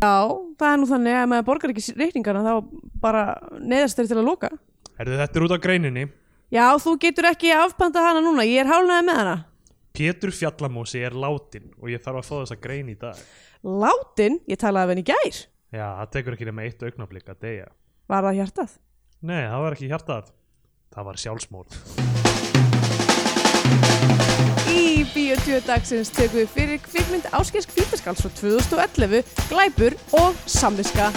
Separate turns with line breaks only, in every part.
Já, það er nú þannig að ef maður borgar ekki reikningana þá bara neðast þeir til að loka.
Herðu, þetta er út af greininni.
Já, þú getur ekki afpanta hana núna, ég er hálnaði með hana.
Pétur Fjallamósi er látin og ég þarf að fá þessa grein í dag.
Látin, ég talaði af henni í gær,
Já, það tekur ekki nema eitt augnablík að deyja.
var það hjartað.
Nei, það var ekki hjartað. Það var sjálfsmórð.
Í Bíotjö dagsins tekum við fyrir kvikmynd Áskeisk Fítaskáls frá 2011, Glæpur og Samviska.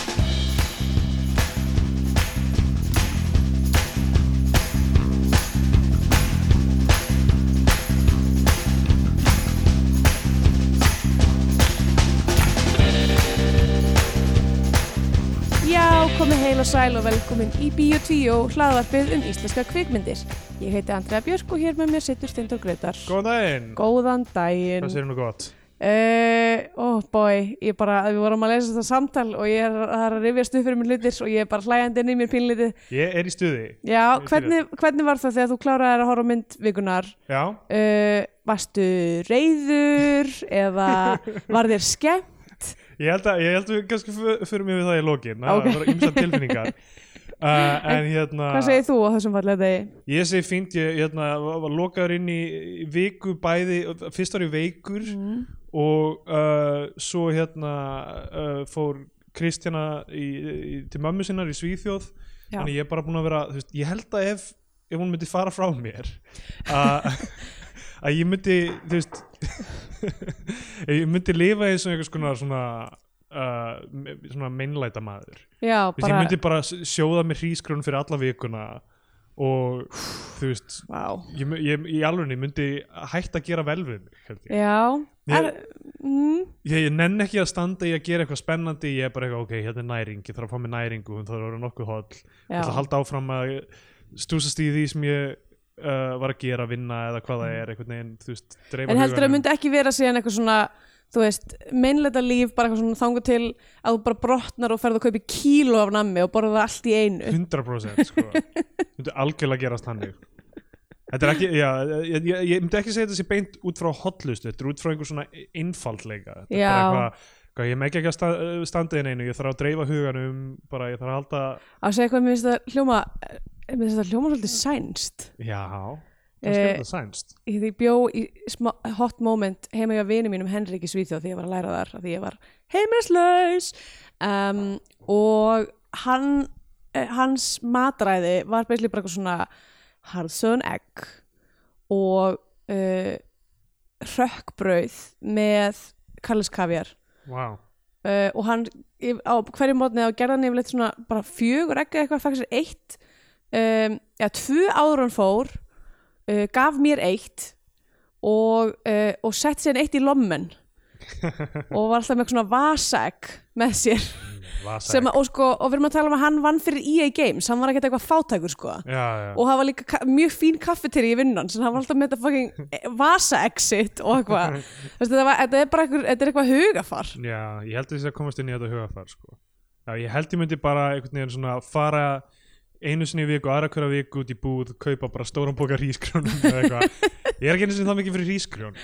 Já, komið heil og sæl og velkomin í Bíotvíó, hlaðvarpið um íslenska kvikmyndir. Ég heiti Andrea Björk og hér með mér sittur Steindor Greitar.
Góðan daginn!
Góðan daginn.
Hvað séu nú gott?
Uh, oh boy, ég bara, við vorum að lesa þetta samtal og ég er, það er að rifjast upp fyrir mér hlutir og ég er bara hlæjandi inn í mér pínlítið.
Ég er í stuði.
Já,
Ég skil
hvernig, hvernig var það þegar þú kláraðir að horfa á mynd vikunar?
Já.
Uh, varstu reyður eða var þér skemmt?
Ég held að, ég held að við kannski för- förum yfir það í lokin.
Ok.
Það var ymsa tilfinningar. Uh, en hérna,
Hvað segir þú á þessum fallega degi?
ég segi fínt, ég hérna, var var lokaður inn í í viku bæði, fyrst var ég veikur og uh, svo hérna uh, fór Kristjana í, í, til mömmu sinnar í Svíþjóð
Já.
þannig ég er bara búin að vera þú veist, ég held að ef, ef hún myndi fara frá mér að að ég myndi þú veist ef ég myndi lifa eins og einhvers konar svona Uh, me- svona meinlæta maður
Já,
Þú veist, ég
bara,
myndi bara s- sjóða mér hrísgrun fyrir alla vikuna og þú veist
vá.
ég, mu- ég, í alveg myndi hægt að gera vel við mig held ég.
Já,
Ég-
er, mm,
ég, ég nenn ekki að standa í að gera eitthvað spennandi ég er bara eitthvað, ok, hérna er næring ég þarf að fá mér næringu, hún þarf að vera nokkuð holl ég
já,
ætla að halda áfram að stúsast í því sem ég uh, var að gera, vinna eða hvað það er einhvern veginn, þú veist, dreifa
Mm. en heldur að
huganum.
myndi ekki vera síðan eitthvað svona þú veist, meinleita líf bara eitthvað svona þangu til að þú bara brotnar og ferð að kaupi kíló af nammi og borða það allt í einu
100% sko myndi algjörlega gerast þannig Þetta er ekki, já, ég, ég, ég myndi ekki segja þetta sé beint út frá hotlust, þetta er út frá einhver svona einfaldleika, þetta er
Já.
bara eitthvað, eitthvað ég megi ekki að sta, standa inn einu, ég þarf að dreifa huganum, um, bara ég þarf að halda,
að segja eitthvað, mér finnst það hljóma eh, mér finnst það hljóma svolítið sænst
já,
Eh,
kannski er þetta sænst.
ég því bjó í smá, hot moment heima hjá vini mínum Henrik í Svíþjóð því ég var að læra þar af því ég var heimilislaus um, og hann eh, hans matræði var basically bara eitthvað svona harðsöðun egg og uh, rökkbrauð með kalliskafjar
Wow.
uh, og hann yf- á hverju mótni þá gerði hann yfirleitt svona bara fjögur ekki eitthvað, fæk sér eitt um, eða tvö áður hann fór uh, gaf mér eitt og, uh, og sett sér eitt í lommen og var alltaf með eitthvað svona vasaegg með sér
Vasa.
sem, að- og, sko, og við erum að tala um að hann vann fyrir EA Games hann var ekkert eitthvað fátækur sko
Já, já.
og það var líka ka- mjög fín kaffetýri í vinnan sem hann var alltaf með þetta fucking vasa-exit og eitthvað Þú veist, þetta, var, þetta er bara eitthvað, þetta er eitthvað hugafar
Já, ég held að ég sé að komast inn í þetta hugafar sko. Já, ég held ég myndi bara einhvern veginn svona fara einu sinni í viku, aðra hverja viku út í búð kaupa bara stóran boka hrísgrjónum eða eitthvað. Ég er ekki einu sinni það mikið fyrir hrísgrjón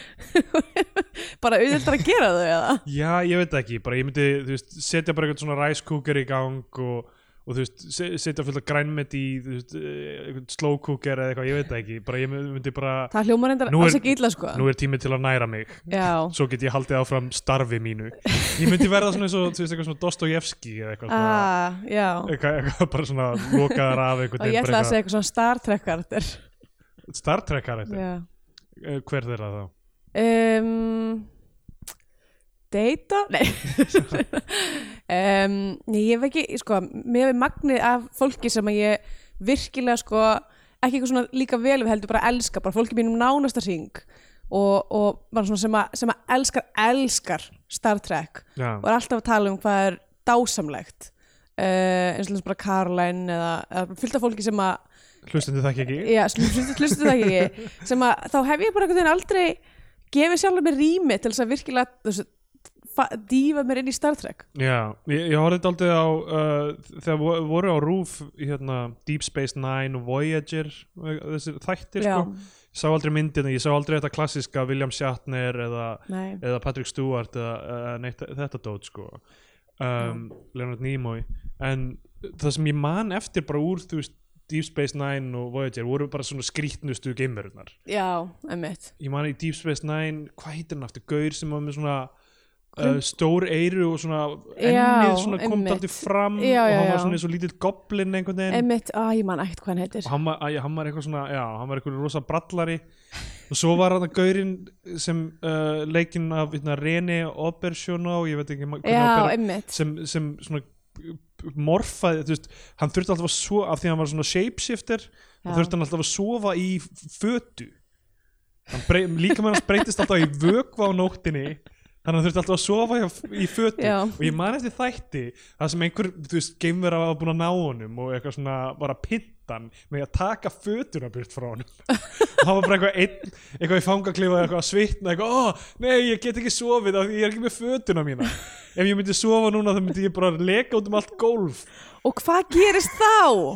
bara auðvitað að gera þau eða
Já, ég veit það ekki, bara ég myndi þú veist, setja bara eitthvað svona ræskúker í gang og, og þú veist, se- setja fullt af grænmet í þú veist, eh, einhvern slókúker eða eitthvað, ég veit það ekki, bara ég myndi bara
Það hljómar reyndar
Nú er-
alls ekki illa sko
nú er tími til að næra mig
Já,
svo get ég haldið áfram starfi mínu Ég myndi verða svona eins og, þú veist, eitthvað svona Dostojevski eða eitthvað svona-
ah, já
eitthvað, eitthvað bara svona lokaðar af einhvern
Og ég
veginn
ætla
bara
að segja eitthvað svona Star Trek karakter
eitthvað Star Trek karakter,
Já
yeah. hver þeirra þá?
um, Data? Nei um, Nei, ég hef ekki, sko Mér hefur magnið af fólki sem að ég virkilega sko ekki eitthvað svona líka vel við heldur bara elska bara fólki mínum nánasta hring og, og bara svona sem að, sem að elskar elskar Star Trek
Já,
og er alltaf að tala um hvað er dásamlegt uh, eins og þess bara Caroline eða, eða fyllt af fólki sem að
hlustandi þekki ekki
já, hlustu hlustu það ekki sem að þá hef ég bara einhvern veginn aldrei gefið sjálfur mér rými til þess að virkilega þú veist, fa- dýfa mér inn í Star Trek
Já, ég, ég horfði aldrei á uh, þegar vo- voru á RÚF hérna, Deep Space Nine og Voyager og þessir þættir
Já.
sko Ég sá aldrei myndina, ég sá aldrei þetta klassiska William Shatner eða,
Nei.
eða Patrick Stewart eða, eða neitt, þetta dót sko um, Leonard Nimoy en það sem ég man eftir bara úr þú veist Deep Space Nine og Voyager voru bara svona skrýtnustu geimverunar
já, emmitt
ég man í Deep Space Nine, hvað heitir hann aftur gaur sem var með svona uh, stór eyru og svona
Já,
ennið svona kom
einmitt.
daldið fram
Já,
og
já,
hann var
já.
svona eins og lítill goblin einhvern veginn
emmitt, að ég man ekkert hvað hann heitir
og hann var, æ, hann var eitthvað svona, já, hann var eitthvað rosa brallari og svo var hann að gaurinn sem uh, leikinn af hérna, René Obersjóná ég veit ekki ma- hvernig
já,
Ober-
emmitt
sem, sem svona uh, morfaði, þú veist, hann þurfti alltaf að sofa af því að hann var svona shapeshifter
Já.
þá þurfti hann alltaf að sofa í f- fötu Hann brey, líka með hans breytist alltaf í vökva á nóttinni þannig að hann þurfti alltaf að sofa í, í fötu
Já.
og ég man eftir þætti það sem einhver, þú veist, geimvera var búin að ná honum og eitthvað svona var að pynta hann með að taka fötuna burt frá honum og hann var bara eitthvað einn, eitthvað í fangaklifa eitthvað að svitna, eitthvað, ó, nei, ég get ekki sofið af því ég er ekki með fötuna mína ef ég myndi sofa núna þá myndi ég bara leka út um allt gólf,
og hvað gerist þá?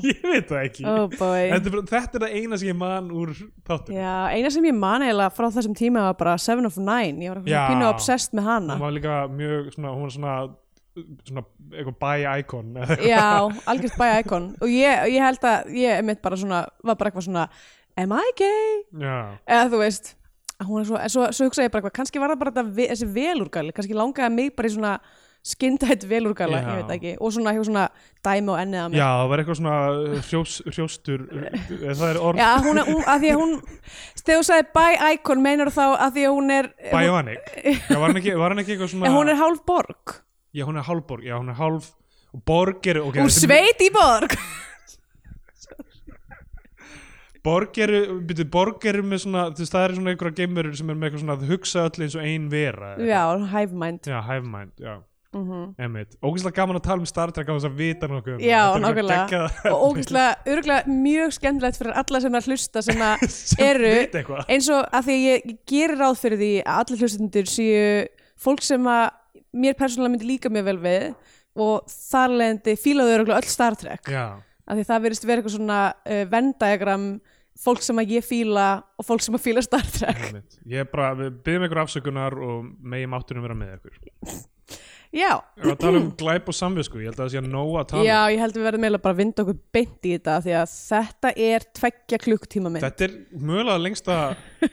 ég veit það ekki
oh boy
þetta, er bara, þetta er það eina sem ég man úr þáttum
Já, eina sem ég man eiginlega frá þessum tíma var bara Seven of Nine, ég var
Já.
eitthvað pínu obsessed með hana
hún var líka mjög svona, hún var svona svona eitthvað bæ icon eða eitthvað.
Já, algjört bæja ikon og ég, ég held að ég mitt bara svona var bara eitthvað svona, am I gay?
já,
eða þú veist að hún er svo, en svo, svo hugsaði ég bara eitthvað, kannski var það bara þetta, ve- þessi velúrgali, kannski langaði mig bara í svona skyndætt velúrgala,
Já.
ég veit það ekki og svona, hefur svona dæmi og ennið að mér
já, það var eitthvað svona uh, hrjós, hrjóstur uh, það er orð
Já, hún er, hún, að því að hún þegar þú sagði by icon, meinar þá að því að hún er hún,
Bionic, já, var hann ekki, var hann ekki eitthvað svona
en hún er hálf borg,
já, hún er hálfborg, já, hún er hálf og borg eru, ok,
úr
þetta er-
sveit í borg
borg eru, byrju, borg eru með svona, þú veist, það eru svona einhverja geimverur sem er með eitthvað svona að hugsa öll eins og ein vera eða
Já, Mhm. hive mind
Já, Hive Mind, já Emmett, ógæslega gaman að tala um Star Trek á þess að vita nokkuð um það.
Já,
Þetta er eitthvað
nákvæmlega
geggjað-
og ógæslega, örgulega mjög skemmtilegt fyrir alla sem er að hlusta sem að
Sem
eru
vita eitthvað.
eins og að því að ég gerir ráð fyrir því að allir hlustendur séu fólk sem að mér persónulega myndi líka mjög vel við og þar leðandi fílaðu örgulega öll Star Trek
Já,
af því það verðist vera eitthvað svona uh, vendajagram fólk sem að ég fíla og fólk sem að fíla Star Trek
Emmett Ég er bara, við byggjum ykkur afsökunar og megi máttunum vera með ykkur
Já,
Ef að tala um glæp og samvisku, ég held að það sé að nóg að tala um.
já, ég held við verðum eiginlega bara að vinda okkur beint í þetta af því að þetta er tveggja klukkutíma minn
Þetta er mögulega lengst að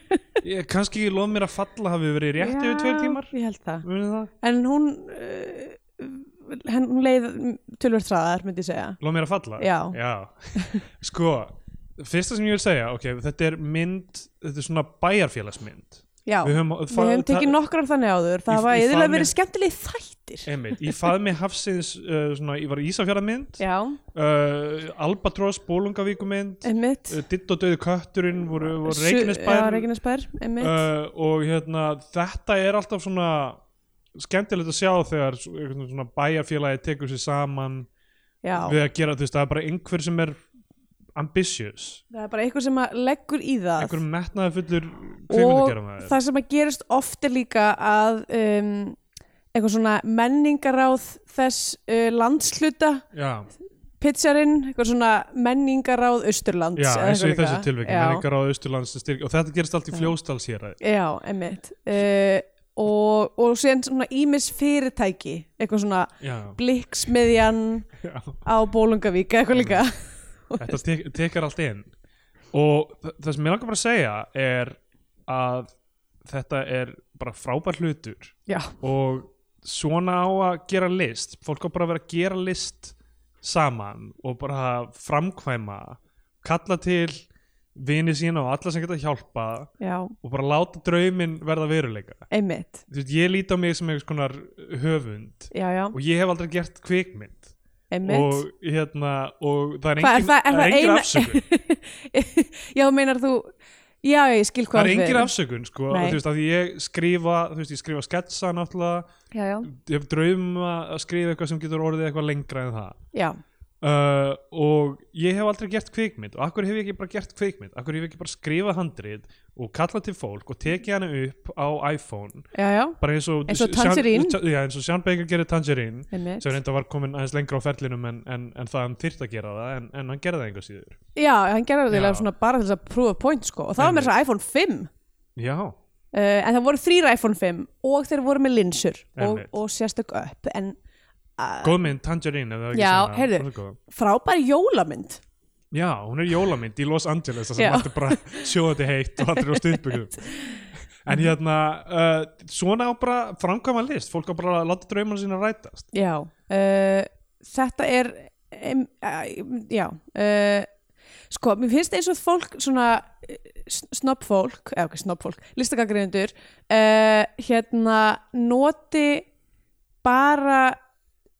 ég, kannski ég lof mér að falla hafi verið rétt yfir tveir tímar
Ég held það
munið það?
En hún, uh, henn, hún leið tölvöld hraðar, myndi ég segja.
Lof mér að falla?
Já.
Sko, fyrsta sem ég vil segja, ok, þetta er mynd, þetta er svona bæjarfélagsmynd
Já,
Við höfum-
við höfum tekið nokkrar þannig áður. Það
Í-
hafa
í
yfirlega
faðmi-
verið skemmtileg þættir.
Einmitt, ég faði mig hafsins, uh, svona, ég var í Ísafjörðarmynd,
Já,
uh, Albatross, Bólungavíkumynd,
einmitt.
uh, Ditt og döðu kötturinn voru, voru
Su- Já,
Reykjanesbær
Reykjanesbær, einmitt.
uh, og hérna þetta er alltaf svona skemmtilegt að sjá þegar svo- einhvern veginn svona bæjarfélagi tekur sér saman
Já,
við að gera þú veist, það er bara einhver sem er ambitious,
það er bara eitthvað sem að leggur í það.
einhver metnaði fullur
og
kveimundgerðamæður
það sem að gerist oft er líka að um, eitthvað svona menningaráð þess uh, landsluta
Já,
pitcharinn, eitthvað svona menningaráð austurlands.
já
eða
eins og í
eitthvað
þessu
líka.
tilviki
Já.
menningar á Austurlands styrk, og þetta gerist allt í fljóstalshéræði
Já, emmitt uh, og, og síðan svona ímis fyrirtæki eitthvað svona
Já,
blikksmiðjan
já
á Bólungavík eða eitthvað líka
þetta tek, tekar allt inn og þa- það sem ég langar bara að segja er að þetta er bara frábær hlutur
Já,
og svona á að gera list fólk á bara að vera að gera list saman og bara framkvæma kalla til vini sína og alla sem geta hjálpa
já,
og bara láta drauminn verða veruleika
einmitt
Þú veist, ég lít á mig sem einhvers konar höfund
Já, já,
og ég hef aldrei gert kvikmynd
einmitt
og, hérna, og það er
Hvað, er
engin,
það- er það
engin
eina-
afsökun
Já, meinar þú Já, já, ég skil
það
hvað
er
átt við.
engin afsökun sko,
Nei.
þú veist, af því ég skrifa þú veist, ég skrifa sketsa náttúrulega
Já, já,
ég hef draum að skrifa eitthvað sem getur orðið eitthvað lengra en það
já,
uh, og ég hef aldrei gert kvikmynd og akkur hef ég ekki bara gert kvikmynd akkur hef ég ekki bara skrifað handrið og kallað til fólk og tekið hana upp á iPhone
já, já
bara eins og,
Eins og
Sean-
Tangerine.
já, eins og Sean Baker gerir Tangerine
Einmitt.
sem reynda var komin aðeins lengra á ferlinum en, en, en það hann þyrft að gera það en, en hann gerði það einhver síður
Já, hann gerði
Já.
þetta svona bara til þess að prúfa point sko og það var með þess að iPhone eh, 5 uh,
já,
en það voru þrýra iPhone 5 og þeir voru með linsur og,
Einmitt.
og sérstök upp en uh,
góð mynd Tangerine ef þið hafið
Já,
ekki séð hana.
heyrðu.
Hún er góð.
frábær jólamynd
Já, hún er jólamynd í Los Angeles þar
Já.
sem allt er bara sjóðandi heitt og allir á stuðbyggum en hérna uh, svona á bara framkvæma list fólk á bara að láta draumana sína rætast
Já, uh, þetta er um, uh, já uh, sko, mér finnst eins og fólk svona snopp fólk eða ok, snopp fólk, listakagreðundur uh, hérna noti bara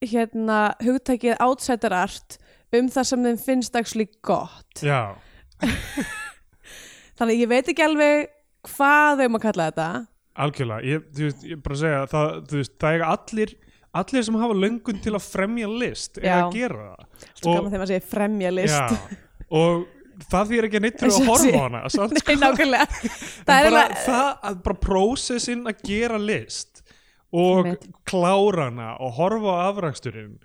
hérna hugtækið outsider art um það sem þeim finnst actually gott
Já,
þannig að ég veit ekki alveg hvað þau maður kalla þetta
algjörlega ég, þú veist, ég bara segja það, þú veist, það er allir allir sem hafa löngun til að fremja list er
Já.
að gera það
Svo gaman þegar maður segir fremja list
já, og það því er ekki neitt fyrir
Þessi-
að horfa á hana samt,
Nei, nákvæmlega Það er
bara,
eiginlega-
það að bara prósessin að gera list og
Einmitt.
klára hana og horfa á afraksturinn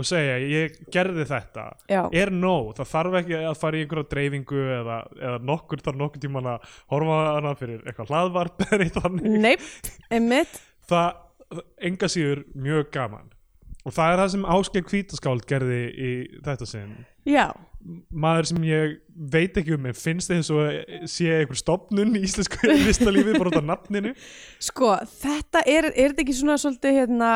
og segja ég gerði þetta
Já.
er nóg, það þarf ekki að fara í einhverja dreifingu eða, eða nokkur þarf nokkur tíman að horfa á hana fyrir eitthvað hlaðvarp eða eitthvað þannig
Neip, einmitt
það enga síður mjög gaman og það er það sem Ásgeir Kvítaskáld gerði í þetta sinn
Já,
maður sem ég veit ekki um en finnst eins og sé einhver stopnun í íslensku listalífi bara út af nafninu
Sko, þetta er, er þetta ekki svona svolítið hérna,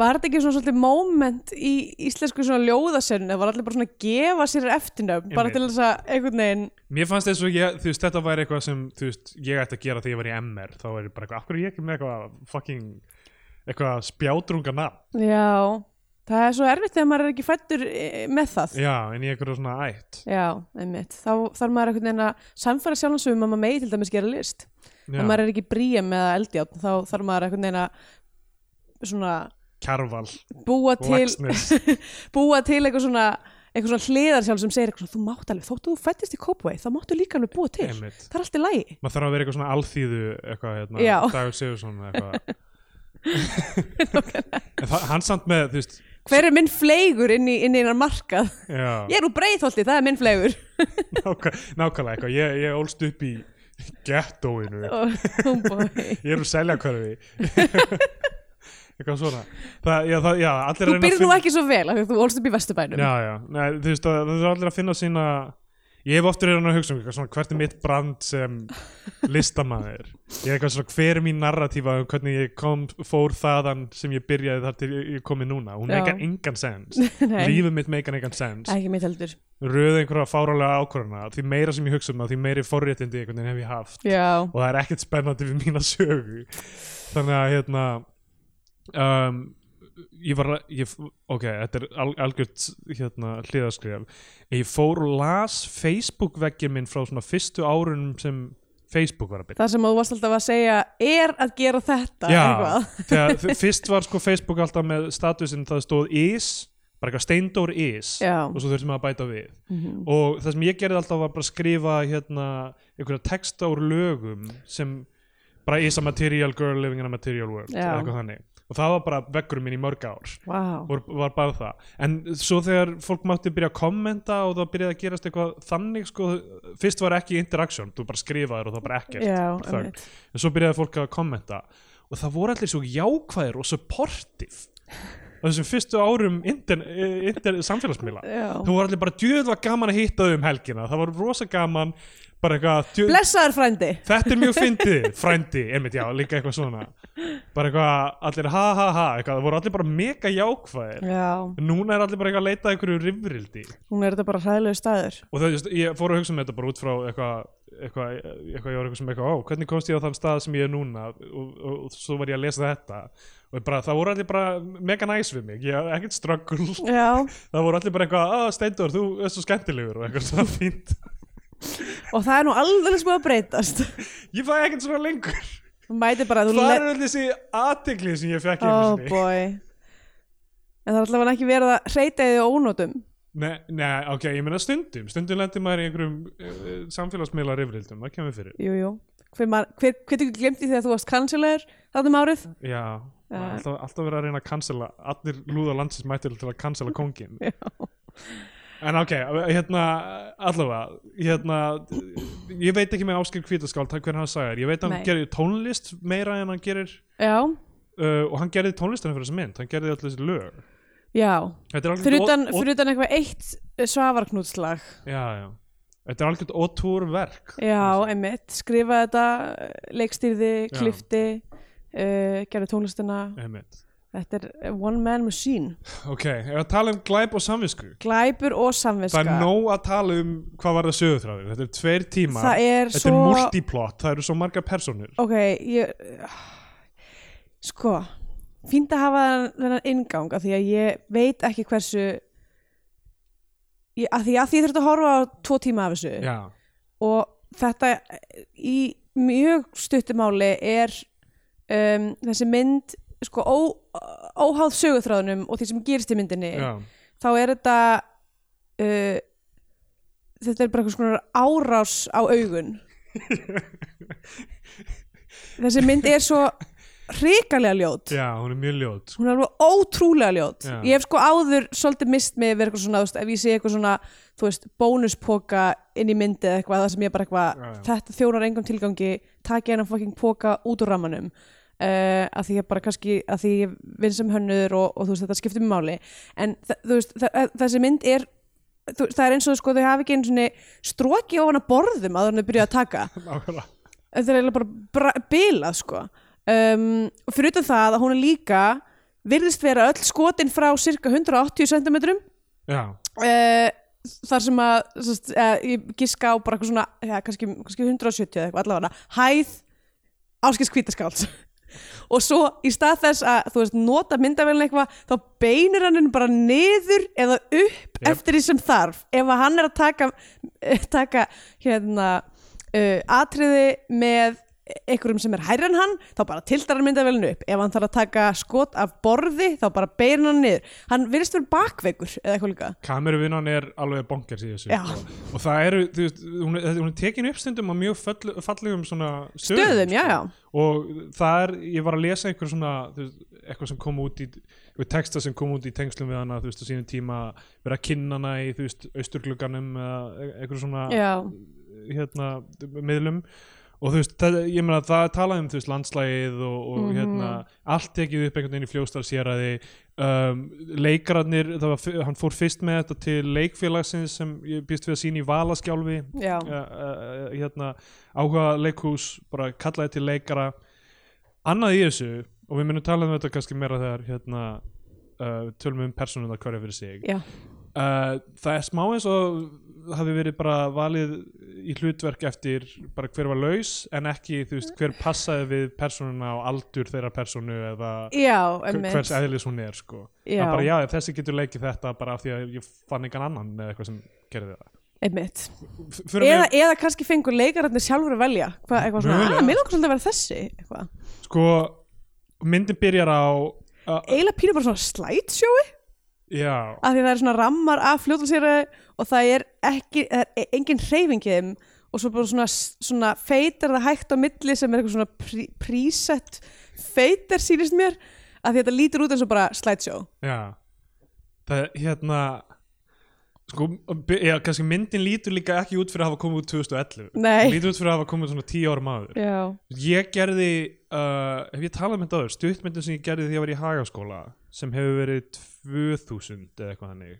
var þetta ekki svona svolítið moment í íslensku svona ljóðasennu, var allir bara svona að gefa sér eftirnöfn, bara
Einmitt.
til þess að einhvern veginn,
mér fannst eins og ég, þú veist, þetta væri eitthvað sem þú veist, ég ætti að gera þegar ég var í MR þá væri bara eitthvað, af hverju er ég ekki með eitthvað fucking eitthvað spjátrunga nafn
já, það er svo erfitt þegar maður er ekki fættur með það.
já, en ég eitthvað svona ætt
Já, einmitt. Þá þarf maður einhvern veginn að samfæra sjálfsögum um að maður megi til dæmis gera list. Ef
Já,
maður er ekki bríum eða eldjátt, þá þarf maður einhvern veginn að svona
Kjarval,
búa til,
Laxnes
búa til eitthvað svona eitthvað svona hliðarsjálf sem segir eitthvað svona, þú mátt alveg, þóttu þú fættist í Kópavei, þá máttu líka alveg búa til.
Einmitt.
Það er allt í lægi.
maður þarf að vera eitthvað svona alþýðu eitthvað, hérna,
Já.
Dagur Sigursson eitthvað En það- hann samt með, þú veist
Hver er minn fleigur inn í, inn í einar markað?
já,
Ég er úr breiðholti, það er minn fleigur.
nákvæ, nákvæmlega eitthvað ég, ég ólst upp í gettóinu
Og hún búi.
ég er úr selja eitthvað svona það, já, það, já,
Þú
allir að reyna að
byrð nú
finna-
ekki svo vel af því að þú ólst upp í Vesturbænum.
já, já, Nei, þú veist að það er allir að finna sína ég hef oftur reyna að hugsa um eitthvað svona hvert er mitt brand sem listamæður ég er eitthvað svona hver er mín narratífa um hvernig ég kom, fór þaðan sem ég byrjaði þar til ég komi núna hún
Já.
meikar engan sens
Nei,
lífið mitt meikar engan sens
ekki mitt heldur.
röðu einhverja fárálega ákvörðuna því meira sem ég hugsa um það, því meiri forréttindi einhvern veginn hef ég haft
Já,
og það er ekkert spennandi við mína sögu þannig að hérna um, ég var ég, ok, þetta er al, algjört hérna hliðaskrif ég fór og las Facebook veggið minn frá svona fyrstu árunum sem Facebook var að byrja
það sem að þú varst alltaf að segja er að gera þetta.
Já,
eitthvað.
þegar f- fyrst var sko Facebook alltaf með statusinn það stóð is, bara eitthvað steindór is
Já. Mhm.
og svo þurftum við að bæta við og það sem ég gerði alltaf var bara að skrifa hérna einhverja texta úr lögum sem bara is a material girl living in a material world
Já.
eða eitthvað þannig og það var bara vekkurum minn í mörg ár
Vá.
var, var bara það en svo þegar fólk mátti byrja að kommenta og það byrjaði að gerast eitthvað þannig sko, fyrst var ekki interaction þú bara skrifaðir og það var bara ekkert
Já,
bara þögn.
einmitt.
en svo byrjaði fólk að kommenta og það voru allir svo jákvæðir og supportive á þessum fyrstu árum intern, intern, samfélagsmiðla
Já.
þú voru allir bara djöð var gaman að hitta þau um helgina það var rosa gaman bara eitthvað djöð,
Blessaður frændi.
þetta er mjög fyndið, frændi, einmitt, já, líka eitthvað svona bara eitthvað, allir ha ha ha eitthvað, það voru allir bara mega jákvæðir
Já,
núna er allir bara eitthvað að leita að einhverju rifrildi
hún er þetta bara hræðilegu staður.
og það, just, ég fór að hugsa um þetta bara út frá eitthvað eitthvað, eitthvað ég var eitthvað sem eitthvað, ó, hvernig komst ég á þann stað sem ég er núna og, og, og, svo var ég að lesa þetta og bara, það voru allir bara mega næs við mig, ég hafði ekkert ströggul
Já,
það voru allir bara eitthvað, að Steindor, þú er svo skemmtilegur og eitthvað svona fínt
og það er nú alveg smúið að breytast.
ég fæ ekkert svona lengur
Þú mætir bara, þú
það
le-
eru allir þessi aðtegli sem ég fekk
Oh
einu sinni.
boy En það er allavega ekki verið að hreyta þig og ónótum
Nei, nei, ok, ég meina stundum stundum lendir maður í einhverjum uh, samfélagsmiðla rifrildum, það kemur fyrir
Jú, jú Hver, maður- hver, hver tekur glemt því þegar þú varst kansilegur þáttum árið?
Já,
Já.
alltaf, alltaf verið að reyna að cancela allir lúða landsins mættir til að cancela kongin
Já.
En ok, hérna allavega, hérna ég veit ekki með Áskir Kvítaskáld hvernig hann sagði, þér. ég veit að hann
Nei.
gerir tónlist meira en hann gerir
Já,
uh, og hann gerði tónlistina fyrir þessa mynd, hann gerði allir þessi lög
já,
Þetta er algjört
fyrir utan,
o- o-
fyrir utan eitthvað eitt svafarknútslag
Já, já Þetta er algjört ótúrverk
já, einmitt, skrifa þetta leikstýrði,
Já.
klifti uh, gerði tónlistina
Einmitt.
þetta er one man machine
Ok, ef að tala um glæp og samvisku
glæpur og samviska
Það er nóg að tala um hvað var það sögutráður Þetta er tveir tímar
það er
Þetta
svo
er multiplot, það eru svo margar personur
ok, ég sko, fínt að hafa þennan- þennan inngang af því að ég veit ekki hversu ég, af því að því ég þurfti að horfa á tvo tíma af þessu
Já,
og þetta í mjög stuttumáli er um, þessi mynd sko ó, óháð sögutráðunum og því sem gerist í myndinni
já,
þá er þetta uh, þetta er bara eitthvað svona árás á augun þessi mynd er svo hrikalega ljót
já, hún er mjög ljót sko.
hún er alveg ótrúlega ljót
Já.
ég hef sko áður svolítið mist með verið eitthvað svona, þú veist, ef ég sé eitthvað svona þú veist, bónuspoka inn í myndið eða eitthvað, það sem ég bara eitthvað,
Já, já.
þetta þjónar engum tilgangi, taki hennan fucking poka út úr rammanum uh, að því ég bara kannski, að því ég vinn sem hönnur og, og þú veist, þetta skiptir mig máli en þa- þú veist, þa þessi mynd er þú, það er eins og sko, þau hafi ekki einu svona stróki ofan að borðum að þannig byrja að taka
sko, Nákvæmlega.
þetta er eiginlega bara bra- bilað sko um, og fyrir utan það að hún er líka virðist vera öll skotin frá cirka 180 cm uh,
Já,
Eh, þar sem að sest, uh, ég giska á bara eitthvað svona ja, kannski, kannski 170 eða eitthvað allavega hæð áskils kvítaskáls og svo í stað þess að þú veist nota myndavélina eitthvað þá beinir hann henni bara niður eða upp
Jep.
eftir því sem þarf ef að hann er að taka, eh, taka hérna uh, atriði með einhverjum sem er hærri en hann þá bara tiltar hann myndavélinu upp ef hann þarf að taka skot af borði þá bara beinir hann niður hann virðist verið bakveikur eða eitthvað líka
kameruvinnan er alveg bonkers í þessu
Já.
sko. Og það eru, þú veist, hún er, hún er tekin upp stundum á mjög fall, fallegum svona stöðum,
döðum, já
sko.
já
og það er, ég var að lesa einhver svona, þú veist, eitthvað sem kom út í við texta sem kom út í tengslum við hana þú veist, á sínum tíma, vera að kynna hana í, þú veist, austurglugganum eða eitthvað svona,
já,
hérna miðlum og þú veist, það, ég meina það er talað um þú veist, landslægið og, og
Mhm.
hérna allt tekið upp einhvern veginn í fljóstarsýraði um, leikararnir það var, f- hann fór fyrst með þetta til leikfélagsins sem ég býst við að sína í Valaskjálfi
já,
uh, uh, hérna, áhuga leikhús bara kallaði til leikara annað í þessu og við munum tala um þetta kannski meira þegar hérna, uh, tölum um persónum það hverja fyrir sig
já.
uh, það er smá eins og hafi verið bara valið í hlutverk eftir bara hver var laus en ekki þú veist hver passaði við persónuna og aldur þeirra persónu eða
já
hver-
einmitt.
hvers eðlis hún er sko
Já.
það er bara já ef þessi getur leikið þetta bara af því að ég fann engan annan eða eitthvað sem gerði það
einmitt
F- förum
eða,
við-
eða kannski fengur leikararnir sjálfur að velja Hva, eitthvað svona,
Mögulega.
að mér langar svolítið að vera þessi eitthvað.
sko myndin byrjar á uh,
eiginlega pínur bara svona slætsjói
já
af því það er svona rammar af fljóðalsýra og það er ekki, það er e- engin hreyfingið og svo bara svona, svona feitar það hægt á milli sem er eitthvað svona prí, prísett feitar sýnist mér af því þetta lítur út eins og bara slætsjó
Já Það er hérna Sko, by- já, kannski myndin lítur líka ekki út fyrir að hafa komið út 2011
Nei.
Hún Lítur út fyrir að hafa komið út svona 10 árum áður
já,
Ég gerði, uh, hef ég talað um þetta áður Stuttmyndin sem ég gerði því að ég var í Hagaskóla sem hefur verið 2000 eða eitthvað þannig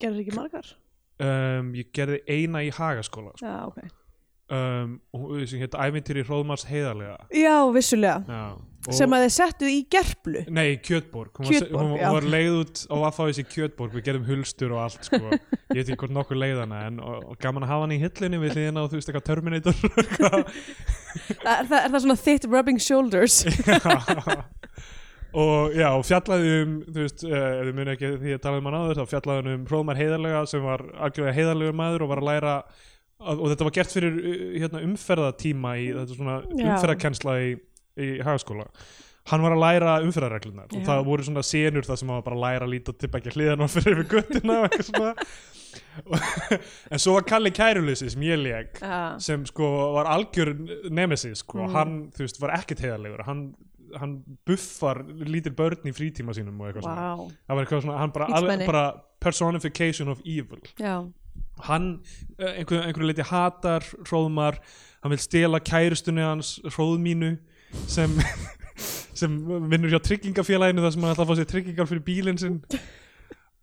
gerður ekki margar
um, Ég gerði eina í Hagaskóla sko.
já, ok
um, og- sem hétt Ævintýri Hróðmars heiðarlega
já, vissulega,
Já, og-
sem að þið settu í gerplu
Nei, Kjötborg, hún,
Kjötborg,
var, hún,
já.
hún var leið út á Vaffaðis í Kjötborg, við gerðum hulstur og allt sko. ég veit ekki hvort nokkur leiðana en og, og gaman að hafa hann í hillinu við hliðina og þú veist eitthvað Terminator og eitthvað.
er, það- er það svona þitt rubbing shoulders
og já, og fjallaði um þú veist, eh, ef við munum ekki því að tala um hann áður þá fjallaði hann um Hróðmar Heiðarlega sem var algjörlega heiðarlega maður og var að læra að, og þetta var gert fyrir eh, hérna, umferðatíma í þetta er svona
Já.
umferðakennsla í, í hagaskóla hann var að læra umferðarreglunar og
Já.
það voru svona senur þar sem hann var bara að læra að líta tilbækja hliðan og fyrir við göttina og eitthvað svona Og- en svo var Kalli Kærulisi sem ég leik
Já.
sem sko var algjör nemesis sko, hann þú veist var ekkert heiðarlegur hann, hann buffar lítil börn í frítíma sínum og eitthvað svona
wow.
það var eitthvað svona, hann bara,
Illmenni.
alveg- bara personification of evil
já,
hann eh, einhver, einhverju leiti hatar hróðmar, hann vil stela kærustunni hans hróðmínu sem, sem vinnur hjá tryggingafélaginu þar sem hann ætla að fá sér tryggingar fyrir bílinn sinn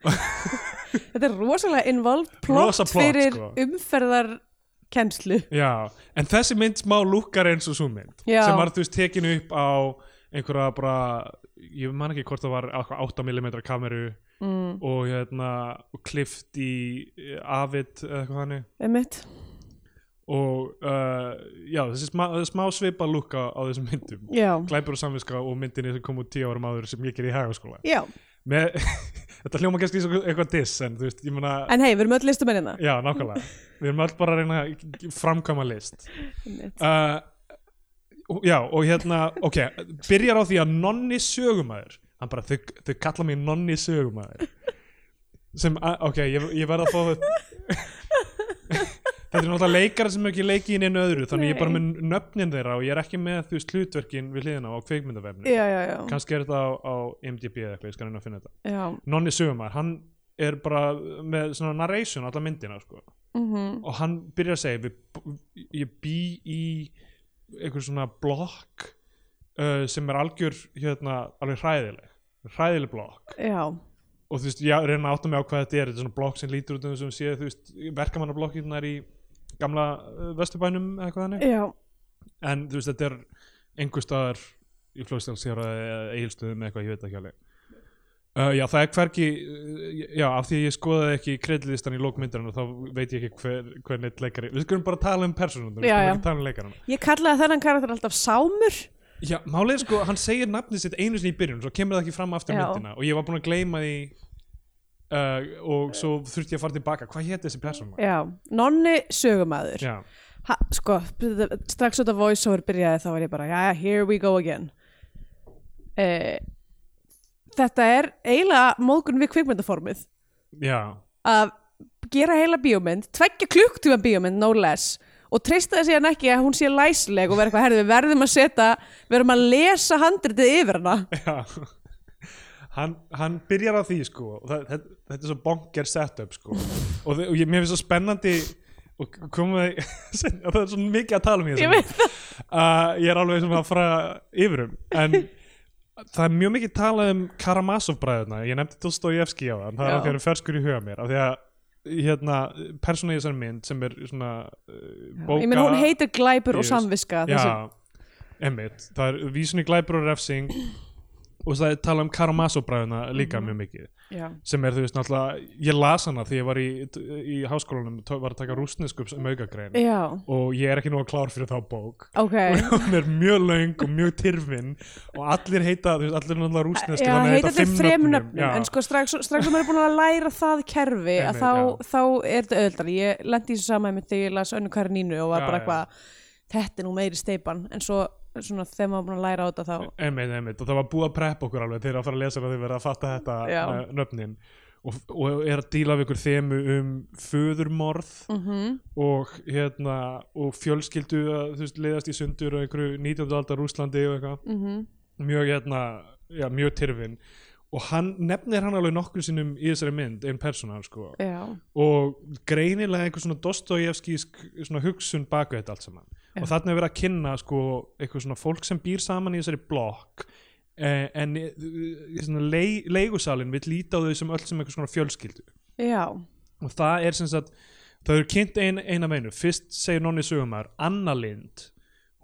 þetta er rosalega involved plot,
Rosa plot,
fyrir
sko.
umferðarkennslu
Já, en þessi mynd smá lúkkar eins og svo mynd
Já.
sem var þú veist tekin upp á einhverja bara ég man ekki hvort það var 8mm kameru mm. og hérna og klift í eh, Avid eða eitthvað hannig
einmitt
og uh, já, þessi smá, smá svipa lúkka á þessum myndum
já,
Glæpur og samviska og myndinni sem kom út tíu árum áður sem ég gerði í hagaskóla
já.
Með, Þetta hljóma kannski eins og eitthvað diss en þú veist, ég meina
en hei, við erum öll listamennina
Já, nákvæmlega. Við erum öll bara að reyna að framkama list. Uh, já, og hérna, ok, byrjar á því að nonni sögumæður, hann bara, þau, þau kalla mig nonni sögumæður. Sem, a- ok, ég, ég verð að fá þetta. Þetta er náttúrulega leikar sem ekki leiki inn einu öðru, þannig ég er bara
Nei.
með nöfnin þeirra og ég er ekki með þú veist hlutverkin við hliðina á kveikmyndavefni.
já, já, já,
Kannski er þetta á, á MDB eða eitthvað, ég skal reyna að finna þetta.
já.
Nonni sögumæður, hann er bara með svona narration alla myndina, sko
Mm
og hann byrjar að segja við, ég bý í einhver svona blokk uh, sem er algjör hérna, alveg hræðileg hræðileg blokk
já.
og þú veist, ég reyna að átta mig á hvað þetta er þetta er svona blokk sem lítur út um þessum sé þú veist, verkamannablokkinnar í gamla uh, vesturbænum eða eitthvað þannig
já,
en þú veist, þetta er einhver staðar í flóðstjálfsjara eða eigilstöðum eða eitthvað, ég veit ekki alveg Uh, já, það er hvergi, uh, já, af því að ég skoðaði ekki kreidlistan í lókmyndarinn og þá veit ég ekki hver, hver neitt leikari, við skulum bara tala um personunum, við
Já,
skulum
já.
ekki tala um leikarana.
ég kallaði þennan karakter alltaf Sámur
Já, málið er sko, hann segir nafnið sitt einu sinni í byrjun, svo kemur það ekki fram aftur í
Já.
myndina og ég var búin að gleyma því uh, og svo þurfti ég að fara tilbaka, hvað hétt þessi persóna?
já, nonni sögumæður
Já,
ha, sko, strax út af voiceover byrjaði þá var ég bara, já, here we go again uh, þetta er eiginlega móðgun við kvikmyndaformið
já,
að gera heila bíómynd tveggja klukktíma bíómynd, no less og treysta það síðan ekki að hún sé læsleg og vera eitthvað, herðu, við verðum að setja við verðum að lesa handritið yfir hana
já. Hann, hann byrjar á því sko, og það, þetta, þetta er svo bonger setup sko og, þi- og ég, mér finnst svo spennandi og komið seinna, það er svo mikið að tala um í
Ég
þessu
veit
það Ég er alveg sem að fara yfirum en það er mjög mikið talað um Karamazov bræðuna, ég nefndi Dostoyevski á það, það er
Já.
af því að eru ferskur í huga mér af því að hérna, persóna í þessari mynd sem er svona uh, bóka
ég meina, hún heitir glæpur og
Yes.
samviska þessi,
Já, emmitt, það er vísunni glæpur og refsing og það er tala um Karamazov bræðuna líka
Mhm.
mjög mikið
já.
sem er þú veist náttúrulega, ég las hana því ég var í, í háskólanum tó- var að taka rústnesku um aukagrein
já,
og ég er ekki nóg klár fyrir þá bók
ok
hún er mjög löng og mjög tyrfin og allir heita, þú veist, allir er náttúrulega rústnesku
Já, heita
þetta
þeir þrem
nöfnum.
nöfnum,
Já.
en sko strax, strax og maður er búin að læra það kerfi að
Einmitt,
þá,
já.
þá er þetta öðuldar ég lendi í þessu sama einmitt þegar ég las önnu Karnínu og var
Já,
bara
já.
eitthvað þetta er nú meiri steipan, en svo svona, þegar maður er búin að læra á þetta þá
einmitt, einmitt, og það var búið að preppa okkur alveg þegar að fara að lesa það þeir verða að fatta þetta
Já.
eh, nöfnin og, og er að díla við ykkur þemu um föðurmorð
Mhm,
-hmm. og hérna og fjölskyldu að þú veist leiðast í sundur og einhverju 19. aldar Rúslandi og eitthvað
Mhm.
mjög hérna, já, mjög tyrfin og hann nefnir hann alveg nokkur sinnum í þessari mynd, einn persóna sko
já,
og greinilega einhver svona Dostojevskísk svona hugsun baku þetta allt saman og þarna er verið að kynna sko eitthvað svona fólk sem býr saman í þessari blokk eh, en eh, svona lei, leigusalinn vill líta á þau sem öll sem eitthvað svona fjölskyldu
já,
og það er sem sagt það eru kynnt ein, eina meinu fyrst segir nonni sögumar Anna Lind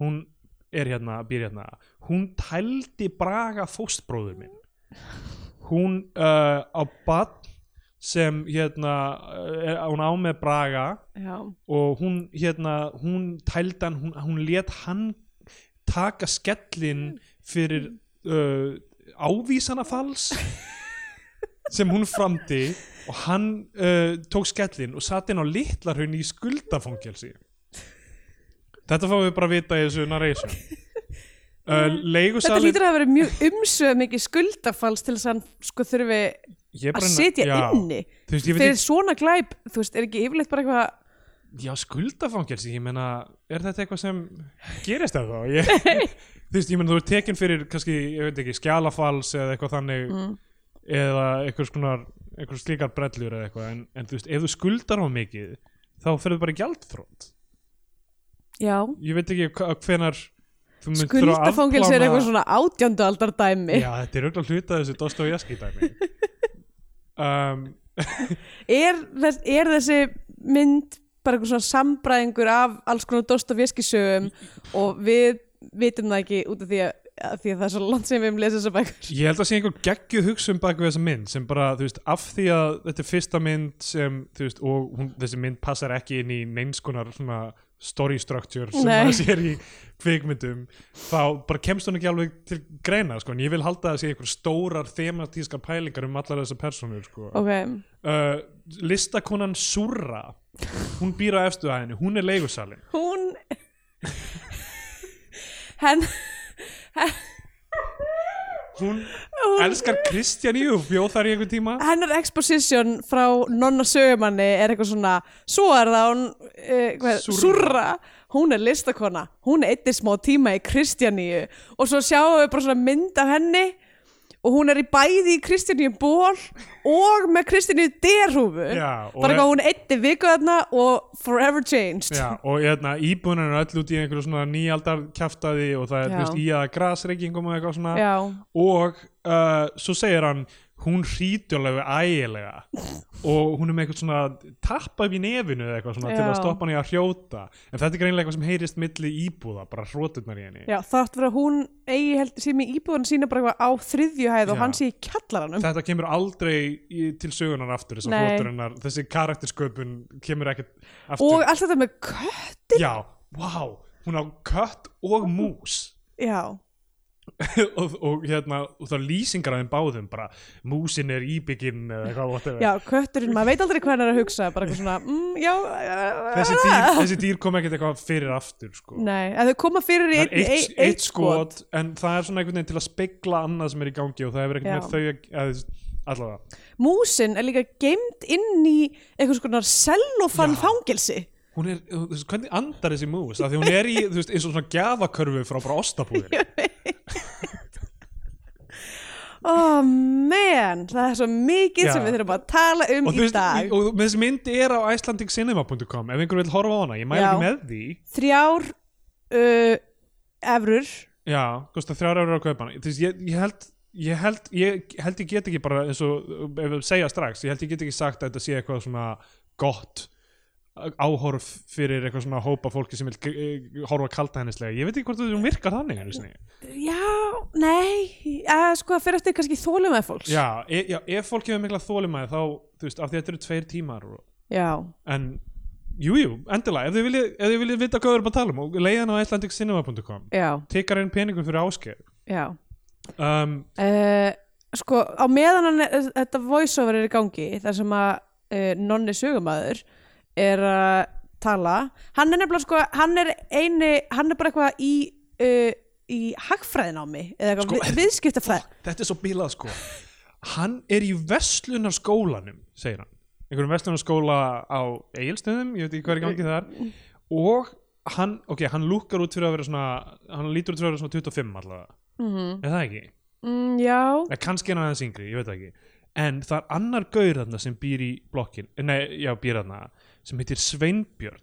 hún er hérna, býr hérna hún tældi braga fóstbróður minn hún uh, á badn sem hérna uh, er, hún á með braga
já
og hún hérna hún tældan, hún, hún let hann taka skellin
Mm.
fyrir uh, ávísanafals sem hún framdi og hann uh, tók skellin og satt inn á litlarhraun í skuldafangelsi þetta fáum við bara að vita í þessu narration uh,
Þetta
leigusalinn
hlýtur að vera mjög umsöð mikið skuldafalls til þess að hann sko þurfi
Ég er bara
að
að-
sitja
já.
inni
Þú veist, ég veit
Þegar svona glæp, þú veist, er ekki yfirleitt bara eitthvað
Já, skuldafangelsi, ég meina, er þetta eitthvað sem gerist það þá? Ég, þú veist, ég meina, þú ert tekin fyrir, kannski, ég veit ekki, skjalafals eða eitthvað þannig,
Mm.
eða eitthvað skonar, eitthvað slíkar brellur eða eitthvað, en, en þú veist, ef þú skuldar á mikið, þá ferðu bara í gjaldfrótt.
Já,
Ég veit ekki hva- hvenar þú myndir
skuldafangils er eitthvað svona átjöndu aldar dæmi
Já, þetta er auðvitað hluta af þessu Dostoyevski dæmi um,
er, þess, er þessi mynd bara eitthvað svona sambræðingur af alls konar Dostoevski sögum og við vitum það ekki út af því að, að, því að það er svo langt sem við um lesa þessar bækur
Ég held að sé einhver geggjuð hugsun bak við þessa mynd sem bara, þú veist, af því að þetta er fyrsta mynd sem, þú veist, og hún, þessi mynd passar ekki inn í neinskonar svona story structure sem
Nei.
maður sér í kvikmyndum þá bara kemst hún ekki alveg til greina sko, en ég vil halda að það sé einhver stórar thematískar pælingar um allar þessar persónur sko.
Ok,
uh, listakonan Surra hún býr á efstu aðinu, hún er leigusalinn
hún henn
hún elskar Kristjaníu og bjóð þar í einhver tíma
hennar exposition frá nonna sögumanni er eitthvað svona svo er það hún uh, hvað,
Súrra.
surra, hún er listakona hún er eittir smá tíma í Kristjaníu og svo sjáum við bara svona mynd af henni og hún er í bæði í Kristjaníu ból og með Kristjaníu derhúfu
Já, og
bara
er-
eitthvað hún eittir viku þarna og forever changed
Já, og hérna, íbúðunar er öll út í einhverju svona nýaldar kjaftaði og það er
Já.
þú veist, í að grasreikingum og eitthvað svona
Já.
og uh, svo segir hann hún hrítjulega ægilega og hún er með eitthvað svona tappa upp í nefinu eða eitthvað svona til
Já.
að stoppa hann í að hrjóta en þetta er greinlega eitthvað sem heyrist milli íbúða bara hróturnar í henni
Já, þátt verið að hún eigi heldur sími íbúðan sína bara eitthvað á þriðju hæð og
Já.
hann sé í kjallaranum.
þetta kemur aldrei í, til sögunar aftur þessar
Nei.
hróturinnar, þessi karaktersköpun kemur ekkert aftur
Og allt þetta með kött.
Já, wow, hún á kött og mús
Já,
og, og hérna og það lýsingar af þeim báðum bara músin er íbygginn eða eitthvað whatever.
já, kötturinn, maður veit aldrei hvað hann er að hugsa, bara eitthvað svona, mm, já, eh,
þessi,
eh,
dýr,
eh.
þessi dýr kom ekkert eitthvað fyrir aftur sko.
Nei, að þau koma fyrir í
það er
eitt,
eitt,
eitt, eitt skot.
en það er svona einhvern veginn til að spegla annað sem er í gangi og það hefur
Já.
ekkert með þau að- að, allavega,
Músin er líka geimd inn í eitthvað svona sellofan
Já.
fangelsi.
hún er þú veist, hvernig andar þessi mús, af því hún er í þú veist, eins og svona gjafakörfu frá bara ostabúðir
Oh man, það er svo mikið
Já.
sem við þurfum að tala um
og, þú
í
veist,
dag.
og með þessi mynd er á icelandiccinema.com ef einhver vil horfa á hana, ég mæli
Já.
ekki með því
Þrjár uh, efrur,
Já, kostar þrjár eurur að kaupa hana Þess, ég, ég, held, ég, held, ég held ég get ekki bara eins og ef við segja strax, ég held ég get ekki sagt að þetta sé eitthvað svona gott áhorf fyrir eitthvað svona hópa fólki sem vil eh, horfa kalda hennislega ég veit ekki hvort þú virkar þannig einu sinni.
Já, nei, að sko það fyrir eftir kannski þólum eða fólks.
já, e, já, ef fólki hefur mikla þólimæði þá, þú veist, af því að þetta eru tveir tímar og,
Já.
en, jújú, jú, endilega ef þið viljið, ef þið viljið vita hvað við erum að tala um og leiða hann á icelandiccinema.com
Já,
tekar einn peningum fyrir áskeið
já.
um,
Uh, sko á meðan hann, er- þetta voiceover er í gangi, þar sem að uh, nonni sögumæður er að tala, hann er nefnilega sko, hann er eini, hann er bara eitthvað í, uh, í hagfræðinámi, eða eitthvað
Sko,
sko, við, viðskiptafræð.
þetta er svo bílað sko hann er í vestlunarskólanum segir hann, einhverjum vestlunarskóla á Egilstöðum, ég veit ekki hvað er í gangi þar og hann, ok, hann lúkkar út fyrir að vera svona hann lítur út fyrir að vera svona 25 allavega
Mm -hmm.
er það ekki,
mm, já,
eða kannski er hann aðeins yngri, ég veit það ekki en það er annar gaur þarna sem býr í blokkin nei, já, býr þarna sem heitir Sveinbjörn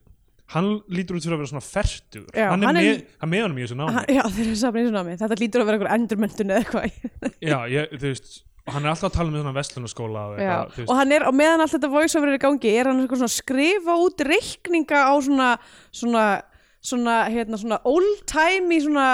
hann lítur út fyrir að vera svona fertur
Já,
hann er,
hann er
með,
í-
hann með honum í þessu námi
hann, já þeir eru saman í þessu námi, þetta lítur að vera eitthvað endurmentun eða eitthvað.
já, ég, þú veist, hann er alltaf að tala með svona vestlunarskóla og,
Já,
eitthvað, þú veist.
og hann er, og meðan allt þetta voiceover er í gangi er hann eitthvað svona að skrifa út reikninga á svona svona, svona, hérna, svona old time í svona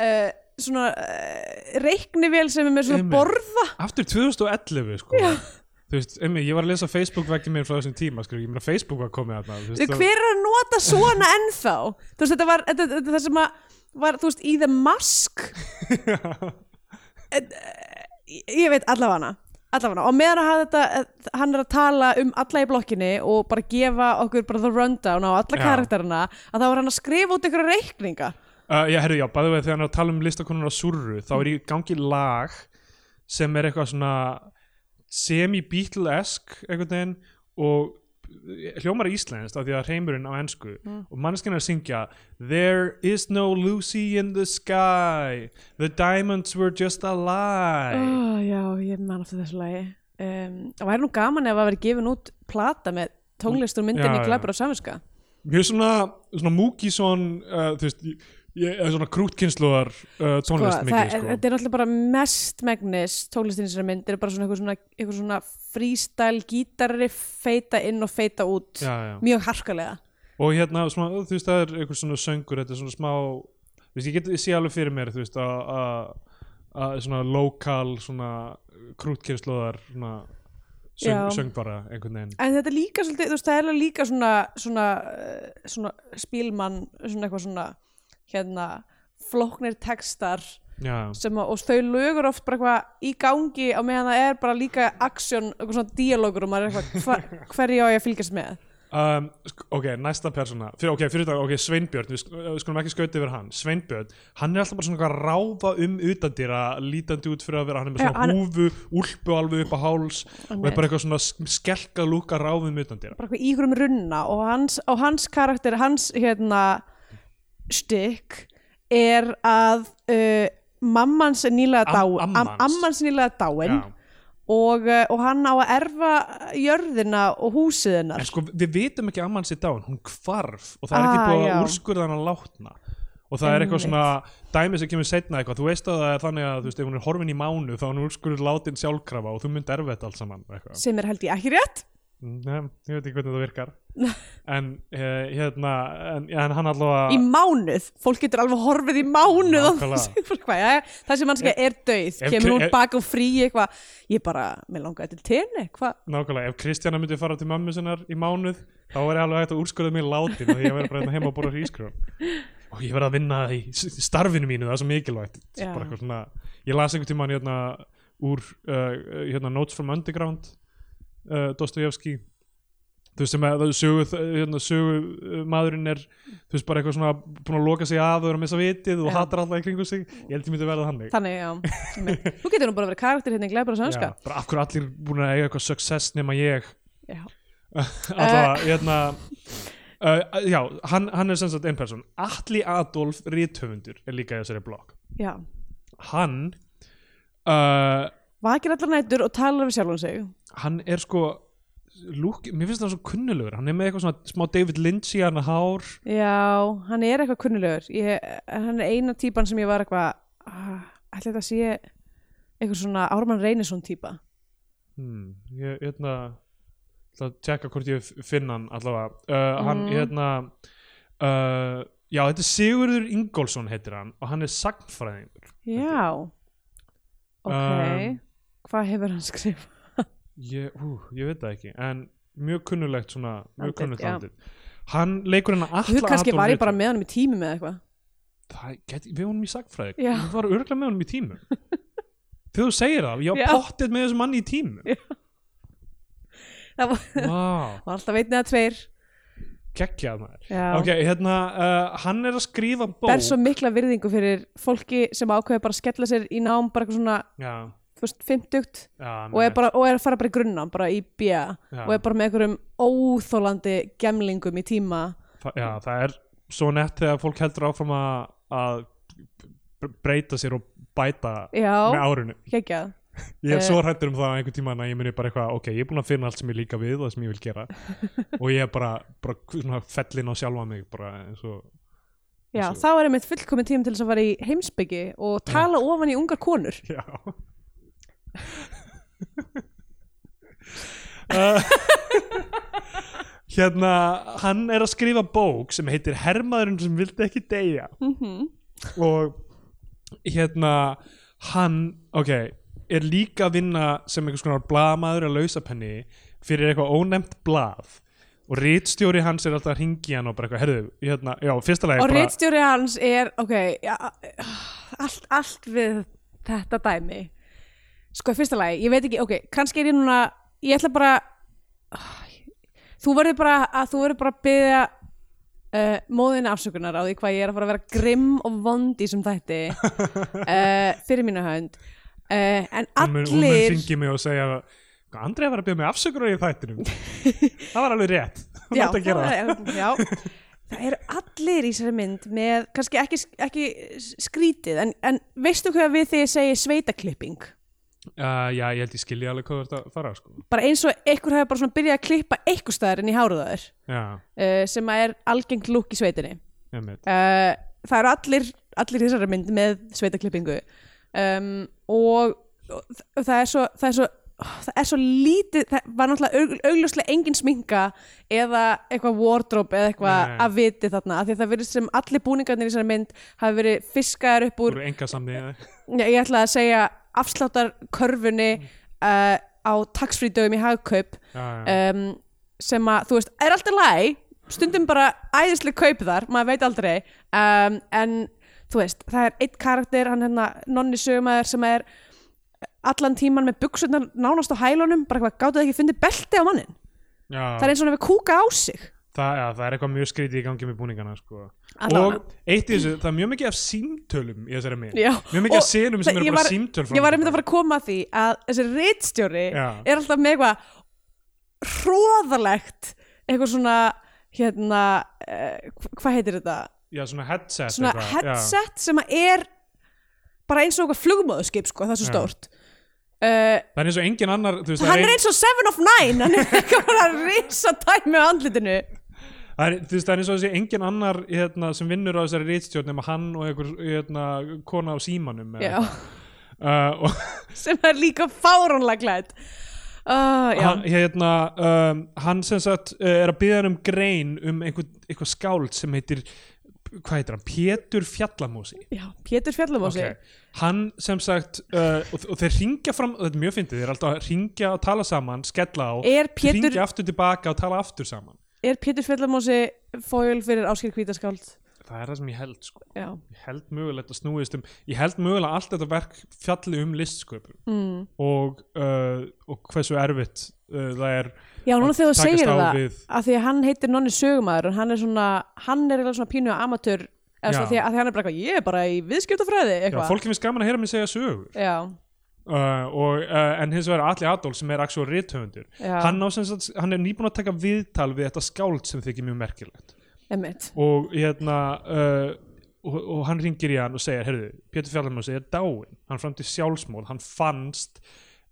uh, svona uh, reiknivél sem er með svona
Einmitt.
borða
aftur 2011 sko þú veist, emmi, ég var að lesa Facebook vekkið mér frá þessum tíma, sko, ég meina Facebook var komið þarna, þú
Þú,
veist,
hver er að nota svona ennþá þú veist þetta var þetta, þetta, það sem að var þú veist í The Mask ég, eh, ég veit allavega allavega og meðan að þetta, eh, hann er að tala um alla í blokkinni og bara gefa okkur bara the rundown á alla
Já.
karakterina að þá var hann að skrifa út ykkur reikninga
uh, já, herru, já, bæðu veið þegar hann er að tala um listakonuna á Surru, þá er í gangi lag sem er eitthvað svona semi-Beatle-esk einhvern veginn og hljómar íslenskt af því að reymurinn á ennsku
Mm.
og manneskinn er að syngja There is no Lucy in the sky The diamonds were just a lie
oh, Já, ég man aftur þessu lagi um, Það væri nú gaman ef að vera gefin út plata með tónlist úr myndinni
Já, já.
Glæpur og samvinska
Mjög svona, svona Múkisson uh, þú veist, ég, eða svona krútkynnslóðar uh,
Sko,
tónlist
það-
mikið sko.
þetta er náttúrulega bara mest megnis tónlistinsra mynd er bara svona eitthvað svona, eitthvað svona freestyle gítarri feita inn og feita út
já, já.
mjög harkalega
og hérna svona, þú veist það er einhver svona söngur þetta er svona smá þú veist, ég, get, ég sé alveg fyrir mér þú veist að- að að svona lokal svona krútkynnslóðar svona söng,
Já.
söngbara einhvern veginn
en þetta er líka svolítið, þú veist, það er alveg líka svona svona, eh, svona spílmann svona eitthvað svona hérna, flóknir textar
já,
sem að, og þau lögur oft bara eitthvað í gangi á meðan það er bara líka aksjón, eitthvað svona dialogur og maður er eitthvað, hva, hverju á ég að fylgjast með
um, sk- ok, næsta persóna fyrir, ok, fyrir dag, ok, Sveinbjörn við, sk- eh, við skulum ekki skauta yfir hann, Sveinbjörn hann er alltaf bara svona eitthvað að ráfa um utandýra lítandi út fyrir að vera, hann er með
Já,
svona
hann-
húfu úlpu alveg upp á háls og er bara eitthvað svona sk- skelkað lúka ráfum utandýra
bara eitthvað í hverjum runna og hans, og hans karakter, hans hérna stikk er að uh, mammans er nýlega
Am-
dáin
ammans.
ammans er nýlega dáin
Já.
og, uh, og hann á að erfa jörðina og húsið hennar
En sko, við vitum ekki að mann sér dáin, hún hvarf og það er ekki
Ah,
búið
já.
að úrskurða hann að látna og það er eitthvað svona dæmi sem kemur setna eitthvað, þú veist að það er þannig að þú veist, ef hún er horfin í mánu þá er hún úrskurður látin sjálfkrafa og þú mynd erfið þetta allt saman eitthvað.
sem er held ég ekki rétt
Nei, ég veit ekki hvernig það virkar en eh, hérna en, en hann allavega
í mánuð, fólk getur alveg horfið í mánuð og
Nákvæmlega.
bara hvað, jæja, þessi mannskja er dauð
ef-
kemur hún
ef-
bak og frí eitthvað ég bara, mér langaði til tenni hvað,
nákvæmlega, ef Kristjana myndi fara til mömmu sinnar í mánuð, þá var ég alveg hægt að úrskurða mig látin og ég verið bara hérna heima og borða hrískrón og ég verið að vinna í s- starfinu mínu, það er svo mikilvægt
Já.
bara eitthvað svona, ég las einhvern tímann hérna úr uh, hérna Notes from Underground uh, Dostoyevsky þú veist sem að það sögu, hérna, sögu uh, maðurinn er þú veist bara eitthvað svona búin að loka sig af og er að missa vitið og
Já.
hatar alltaf í kringu sig ég held ég myndi verða þannig
þannig já einmitt. þú getur nú bara verið karakter hérna í glæbara sannska
Já, bara af hverju allir búin að eiga eitthvað success nema ég
Já.
allavega, hérna uh, já, hann, hann er sem sagt einn person Atli Adolf Rithöfundur er líka í þessari blogg
Já,
hann uh,
vakir allar nætur og talar við sjálfum sig
hann er sko lúk, mér finnst það svo kunnulegur hann er með eitthvað svona smá David Lynch í hann hár
Já, hann er eitthvað kunnulegur ég, Hann er eina típan sem ég var eitthvað ah, Ætli þetta sé eitthvað svona Ármann Reynisson típa
hmm, ég hérna ætla að tjekka hvort ég f- finn hann allavega uh, hann hérna uh, já, þetta er Sigurður Ingólfsson heitir hann og hann er sagnfræðingur
Já Ok,
Um,
hvað hefur hann skrifað?
ég, hú, ég veit það ekki en mjög kunnulegt svona mjög
Andlit,
kunnugt
já.
andlit hann leikur hennar
Þú
alla
kannski var ég bara með hann í tími með eitthvað
það get, við honum í sagfræði
Já.
við varum örgla með honum í tímu þegar þú segir það, ég
Já.
á pottið með þessum manni í tímu
Það var,
wow,
var alltaf veitnið að tveir
geggjað maður
Já.
ok, hérna, uh, hann er að skrifa bók
Ber svo mikla virðingu fyrir fólki sem ákveður bara að skella sér í nám bara eitthvað svona,
já,
þú veist, fimmtugt
já,
og er, bara, og er að fara bara í grunna, bara í bja
Já.
og er bara með einhverjum óþólandi gemlingum í tíma
Þa, já, það er svo nett þegar fólk heldur áfram að, að b- breyta sér og bæta með
já,
árinu
geggjað
ég er
Eh.
svo hrættur um það einhvern tíman að ég muni bara eitthvað ok, ég er búin að finna allt sem ég líka við og það sem ég vil gera og ég er bara, bara svona fellin á sjálfa mig bara eins og
já,
Eins og-
þá er einmitt fullkomin tíma til þess að fara í heimsbyggi og tala ofan í ungar konur
já uh, hérna hann er að skrifa bók sem heitir Hermaðurinn sem vildi ekki deyja og hérna hann, ok er líka að vinna sem einhvers konar blaðamaður að lausapenni fyrir eitthvað ónefnt blað og rítstjóri hans er alltaf að ringi hann og bara eitthvað, herðu, hérna, já, fyrsta lagi
og
bara-
reitstjóri hans er ok, já, allt, allt við þetta dæmi sko, í fyrsta lagi, ég veit ekki ok, kannski er ég núna, ég ætla bara þú verður bara að þú verður bara að byggja uh, móðin afsökunar á því hvað ég er að fara að vera grimm og vondi sem þætti uh, fyrir mínu hönd uh, en
Hún mun- hún mun
allir
hringi mig og segja "Hvað, Andrei var að byrja mig afsökunar í þættinum það var alveg rétt hún
já,
ætti að gera það
það, já, það eru allir í sér mynd með kannski ekki, ekki skrítið en, en veistu hvað við þegar ég segi sveitaklipping
uh, já, ég held ég skilji alveg hvað þú ert að fara sko.
bara eins og einhver hefur bara svona byrjað að klippa einhver staðar inn í háruðaður
já,
uh, sem að er algengt lúk í sveitinni
einmitt
uh, það eru allir, allir í þessari mynd með sveitaklippingu um, og, og þa- það er svo það er svo, ó, það er svo lítið það var náttúrulega aug, augljóslega engin sminka eða eitthvað wardrobe eða eitthvað
Nei.
að viti þarna af því að það verið sem allir búningarnir í þessari mynd hafi verið fiskaðar upp úr
úr enga samni
Já, ég ætla að segja afsláttar körfunni uh, á taxfrídögum í hagkaup um, sem að, þú veist, er alltaf læg stundum bara æðislega kaup þar maður veit aldrei um, en þú veist, það er eitt karakter hann hérna, nonni sögumæður sem er allan tíman með buksunar nánast á hælunum, bara hvað gáttu þið ekki að fyndi belti á mannin, það er eins og hann hefur kúka á sig
Það, já, það er eitthvað mjög skrítið í gangi með búningana sko.
Allavega.
og eitt í þessu, það er mjög mikið af símtölum í þessari mynd,
Já.
mjög mikið af
Og
senum
það-
sem eru
ég
bara
var-
símtöl
ég
frá
var
honum.
einmitt að fara að koma að því að þessi reitstjóri
Já.
er alltaf með eitthvað hróðalegt eitthvað svona hérna, uh, hvað heitir þetta
já, svona headset
svona
eitthvað,
headset sem að er bara eins og eitthvað flugmóðuskip sko, það er svo
Já.
stórt uh,
já. það er eins og engin annar þú veist, það
hann
ein-
er eins og Seven of Nine hann er eitthvað bara að risa dæmi á andlitinu
Það er, þú veist, það er eins og þessi engin annar hérna, sem vinnur á þessari rítstjórn nema hann og einhver hérna, kona á símanum eða
já,
eitthvað. uh, og
sem er líka fáránlega glætt uh, já,
hann, hérna, um, hann sem sagt uh, er að byggja um grein um einhver, einhver skáld sem heitir hvað heitir hann, Pétur Fjallamósi
já, Pétur Fjallumósi
Ok. hann sem sagt uh, og, og þeir ringja fram, þetta er mjög fyndið þeir er alltaf að ringja og tala saman, skella á
Er
þeir
Eh, Pétur-
ringja aftur tilbaka og tala aftur saman
er Pétur Fjallumósi fóil fyrir Áskir Kvítaskáld
það er það sem ég held sko
já
ég held mögulegt að snúist um ég held mögulega allt þetta verk fjalli um listsköpun mm. og, uh, og hversu erfitt uh, það er
Já, núna
að
þegar þú
takast
segir
á
það
við-
að því að hann heitir Nonni Sögumæður en hann er svona, hann er eiginlega svona pínu amatör eða
Já.
svona því að, að því hann er bara eitthvað, ég er bara í viðskiptafræði
Já,
eitthvað
fólki finnst gaman að heyra mig segja sögur
Já,
uh, og, uh, en hins vegar Atli Adolf sem er actual rithöfundur
Já.
hann, á sem sagt- hann er nýbúin að taka viðtal við þetta skáld sem þykir mjög merkilegt
emmitt
og hérna uh, og, og hann ringir í hann og segir heyrðu, Pétur Fjallarmósi er dáinn hann fram til sjálfsmól, hann fannst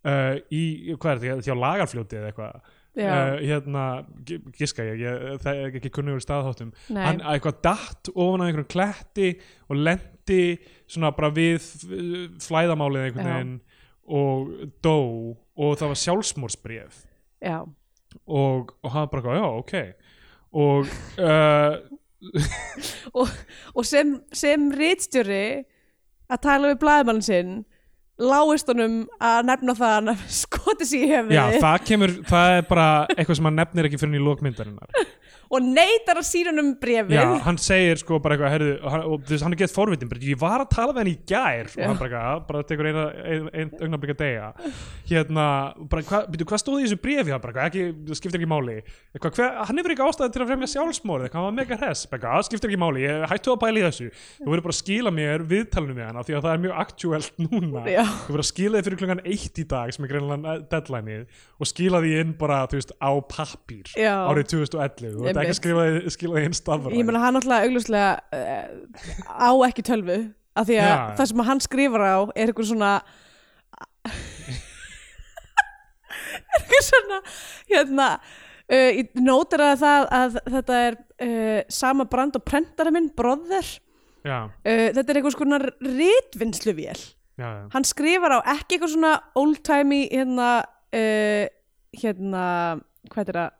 uh, í, hvað er þetta, hjá lagarfljóti eða eitthvað
Já.
uh, hérna, gi- giska ég, ég það er ekki kunnugur staðháttum
Nei.
hann að eitthvað datt ofan á einhverjum kletti og lendi svona bara við uh, flæðamálið
Já.
einhvern veginn og dó og það var sjálfsmórsbréf
Já,
og, og hann bara, já, ok og uh,
og, og sem, sem rítstjóri að tala við blaðmann sinn láist honum að nefna það að hann skoti sér í hefði
Já, það kemur, það er bara eitthvað sem hann nefnir ekki fyrir í lókmyndarinnar
og neytar að síra honum brefið
Já, hann segir sko bara eitthvað, herðu, og hann, og þú veist, hann er gett forvitin, bara ég var að tala við hann í gær og
Já.
hann bara eitthvað, bara tekur eina, ein, ein, augnablik að deyja Hérna, bara, hva, býtu, hvað stóð í þessu bréfi, hann bara eitthvað, ekki, það skiptir ekki máli eitthvað, hver, hann hefur ekki ástæði til að fremja sjálfsmórið, eitthvað, hann var mega hress, bara eitthvað, "Það skiptir ekki máli, ég hættu að pæla í þessu Þú verður bara að skila mér viðtalinu við hann, af því að það er mjög actuelt núna
Já.
þú verður að skila þið fyrir klungan eitt í dag sem er greinlega deadlineið og skila því inn bara, þú veist, á pappír
Já.
árið 2011, þú veit ekki
Einmitt.
að skrifa því skila því inn
Ég
stafræn
meina hann alltaf augljóslega uh, á ekki tölvu af því að
Já.
það sem hann skrifar á er eitthvað svona er eitthvað svona hérna uh, ég nótaraði það að þetta er uh, sama brand og prentara minn, brother uh,
Já,
þetta er eitthvað svona rítvinnsluvél
já,
hann skrifar á ekki eitthvað svona old-timey hérna uh, hérna, hvað er það
já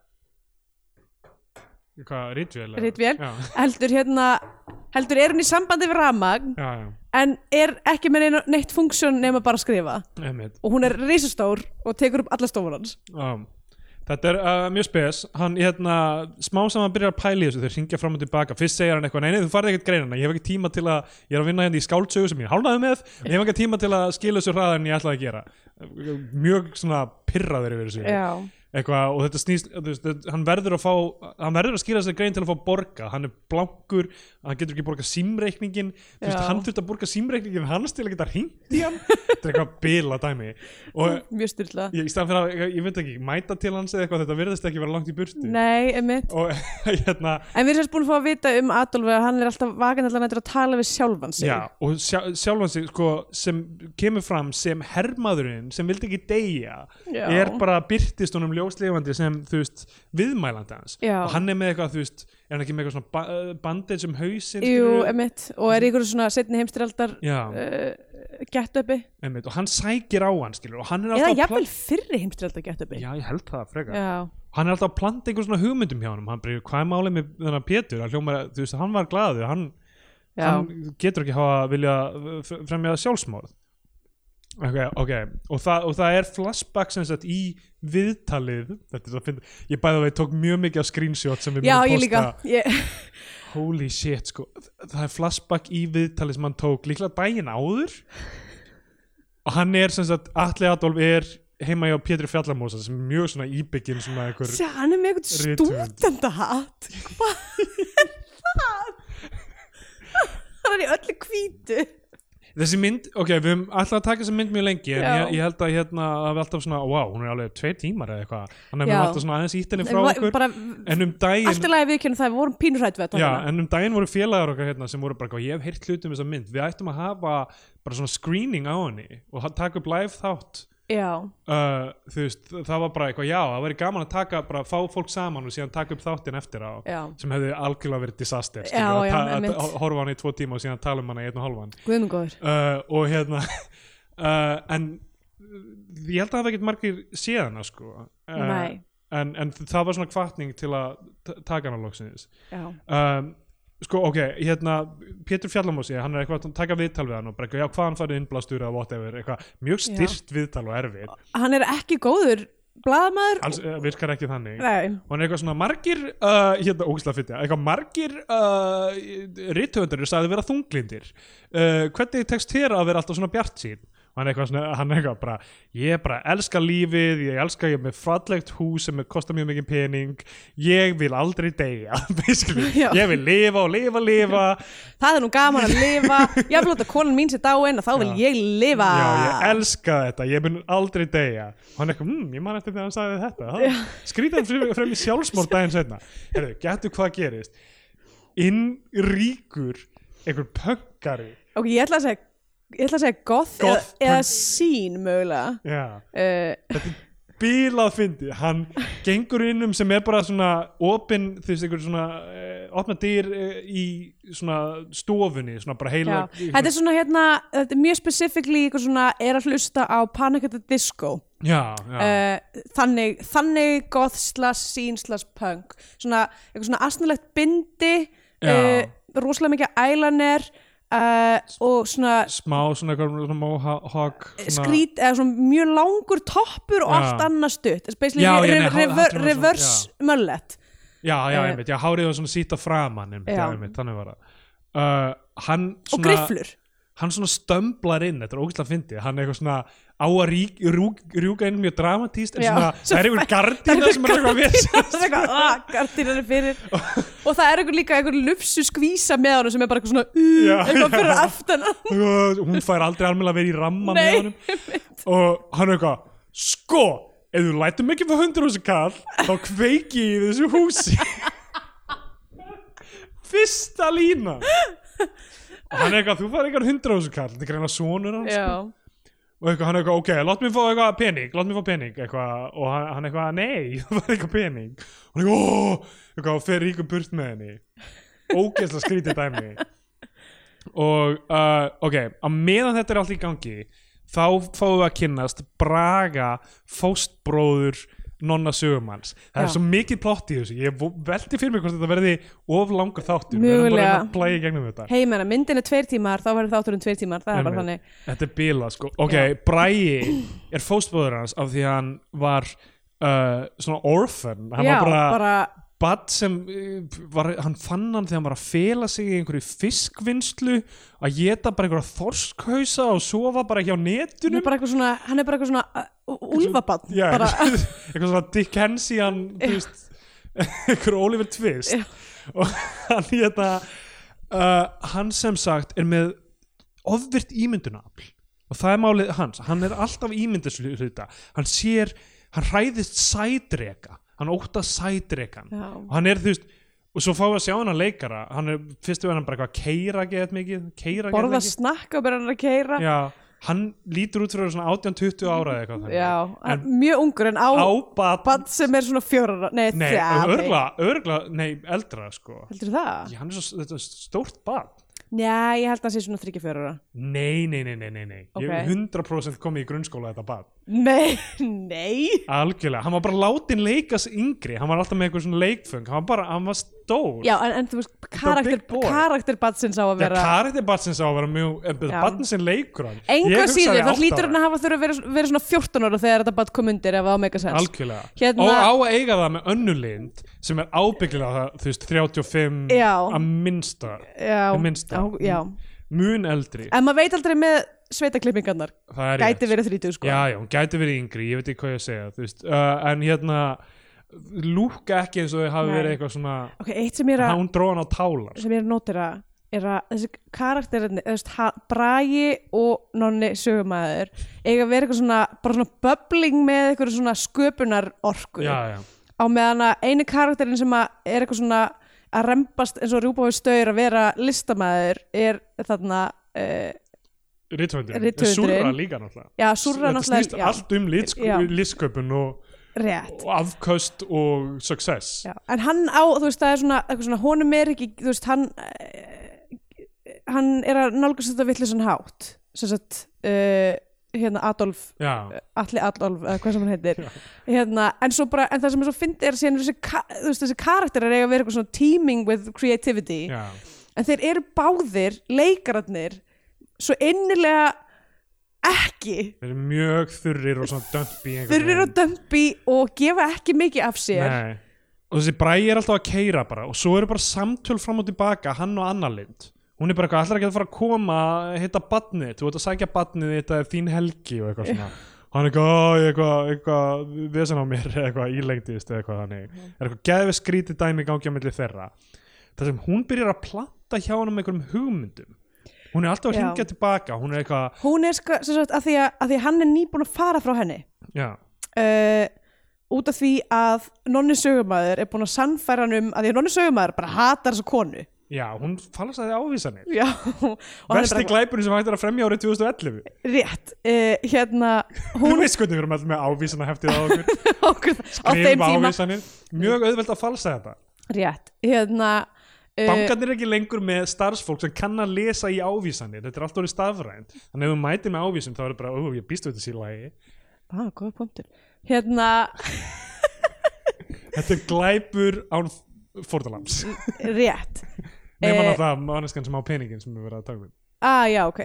Hvað, rítvél? eða?
Ritvél.
Já,
heldur hérna heldur er hún í sambandi við ramagn
já, já,
en er ekki með neina- neitt funksjón nema bara að skrifa
einmitt
og hún er risastór og tekur upp alla stofur hans
um. Þetta er uh, mjög spes, hann hérna, smá saman byrjar að pæla í þessu, þeir ringja fram og tilbaka, fyrst segir hann eitthvað, nei, nei, þú farið ekkert greinana, ég hef ekki tíma til að, ég er að vinna hérna í skáldsögu sem ég er hálnaði með, en ég hef ekki tíma til að skila þessu hraðar en ég ætlaði að gera. Mjög svona pirraður yfir þessu.
já,
eitthvað og þetta snýst þú veist, þetta- hann verður að fá, hann verður að skýra sér grein til að fá borga, hann er blankur hann getur ekki borga símreikningin þú veist,
Já.
hann þurft að borga símreikningin hans til að geta hringt í hann, þetta er eitthvað bila dæmi og
mjög styrla
ég, í staðan fyrir að, ég, ég veit ekki, mæta til hans eða eitthvað, þetta virðist ekki vera langt í burtu
nei, emitt
og hérna
en við erum sérst búin að fá að vita um Adolf að hann er alltaf vakin allan að tala við sjálfan sig
Já, og sjá, sjálfan sig sko, sem kemur fram sem hermaðurinn sem vildi ekki deyja
Já.
er bara byrtist honum ljóslifandi sem þú veist viðmælandi hans
Já.
og hann er með eitthvað þú veist er hann ekki með eitthvað svona ba bandage um hausinn
Jú,
skilurðu?
emitt, og er í ykkur svona setni heimstyraldar
Já,
uh, gettöpi
einmitt, og hann sækir á hann skilur og hann er
eða
alltaf
jafnvel fyrri heimstyraldar gettöpi
Já, ég held það frekar
já,
Hann er alltaf að planta einhver svona hugmyndum hjá hann hann breyður hvað er málið með þennan Pétur hann, hljómar, þú veist, hann var glaður hann,
já.
hann getur ekki hafa vilja uh, fr- fremja sjálfsmorð ok, ok og það, og það er flashback sem sagt í viðtalið þetta er svo að finna ég bæði að við tók mjög mikið af screenshot sem við
já,
munum
ég líka ég,
holy shit sko það er flashback í viðtalið sem hann tók líklega daginn áður og hann er sem sagt Atli Adolf er heima hjá Pétur Fjallamósa sem er mjög svona íbygginn svona einhver
Sjá, hann er með eitthvað
Rithöfund.
stúdendahatt hvað er það hann er í öllu hvítu
þessi mynd, ok, við höfum alltaf að taka þessa mynd mjög lengi en
Já.
ég, ég held að hérna að við alltaf svona, wow, hún er alveg tveir tímar eða eitthvað, þannig að við
Já.
höfum alltaf svona aðeins ítt henni frá
En
okkur,
bara,
en um
allt í
daginn
lagi viðkjörnum það, við vorum pínrætt við þetta hérna.
Já, en um daginn voru félagar okkar hérna sem voru bara, eitthvað, ég hef heyrt hlutum þessa mynd, við ættum að hafa bara svona screening á henni og ha- taka upp live þátt
já,
uh, þú veist, það var bara eitthvað já, það væri gaman að taka, bara fá fólk saman og síðan taka upp þáttinn eftir á
já.
sem hefði algjörlega verið disaster
Já,
skilur, að
já,
ta- að
einmitt.
ta- horfa á hann í tvo tíma og síðan tala um hann í einn og halvan
guðmur góður
uh, og hérna uh, en ég held að það hafa ekkert margir síðana sko uh,
Nei.
en, en það var svona kvartning til að ta- taka hann á loksins
já,
um, sko ok, hérna Pétur Fjallamósi, hann er eitthvað að taka viðtal við hann og bara, eitthvað, já, hvaðan farið innblastur eða whatever, eitthvað, mjög
Já.
styrt viðtal og erfið,
hann er ekki góður blaðamaður
alls eh, virkar ekki þannig
Nei,
og hann er eitthvað svona margir uh, hérna, ógislega fyndi, eitthvað margir uh, rithöfundur er sagði vera þunglindir uh, hvernig tekst þér að vera alltaf svona bjart sín og hann er eitthvað svona, hann er eitthvað bara ég bara elska lífið, ég elska ég er með fallegt hús sem er- kostar mjög mikið pening ég vil aldrei deyja basically,
Já.
ég vil lifa og lifa, lifa
það er nú gaman að lifa ég vil láta konan mín sér dáin og þá vil
Já.
ég lifa
Já, ég
Ah.
elska þetta, ég mun aldrei deyja og hann eitthvað, mmm, ég man eftir þegar hann sagði þetta skrítan frem, frem í sjálfsmór daginn setna herru, getur hvað gerist inn ríkur einhver pökkari
ok, ég ætla að segja ég ætla að segja goth,
Goth
eða, eða
punk.
sín mögulega
já,
uh,
bílað fyndi hann gengur inn um sem er bara svona opin, þú veist, einhver svona eh, opna dyr eh, í svona stofunni, svona bara heila
Já, þetta er svona hérna, þetta er mjög specifíkli ykkur svona er að hlusta á Panic at the Disco
já, já,
uh, þannig, þannig goth slash scene slash punk svona, eitthvað svona asnulegt bindi uh,
Já.
rosalega mikið ælaner uh, og svona
smá svona eitthvað svona mohawk svona-
skrít, eða svona mjög langur toppur og
Já.
allt annað stutt Þetta er basically
Já, já,
re
nei, há-
rever,
háttum við svona-
reverse mullet
Já, já,
Eh,
einmitt, já, hárið var svona síta framan einmitt, já.
Já.
einmitt, þannig var það uh, hann,
og
svona,
grifflur
hann svona stömblar inn þetta er ógæslega fyndið, hann er eitthvað svona á að rík, rúk, rjúka inn mjög dramatíst en
Já.
svona,
Svo
það er einhver gardina sem er eitthvað
Það
við
er eitthvað, ah, gardínan er fyrir og það er eitthvað líka eitthvað lufsu skvísa með honum sem er bara eitthvað svona uh,
Já,
eitthvað fyrir
já.
aftan hann.
hún fær aldrei almennilega að vera í ramma með
Nei,
honum og hann er eitthvað, sko ef þú lætur mikið fyrir hundur þessu kall þá kveiki ég í þessu húsi fyrsta lína og hann er eitthvað, þú fær eitthvað hundur þessu kall þetta er greina sonur hans
Já,
og eitthvað, hann eitthvað, ok, lát mér fá eitthvað pening lát mér fá pening, eitthvað og hann, hann eitthvað, nei, það var eitthvað pening og hann eitthvað, óóó, eitthvað, og fer ríkum burt með henni ógeðslega skrítið dæmi og, uh, ok, á meðan þetta er allt í gangi þá fáum við að kynnast Braga, fóstbróður nonna sögumanns það er
Já.
svo mikið plott í þessu ég vo- velti fyrir mig hvort þetta verði of langur þáttur við erum bara að reyna
Mögulega.
að plæja í gegnum þetta
hei menna, myndin er tveir tímar, þá verður þátturinn tveir tímar það er bara
Einmitt.
þannig
Þetta er bíla sko Ok,
Já.
Bræi er fóstbóður hans af því að hann var uh, svona orphan hann
Já,
var bara,
bara,
bara... sem uh, var, hann fann hann þegar hann var að fela sig í einhverju fiskvinnslu að geta bara einhverja þorskhausa og sofa bara hjá
hann er
netunum
bara eitthvað svona hann er bara eitthvað svona uh, úlfabann
Já,
bara,
eitthvað, eitthvað svona Dickensian þú veist, einhver Oliver Twist
Já.
og hann hérna uh, hann sem sagt er með ofvirt ímyndunafl og það er málið hans, hann er alltaf ímyndisluta, hann sér hann hræðist sædreka hann óta sædrekan
Já.
og hann er þú veist og svo fáum við að sjá hann að leikara hann er fyrstu verðan bara eitthvað keira geðað mikið keira geðað
borða
mikið
snakka og byrja hann að keira
Já, hann lítur út fyrir að vera svona 18-20 ára eða eitthvað þannig.
já, en,
en
mjög ungur en á,
á
á
bat
bann sem er svona fjórar nei,
nei,
þrjá, ok.
örgla, örgla, nei, eldra sko
heldur það?
Já, hann er svo, þetta er stórt bat
Já, ég held að það sé svona 34 ára
Nei, nei, nei, nei, nei, nei. Ég
Ok.
er 100% komið í grunnskóla þetta bad.
Nei, nei
Algjörlega, hann var bara látin leikas yngri, hann var alltaf með eitthvað svona leikfung, hann var bara, hann var stór.
Já, en, en þú veist, karakter,
big boy.
karakter badsins á að
Þegar
vera
karakter badsins á að vera mjög, en
Já.
badin sem leikur hann.
Enga
Ég hugsaði
síður,
átta
þá hlýtur
ára.
hann að hafa þurfa að vera, vera svona 14 ára þegar þetta bad kom undir ef það á megasens
Algjörlega.
Hérna-
Og á að eiga það með önnulind sem er ábyggilega, það, þú veist, 35
Já.
að minnsta,
Já,
Í minnsta.
já, já.
mun eldri.
En maður veit aldrei með sveitaklippingarnar
Það er rétt.
Gæti verið 30 sko
Já, já, hún gæti verið yngri, ég veit ekki hvað ég að segja, þú veist, uh, en hérna, lúka ekki eins og þau hafi
Nei.
verið eitthvað svona,
Ok, eitt sem ég er
Þa,
að,
hún dróð hann á tálar
sem ég er að notera er að þessi karakterinn Bragi og Nonni sögumæður eiga að vera eitthvað svona bara svona bubbling með eitthvað svona sköpunar orku
já, já.
á meðan að eini karakterinn sem að er eitthvað svona að rempast eins og rjúpa við staur að vera listamæður er þarna uh,
rithöndurinn,
Rithöfundurinn.
surra líka náttúrulega
já, Súrra
Þetta snýst
náttúrulega já,
allt um litsk-
Já.
litsköpun og,
rétt
og afköst og success
já. en hann á, þú veist, það er svona, eitthvað svona honum er ekki, þú veist, hann uh, hann er að nálgast þetta vitlisann hátt sem sagt uh, hérna Adolf
Já,
Alli Adolf, eða hvað sem hann heitir hérna, en, svo bara, en það sem er svo fyndi er síðan eru þessi, ka- þú veist, þessi karakterar eiga að vera eitthvað svona teaming with creativity
já,
en þeir eru báðir leikararnir svo innilega ekki
þeir eru mjög þurrir og svona dömpi
þeir eru að dömpi og gefa ekki mikið af sér
Nei. og þessi bræði er alltaf að keira bara og svo eru bara samtöl fram og tilbaka hann og Anna Lind hún er bara eitthvað, allar ekki að fara að koma hitta badnið, þú ert að sækja badnið þetta er þín helgi og eitthvað svona og hann er eitthvað, "Ó, ég er eitthvað, eitthvað vesen á mér, eða eitthvað ílengdist eða eitthvað þannig, er eitthvað gefi skrítið dæmi í gangi á milli þeirra, þar sem hún byrjar að planta hjá hann um einhverjum hugmyndum hún er alltaf að
Já.
hringja tilbaka hún er eitthvað,
hún er sko, sem sagt, að því að, að því að hann er nýbúin að fara frá henni
já,
uh, út af því að nonni sögumæður er búin að sannfæra hann um að því að nonni sögumæður bara hatar þessa konu
já hún falast að þið ávísanir
já, og hann er
Vesti
bara
glæpunum sem hægt er að fremja árið 2011
rétt uh, hérna,
Þú
hún
veist hvernig við erum alltaf með ávísana heftið á okkur
okkur, á þeim
Skrifum
tíma
ávísanir Mjög auðvelt að falsa þetta
rétt, hérna uh,
Bankarnir er ekki lengur með starfsfólk sem kann að lesa í ávísanir Þetta er allt orðið stafrænt Þannig ef þú mætir með ávísum þá er þetta bara Ó, ég býst við þetta síðan lagi
ah, góða punktur hérna,
Þetta er glæpur án fórtalams
rétt
Nefna
Mm, Eh.
náttúrulega manneskan sem á peningin sem við verðum að taka við
Ah, já, ok.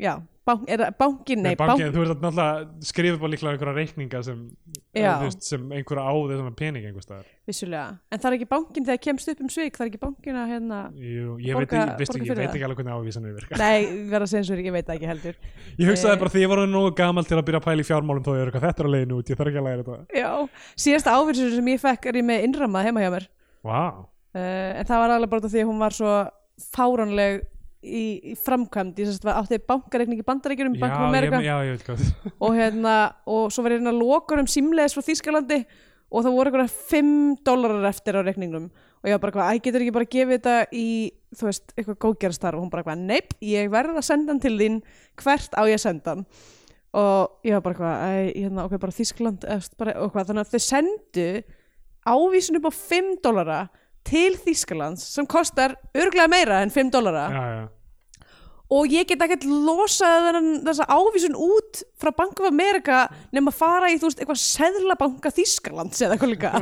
Já, bank, er, það- bankin, nei,
bankin,
bankin.
Þú verður náttúrulega skrifa bara líklega einhverja reikninga sem, eh,
Já.
þú veist, sem einhverja áðið sem pening einhver staðar
vissulega. En það er ekki bankin þegar kemst upp um svik, það er ekki bankin að hérna...
Jú, Ég,
Borga-
veit, veistu,
borga
ég
fyrir
veit
það.
ekki alveg hvernig ávísanir virka
Nei, ég verð að segja eins og er, ég veit það ekki heldur.
Ég hugsaði
Eh.
bara því ég var orðinn nógu gamal til að byrja að pæla í fjármálum þó ég er eitthvað þetta er að leiðin út, ég þarf ekki að læra þetta
Já, síðasta áfyrir sem ég fekk er ég með innrammað heima hjá mér.
Vá,
Uh, en það var alveg bara út af því að hún var svo fáranleg í, í framkvæmd. Ég sérst var áttið bankareikning í bandaríkjunum,
já,
bankum
ég,
Amerika
já, ég veit hvað
og hérna, og svo var ég hérna að loka um símleðis frá Þýskalandi og það voru eitthvað 5 dólarar eftir á reikningnum og ég var bara eitthvað, æ, getur ekki bara að gefa þetta í, þú veist, eitthvað góðgerastar og hún bara eitthvað, neip, ég verð að senda hann til þín hvert á ég að senda hann og ég var bara eitthvað, æ, hérna, ok, bara Þýskaland, eftir, bara, og hvað, þannig að þau sendu ávísun upp á 5 dólara til Þýskalands sem kostar örglega meira en 5 dólara
já, já.
og ég get ekkert losað þennan- þessa ávísun út frá Bank of America nema fara í þú veist eitthvað seðlabanka Þýskalands eða eitthvað líka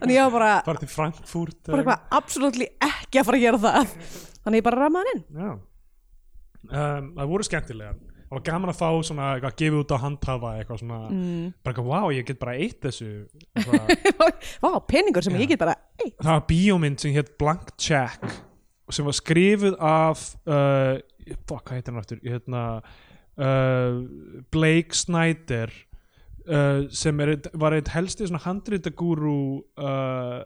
þannig ég var bara,
Farið til Frankfurt eh,
bara
eða
eitthvað absolutt ekki að fara að gera það þannig ég bara rammaði hann inn
eitthvað. Já. um, Það voru skemmtilega Það var gaman að fá svona eitthvað að gefa út á handhafa eitthvað svona,
Mm.
bara eitthvað, vá, ég get bara eitt þessu eitthvað.
Vá, peningur sem ég get bara ei,
Það var bíómynd sem hétt Blank Check sem var skrifuð af uh, fuck, hvað heitir hann aftur hérna, uh, Blake Snyder uh, sem er, einn- var eitt helsti svona handritagúru uh,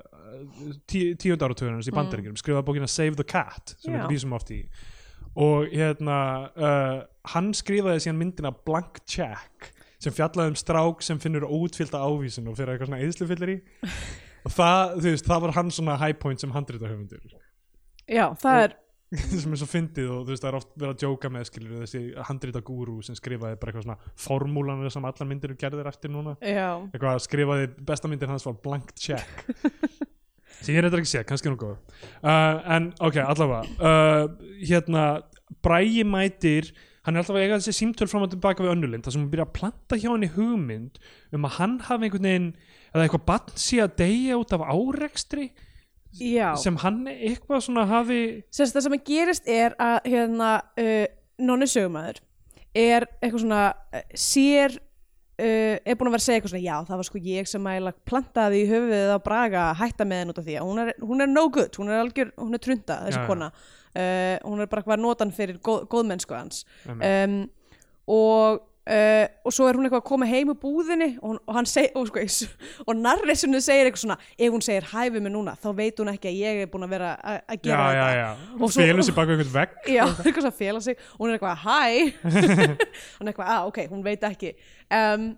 tí, tíund áratöðunars í bandaríkjum skrifaði bókina Save the Cat sem
Já.
við vísum oft í og hérna uh, hann skrifaði síðan myndina Blank Check sem fjallaði um strák sem finnur óutfylta ávísin og fyrir eitthvað svona eðslufyllir í og það, þú veist, það var hann svona high point sem handritahöfundur
já, það er
sem er svo fyndið og þú veist það er oft verið að djóka með skilur þessi handrita gúru sem skrifaði bara eitthvað svona formúlanur sem allar myndir eru gerðir eftir núna
já,
eitthvað að skrifaði besta myndin hans var blank check sem ég reyndar ekki sé, kannski nú góð uh, en ok, allavega uh, hérna, Bræi mætir hann er alltaf að eiga þessi símtöl fram og tilbaka við önnulind, þar sem hún byrja að planta hjá henni hugmynd um að hann hafi einhvern veginn eða eitthvað barn sé að deyja út af árekstri
já.
sem hann eitthvað svona hafi
Sérst, það sem að gerist er að hérna, uh, nonni sögumæður er eitthvað svona uh, sér, uh, er búin að vera að segja eitthvað svona já, það var sko ég sem að plantaði í höfuðið á Braga að hætta með henn út af því að hún er, hún er no good, hún er algjör, hún er trunda þessi
Já, já.
kona, uh, hún er bara hvað notan fyrir góð, góðmennsku hans
Einmitt.
um, og Uh, og svo er hún eitthvað að koma heim úr búðinni og, hún, og hann segir, og, sko, og narrisinu segir eitthvað svona, ef hún segir hæfi mig núna þá veit hún ekki að ég er búin að vera að að
já,
gera
já,
þetta
já,
Og
hún
svo-
félur sér baka einhvern vegg
Já, eitthvað svona félag sig og hún er eitthvað hæ hún er eitthvað, að ok, hún veit ekki um,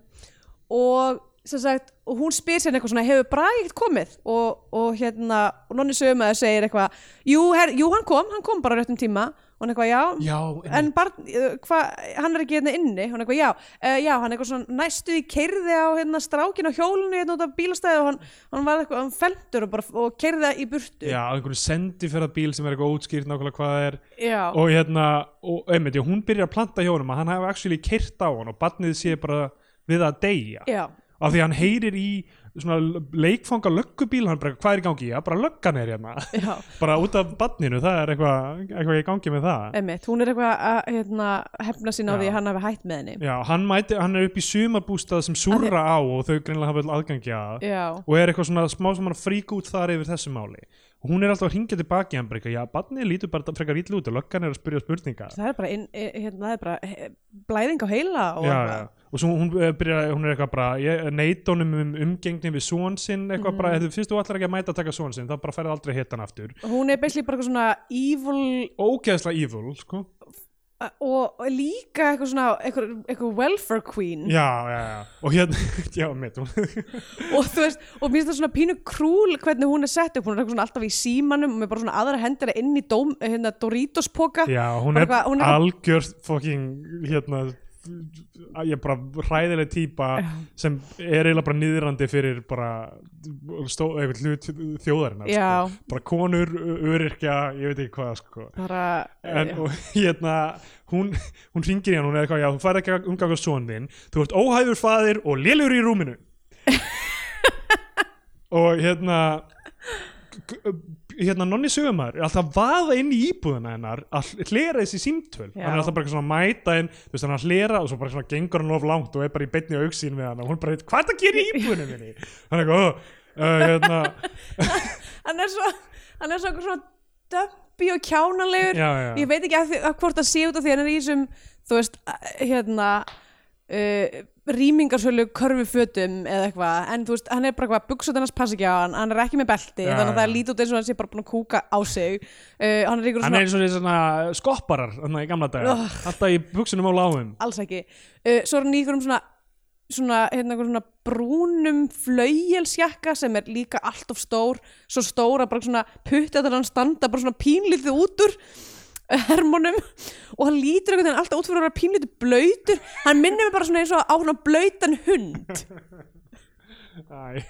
og sem sagt, og hún spyr sér eitthvað svona hefur Bragi ekkert komið og, og hérna, og nonni sögumæður segir eitthvað jú, her, jú, hann kom, hann kom bara á réttum tíma og hann eitthvað, já,
já,
en barn, eh, hva, hann er ekki hérna inni hún er eitthvað, já, uh, já, hann eitthvað svona næstu í keirði á hérna strákin á hjólinu hérna út af bílastæði og hann, hann var eitthvað, hann feldur og, bara, og keirði í burtu
já, á einhverju sendi fyrir að bíl sem er eitthvað ótskýrt nákvæmlega hvað það er
já.
og hérna, og einmitt, já, hún byrjar að planta hjá honum að hann hafi actually kyrt á hann og barnið sé bara við að deyja
já,
af því að hann heyrir í svona leikfanga löggubíl, hann bara, hvað er í gangi? Já, bara löggan er hérna,
já
bara út af barninu það er eitthvað, eitthvað í gangi með það
Einmitt, hún er eitthvað að hérna, hefna sín á
Já.
því að hann hafi hætt með henni
já, hann, mæti, hann er upp í sumarbústað sem súra á og þau greinlega hafa öll aðgangi að
Já,
og er eitthvað svona smá sem hann frík út þar yfir þessu máli og hún er alltaf að hringja tilbaki hann bara, eitthvað, já, barnið lítur bara frekar ítlu út og löggan er að spyrja spurninga
það er bara, inn, eh, hérna, það er bara eh, blæðing á heila og
já,
eitthvað.
já. og svo hún, eh, byrjar, hún er eitthvað bara ég- neyta honum um umgengni við són sinn eitthvað mm. bara, "Heyrðu, fyrst þú ætlar ekki að mæta að taka són sinn þá bara færði aldrei hitt hann aftur
Hún er basically bara eitthvað svona evil
ógeðslega evil, sko
eh, og, og líka eitthvað svona eitthvað, eitthvað welfare queen
já, já, já, og hérna, já, mitt hún,
og þú veist, og mér finnst það svona pínu krúl hvernig hún er sett upp, hún er eitthvað svona alltaf í símanum og með bara svona aðra hendina inn í dóm, eh, hérna, Doritos poka
já, hún
Bara
er
eitthvað- hún er-
algjör fucking, hérna að ég er bara hræðileg típa sem er eiginlega bara niðrandi fyrir bara stó, eitthvað hlut þjóðarinnar
Já.
sko. bara konur, öryrkja ég veit ekki hvað sko.
bara, eh,
en,
já.
og hérna hún, hún ringir í hann, hún er eitthvað já, þú fær ekki að umganga son þinn, þú ert óhæfur faðir og lélur í rúminu og hérna g- g- hérna nonni sögumar er alltaf að vaða inn í íbúðuna hennar að hl- hlera þessi símtöl
Já.
hann er alltaf bara eitthvað svona að mæta inn þú veist hann er að hlera og svo bara svona gengur hann of langt og er bara í beinni auksín við hann og hún bara veit hvað það gerir í íbúðunum minni hann er eitthvað "Ó, uh, hérna,
hann er svo hann er svo eitthvað svona dömpi og kjánalegur
já, já.
ég veit ekki að, því, að hvort það sé út af því að hann er í þessum þú veist, að- hérna uh, rýmingarsölu körfufötum eða eitthvað, en þú veist, hann er bara eitthvað buksut hans passi ekki á hann, hann er ekki með belti
Já,
þannig að það
já.
er lítið út eins og hann sé bara búin að kúka á sig uh, hann er ykkur
hann
svona,
er eins og þessi svona skopparar hann í gamla daga,
Ugh.
alltaf í buksunum á lágum
alls ekki uh, svo er hann í ykkur svona svona, hérna, einhverjum svona brúnum flauelsjakka sem er líka allt of stór, svo stóra bara svona puttið að hann standa bara svona pínlítið út úr eh, hermónum og hann lítur einhvern veginn alltaf út fyrir að vera pínlítið blöytur hann minnir mig bara svona eins og á hann blöytan hund
Æ.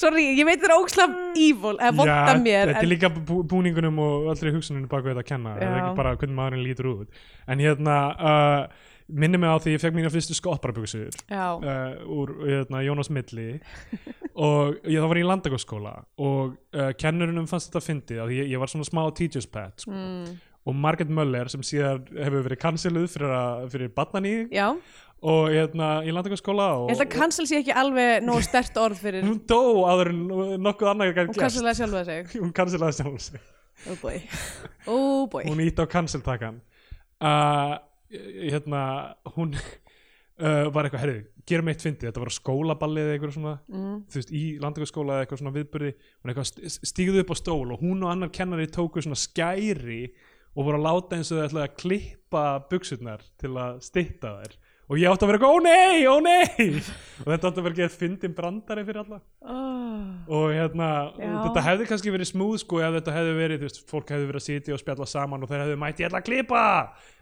sorry, ég veit þetta er ókslega evil eða vonda mér
þetta er
en,
líka bú- búningunum og allri hugsuninu bak við þetta að kenna það er
Já.
ekki bara hvernig maðurinn lítur út en hérna, uh, minnir mig á því ég fekk mína fyrstu skopparabuksuður
já,
uh, úr hérna, Jónas Milli og ég, þá var ég í landakosskóla og uh, kennurinnum fannst þetta fyndið af því ég, ég var svona smá teacher's pet sko.
Mm.
og Margaret Möller sem síðan hefur verið canceluð fyrir, að- fyrir barnaníðing
já
og hérna, í landakosskóla
ég held að cancel sé ekki alveg nóg stert orð fyrir
hún dó áður en nokkuð annað gæti
hún
gerst
cancelaði sjálfa sig
hún cancelaði sjálf sig
oh boy, oh boy.
hún ítt á cancel-takan uh, hérna hún uh, var eitthvað, herri, gerum eitt fyndið þetta var á skólaballi eða eitthvað svona
Mm.
þú veist, í landingaskóla eða eitthvað svona viðbyrði hún eitthvað st- stígðu upp á stól og hún og annar kennari tóku svona skæri og voru að láta eins og þau ætlaði að klippa buksurnar til að stytta þær og ég átti að vera eitthvað, ó nei, ó nei og þetta átti að vera að gera fyndin brandari fyrir alla
Oh.
og hérna,
Já.
þetta hefði kannski verið smúð sko ef þetta hefði verið, þú veist, fólk hefði verið að sitja og spjalla saman og þeir hefði mætt ég ætla að klippa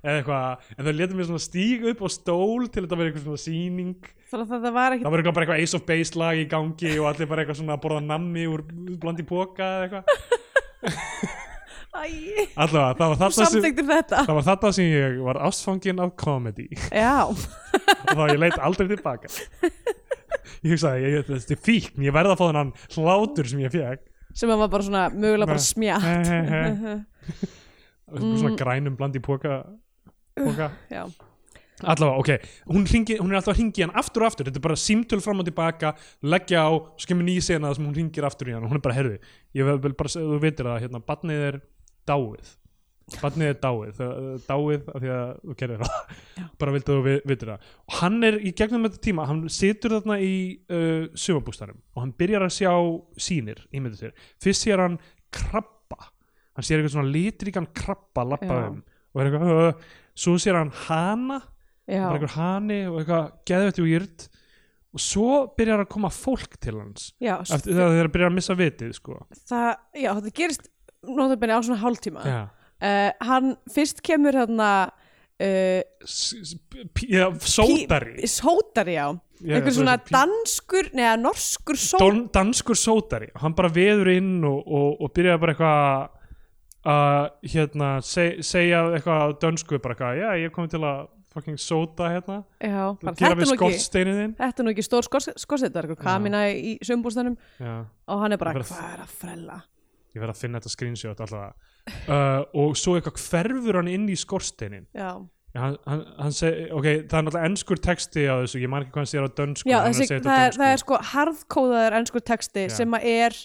eða eitthvað, en þau letum mér svona stíg upp á stól til þetta verið eitthvað svona sýning
þannig að þetta var
það
ekki
var eitthvað bara eitthvað Ace of Base lag í gangi og allir bara eitthvað svona að borða nammi úr blandi póka eða eitthvað,
Æ,
allavega, það var þetta sem
samþektir þetta
það var þetta sem ég var ástfangin af comedy
já,
og þá ég leit aldrei tilbaka ég hugsaði, ég, þetta er fíkn ég verða að fá þennan hlátur sem ég fekk
sem að var bara svona mögulega bara
Nei.
smjátt
Og svona grænum bland í póka póka
já,
allavega, ok, hún, hringi, hún er alltaf að hringi hann aftur og aftur, þetta er bara símtöl fram og tilbaka leggja á, svo kemur ný sena þar sem hún hringir aftur í hann og hún er bara, herði ég vil bara, segja- þú veitir það, hérna, barnið er dáið, barnið er dáið það- dáið af því að þú gerir það bara viltu að þú vi- vitir það og hann er í gegnum þetta tíma, hann situr þarna í uh, sumabústanum og hann byrjar að sjá sýnir, ímyndu sér fyrst sér hann krabba hann sér eitthvað svona litríkan krabba lappa
Já.
um og er eitthvað, uh, svo sér hann hana
já,
bara einhver hani og eitthvað geðvætti og yrt og svo byrjar að koma fólk til hans
já
eftir þegar þeir byrjar að missa vitið sko.
það, já, þetta gerist notabenni á svona hálftíma
já.
uh, hann fyrst kemur hérna uh,
S- s- p- já, sótari
sótari já,
Já,
einhver
já,
svona
pí-
danskur neða norskur sótari
Don, danskur sótari og hann bara veður inn og, og, og byrjar bara eitthvað að hérna, seg, segja eitthvað á dönsku bara eitthvað, já ég kom til að fucking sóta hérna,
já, bara, þetta,
gera við
er nú ekki,
skortsteinin þinn
þetta er nú ekki stór skorsetar eitthvað kamina í sömbústanum
já
og hann er bara,
Ég verð-
hvað er að frella
ég verð að finna þetta screenshot alltaf uh, og svo eitthvað hverfur hann inn í skorsteinin
já,
Já, hann, hann, hann seg, ok, það er náttúrulega ennskur texti á þessu, ég man ekki hvað hann segir á dönsku
já
hann
þessi,
segir þetta
það,
á
er, það er sko harðkóðaður ennskur texti
Já.
sem að er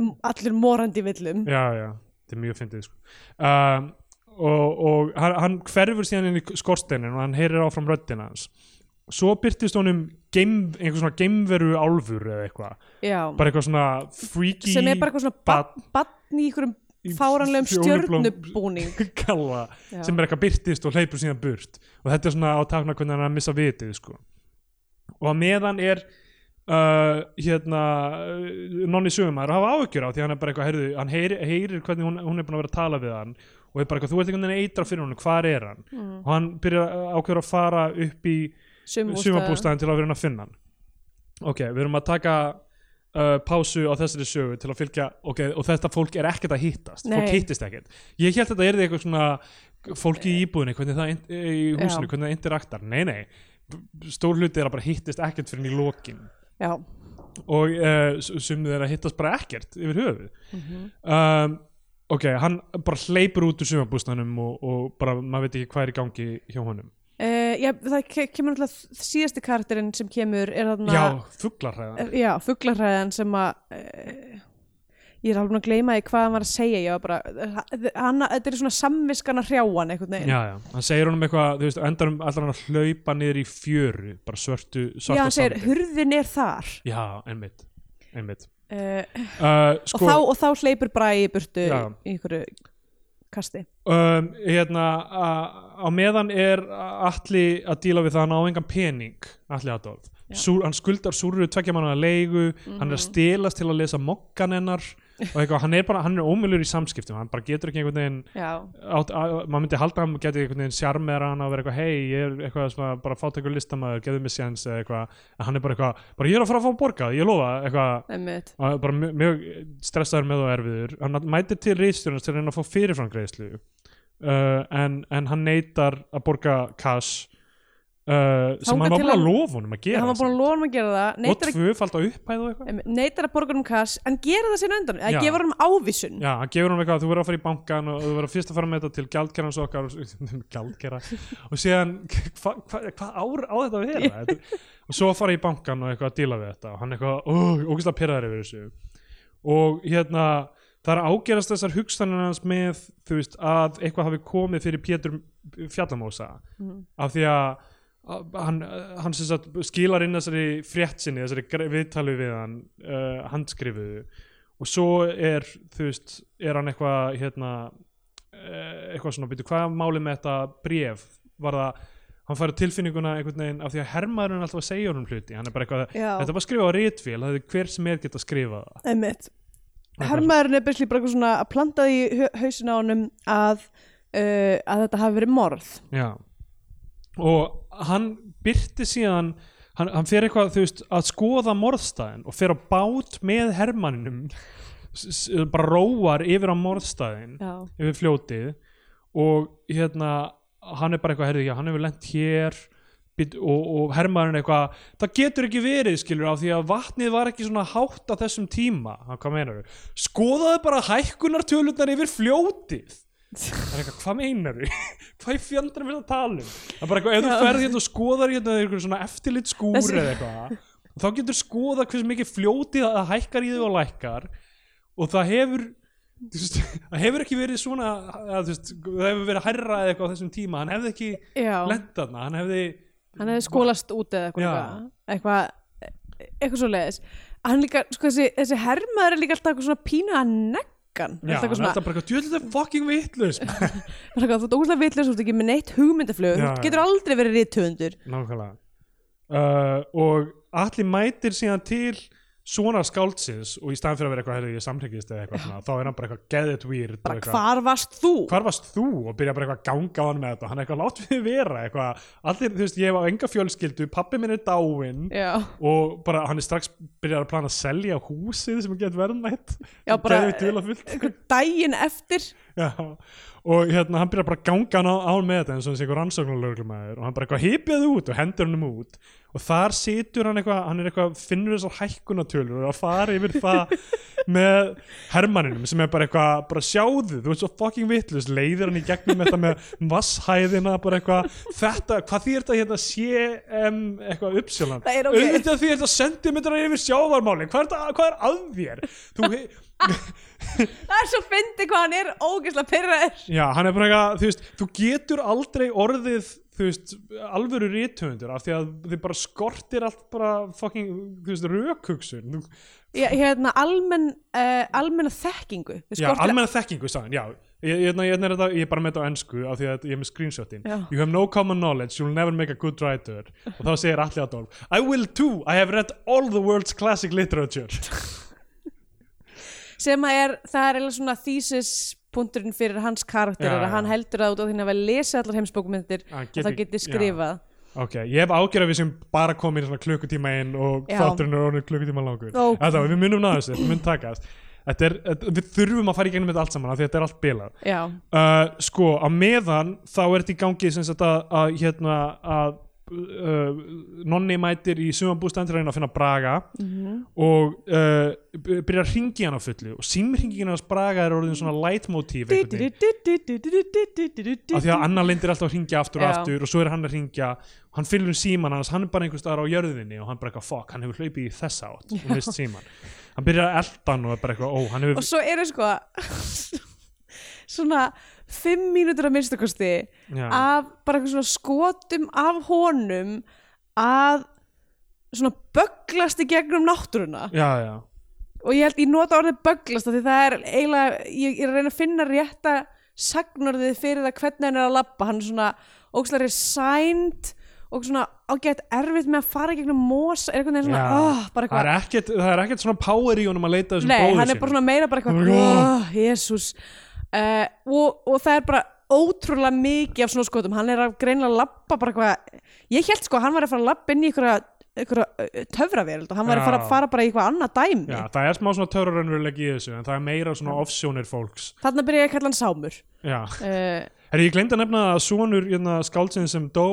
m- allur morandi í villum
já, já, þetta er mjög fyndið sko. um, og, og hann, hann hverfur síðan inn í skorsteinin og hann heyrir áfram röddina hans svo byrtist honum geim, einhver svona geimveru álfur eða eitthvað,
já,
bara eitthvað svona freaky
sem er bara eitthvað svona
bat-
barn barn í einhverjum
Í
fáranlegum
fjólublóm-
stjörnubúning
kalla
Já.
sem er eitthvað byrtist og hleypur síðan burt og þetta er svona á takna hvernig hann er að missa vitið sko. og að meðan er uh, hérna uh, nonni sögumæður að hafa áhyggjur á því hann er bara eitthvað, heyrðu, hann heyri, heyrir hvernig hún, hún er búin að vera að tala við hann og er bara eitthvað, þú ert einhvern veginn að eitra fyrir hún hvar er hann? og hann byrjar ákveður að fara upp í
sumabústa
sumabústæðin til að vera hann að finna hann ok, við erum að taka uh, pásu á þessari sögu til að fylgja ok, og þetta fólk er ekkert að hittast
Nei.
fólk hittist ekkert, ég held að þetta er eitthvað svona fólki í íbúðinni, hvernig það in- í húsinu,
Eh. Já.
hvernig það interaktar nei, nei, stór hluti er að bara hittist ekkert fyrir í lokin
já,
og uh, sumið er að hittast bara ekkert yfir höfuð
Mhm.
um, ok, hann bara hleypur út úr sumabústæðinum og, og bara, maður veit ekki hvað er í gangi hjá honum
Uh, já, það ke- kemur náttúrulega síðasti karakterinn sem kemur er þarna
já, fuglarhæðan
er- já fuglarhræðan sem að uh, ég er alveg búin að gleyma því hvað hann var að segja ég var bara, hann, þetta er svona samviskan að hrjáan einhvern veginn
já, já, hann segir honum eitthvað þú veist, endar um allar hann að hlaupa niður í fjöru bara svörtu,
Já,
svarta
hann segir,
sandi.
hurðin er þar
já, einmitt, einmitt.
uh,
Uh,
og,
sko,
þá, og þá hleypur bræði í burtu
Já.
í einhverju kasti
um, hérna a- á meðan er allir að díla við það, hann á engan pening allir Adolf, Súr, hann skuldar súru tveggja manna að leigu, hann
Mhm.
er að stelast til að lesa mokkan hennar og eitthvað, hann er bara, hann er ómjölur í samskiptum hann bara getur ekki einhvern veginn
Já,
átt, að, maður myndi halda að hann geti einhvern veginn sjarmera hann að vera eitthvað hei, ég er eitthvað svona bara fátækur listamaður, gefðu mér séns eða eitthvað, en hann er bara eitthvað bara ég er að fara að fá borgað, ég lofa eitthvað
einmitt
og hann er bara mjög, mjög stressaður með og erfiður hann mætir til rýðstjórnast til að reyna að fá fyrirfram greiðslu uh, en, en hann neytar að borga cash uh, sem
Þangað
hann var
til
búin
hann-
að lofa honum að gera
Hann var búin að lofa hann að gera það
og
neitar að,
tvöfald á upphæð og eitthvað
einmitt, neitar að borga um kass en gera það sinna undan,
Já.
eða gefur hann ávísun
Já, hann gefur hann eitthvað að þú verður að fara í bankan og þú verður fyrst að fara með þetta til gjaldkerans okkar og- gjaldkera og síðan hvað hva, hva ár á þetta að vera þetta, og svo fara í bankan og eitthvað að díla við þetta og hann eitthvað, óh, ógæslega pyrraður yfir þessu og hérna það er að ágerast þessar hugstanir hans með þú veist, að eitthvað hafi komið fyrir Pétur Fjallamósa af því að að hann, hann sem sagt skilar inn þessari frétt sinni, þessari gre- viðtali við hann uh, handskrifuðu og svo er þú veist, er hann eitthvað hérna eh, eitthvað svona, veitu hvað er málið með þetta bréf var það hann færi tilfinninguna einhvern veginn af því að hermaðurinn er alltaf að segja honum hluti hann er bara eitthvað,
Já.
þetta er bara að skrifa á rítvél það er hver sem er geta að skrifa það
Einmitt.
er
Hermaðurinn er byrslið bara eitthvað svona að planta því hau- hausinn á honum að, uh, að þetta hafi verið morð.
Já. og hann byrti síðan hann, hann fer eitthvað þú veist, að skoða morðstæðin og fer á bát með hermanninum s- s- bara róar yfir á morðstæðin
Já.
yfir fljótið og hérna hann er bara eitthvað, herðu, já, hann hefur lent hér bit- og, og hermaðurinn eitthvað það getur ekki verið, skilur, á því að vatnið var ekki svona hátt á þessum tíma hann, hvað meinar þau? Skoðaðu bara hækkunartölurnar yfir fljótið hann er eitthvað, hvað meinar þau? hvað í fjandrum er það að tala um? það er bara eitthvað, ef
Já.
þú ferð hérna og skoðar hérna eitthvað svona eftirlit skúr
Þessi-
eða eitthvað þá getur skoða hversu mikið fljótið að hækkar í þau og lækkar og það hefur þú veist, það hefur ekki verið svona að, þú veist, það hefur verið hærra eða eitthvað á þessum tíma hann hefði ekki
Já.
lent þarna hann hefði,
Hann hefði skólast út eða
Já.
eitthvað. Eitthvað, eitthvað svo leiðis. Hann líka, sko þessi, þessi hermaður er líka alltaf eitthvað svona pína að neggan. alltaf
já, hann hefði
eitthvað svona,
alltaf bara eitthvað djöðlega fucking vitlaus maður."
Það er eitthvað, þú ert ógustlega vitlega, þú ert ekki með neitt hugmyndaflög,
Já,
þú
já.
getur aldrei verið ríttöfundur.
nákvæmlega uh, og allir mætir síðan til svona skáldsins og í staðan fyrir að vera eitthvað hefði ég samtryggist eða eitthvað svona, þá er hann bara eitthvað get it weird og
Bara
eitthvað,
hvar varst þú?
hvar varst þú og byrja bara eitthvað að ganga á hann með þetta hann er eitthvað látt við vera eitthvað allir, þú veist, ég hef á enga fjölskyldu, pappi minn er dáinn
Já,
og bara hann er strax byrjar að plana að selja húsið sem er gett verðmætt
Já, bara-
Geðveikt dularfullt.
einhvern daginn eftir.
Já. og hérna hann byrjar bara að ganga hann á, á með þetta eins og hann sé eitthvað rannsóknarlöglumæður og hann bara eitthvað hypjaði út og hendur hann um út og þar situr hann eitthvað hann er eitthvað, finnur þessar hækkunatölur og að fara yfir það með hermanninum sem er bara eitthvað bara sjáðu, þú ert svo fucking vitlust leiðir hann í gegnum þetta með vasshæðina bara eitthvað, þetta, hvað þýr þetta hérna CM eitthvað uppsjölan
Það er ok.
auðvitað því þetta sentimetrar yfir sjávarmálin hvað er, þetta- hvað er að þér þú, he-
Það er svo fyndi hvað hann er ógustlega pyrraður.
Já, hann er bara eitthvað, þú veist, þú getur aldrei orðið, þú veist, alvöru rithöfundur af því að þið bara skortir allt bara fucking, þú veist, rökhugsun. Þú-
Já, hérna, almenn, uh, almenna þekkingu. Við
Já,
skortir-
almenna þekkingu, sagðan, já. Ég, ég, ég, ég, er þetta, ég er bara með þetta á ennsku af því að ég er með screenshotin.
Já.
You have no common knowledge, you'll never make a good writer. Og þá segir Alli Adolf, I will too, I have read all the world's classic literature.
sem að er, það er eiginlega svona þýsispunkturinn fyrir hans karakter
Já,
er að
já.
hann heldur það út á því að hann hafa lesið allar heimsbókmyndir
Hann
og
geti-
það geti
já.
skrifað.
Ok, ég hef ágjör að við sem bara komin svona klukkutíma inn og
Já.
þátturinn er orðin klukkutíma langur
Ó.
Þetta, við munum náðu þessu, þetta mun takast þetta er, þetta- Við þurfum að fara í gegnum þetta allt saman af því þetta er allt bilað
Já,
uh, Sko, á meðan þá er þetta í gangi sem sagt að, að hérna að Uh, nonni mætir í sumabústænd til að reyna að finna Braga og uh, byrja að ringi hann á fullu og símringin hans Braga er orðin svona leitmotíf einhvern veginn af því að
já.
Anna Lind er alltaf að ringja aftur og
Já.
aftur og svo er hann að ringja, hann fylgur síman hans, hann er bara einhvers staðar á jörðinni og hann bara eitthvað fuck, hann hefur hlaupið í þessa átt og mist síman, hann byrjar að elda hann og er bara eitthvað, ó, hann
og
hefur
svo eru sko svona fimm mínútur að minnstakosti
já,
af bara eitthvað svona skotum af honum að svona bögglast í gegnum náttúruna
já, já,
og ég held ég nota orðið bögglast af því það er eiginlega, ég ég er að reyna að finna rétta sagnorðið fyrir það hvernig hann er að labba hann er svona ógstlega resigned og svona ágætt erfitt með að fara í gegnum mosa er einhvern veginn svona,
Já.
oh, bara
það
eitthvað
er ekkert það er ekkert svona power í honum að leita að þessum
Nei,
bróður
hann er bara
sínum.
svona meira bara eitthvað
Hann er bara,
oh, Jésús uh, og, og það er bara ótrúlega mikið af svona skotum Hann er að greinlega labba bara eitthvað Ég held sko að hann var að fara að labba inn í einhverja, einhverja eh, töfraveröld og hann var að fara,
Já.
fara bara í eitthvað annað dæmi
já, það er smá svona törurönverulegi í þessu en það er meira svona ofsjónir fólks
Þarna byrja ég að kalla hann Sámur
já,
uh,
herri, ég glemd að nefna að sonur hérna, skáldsinn sem dó,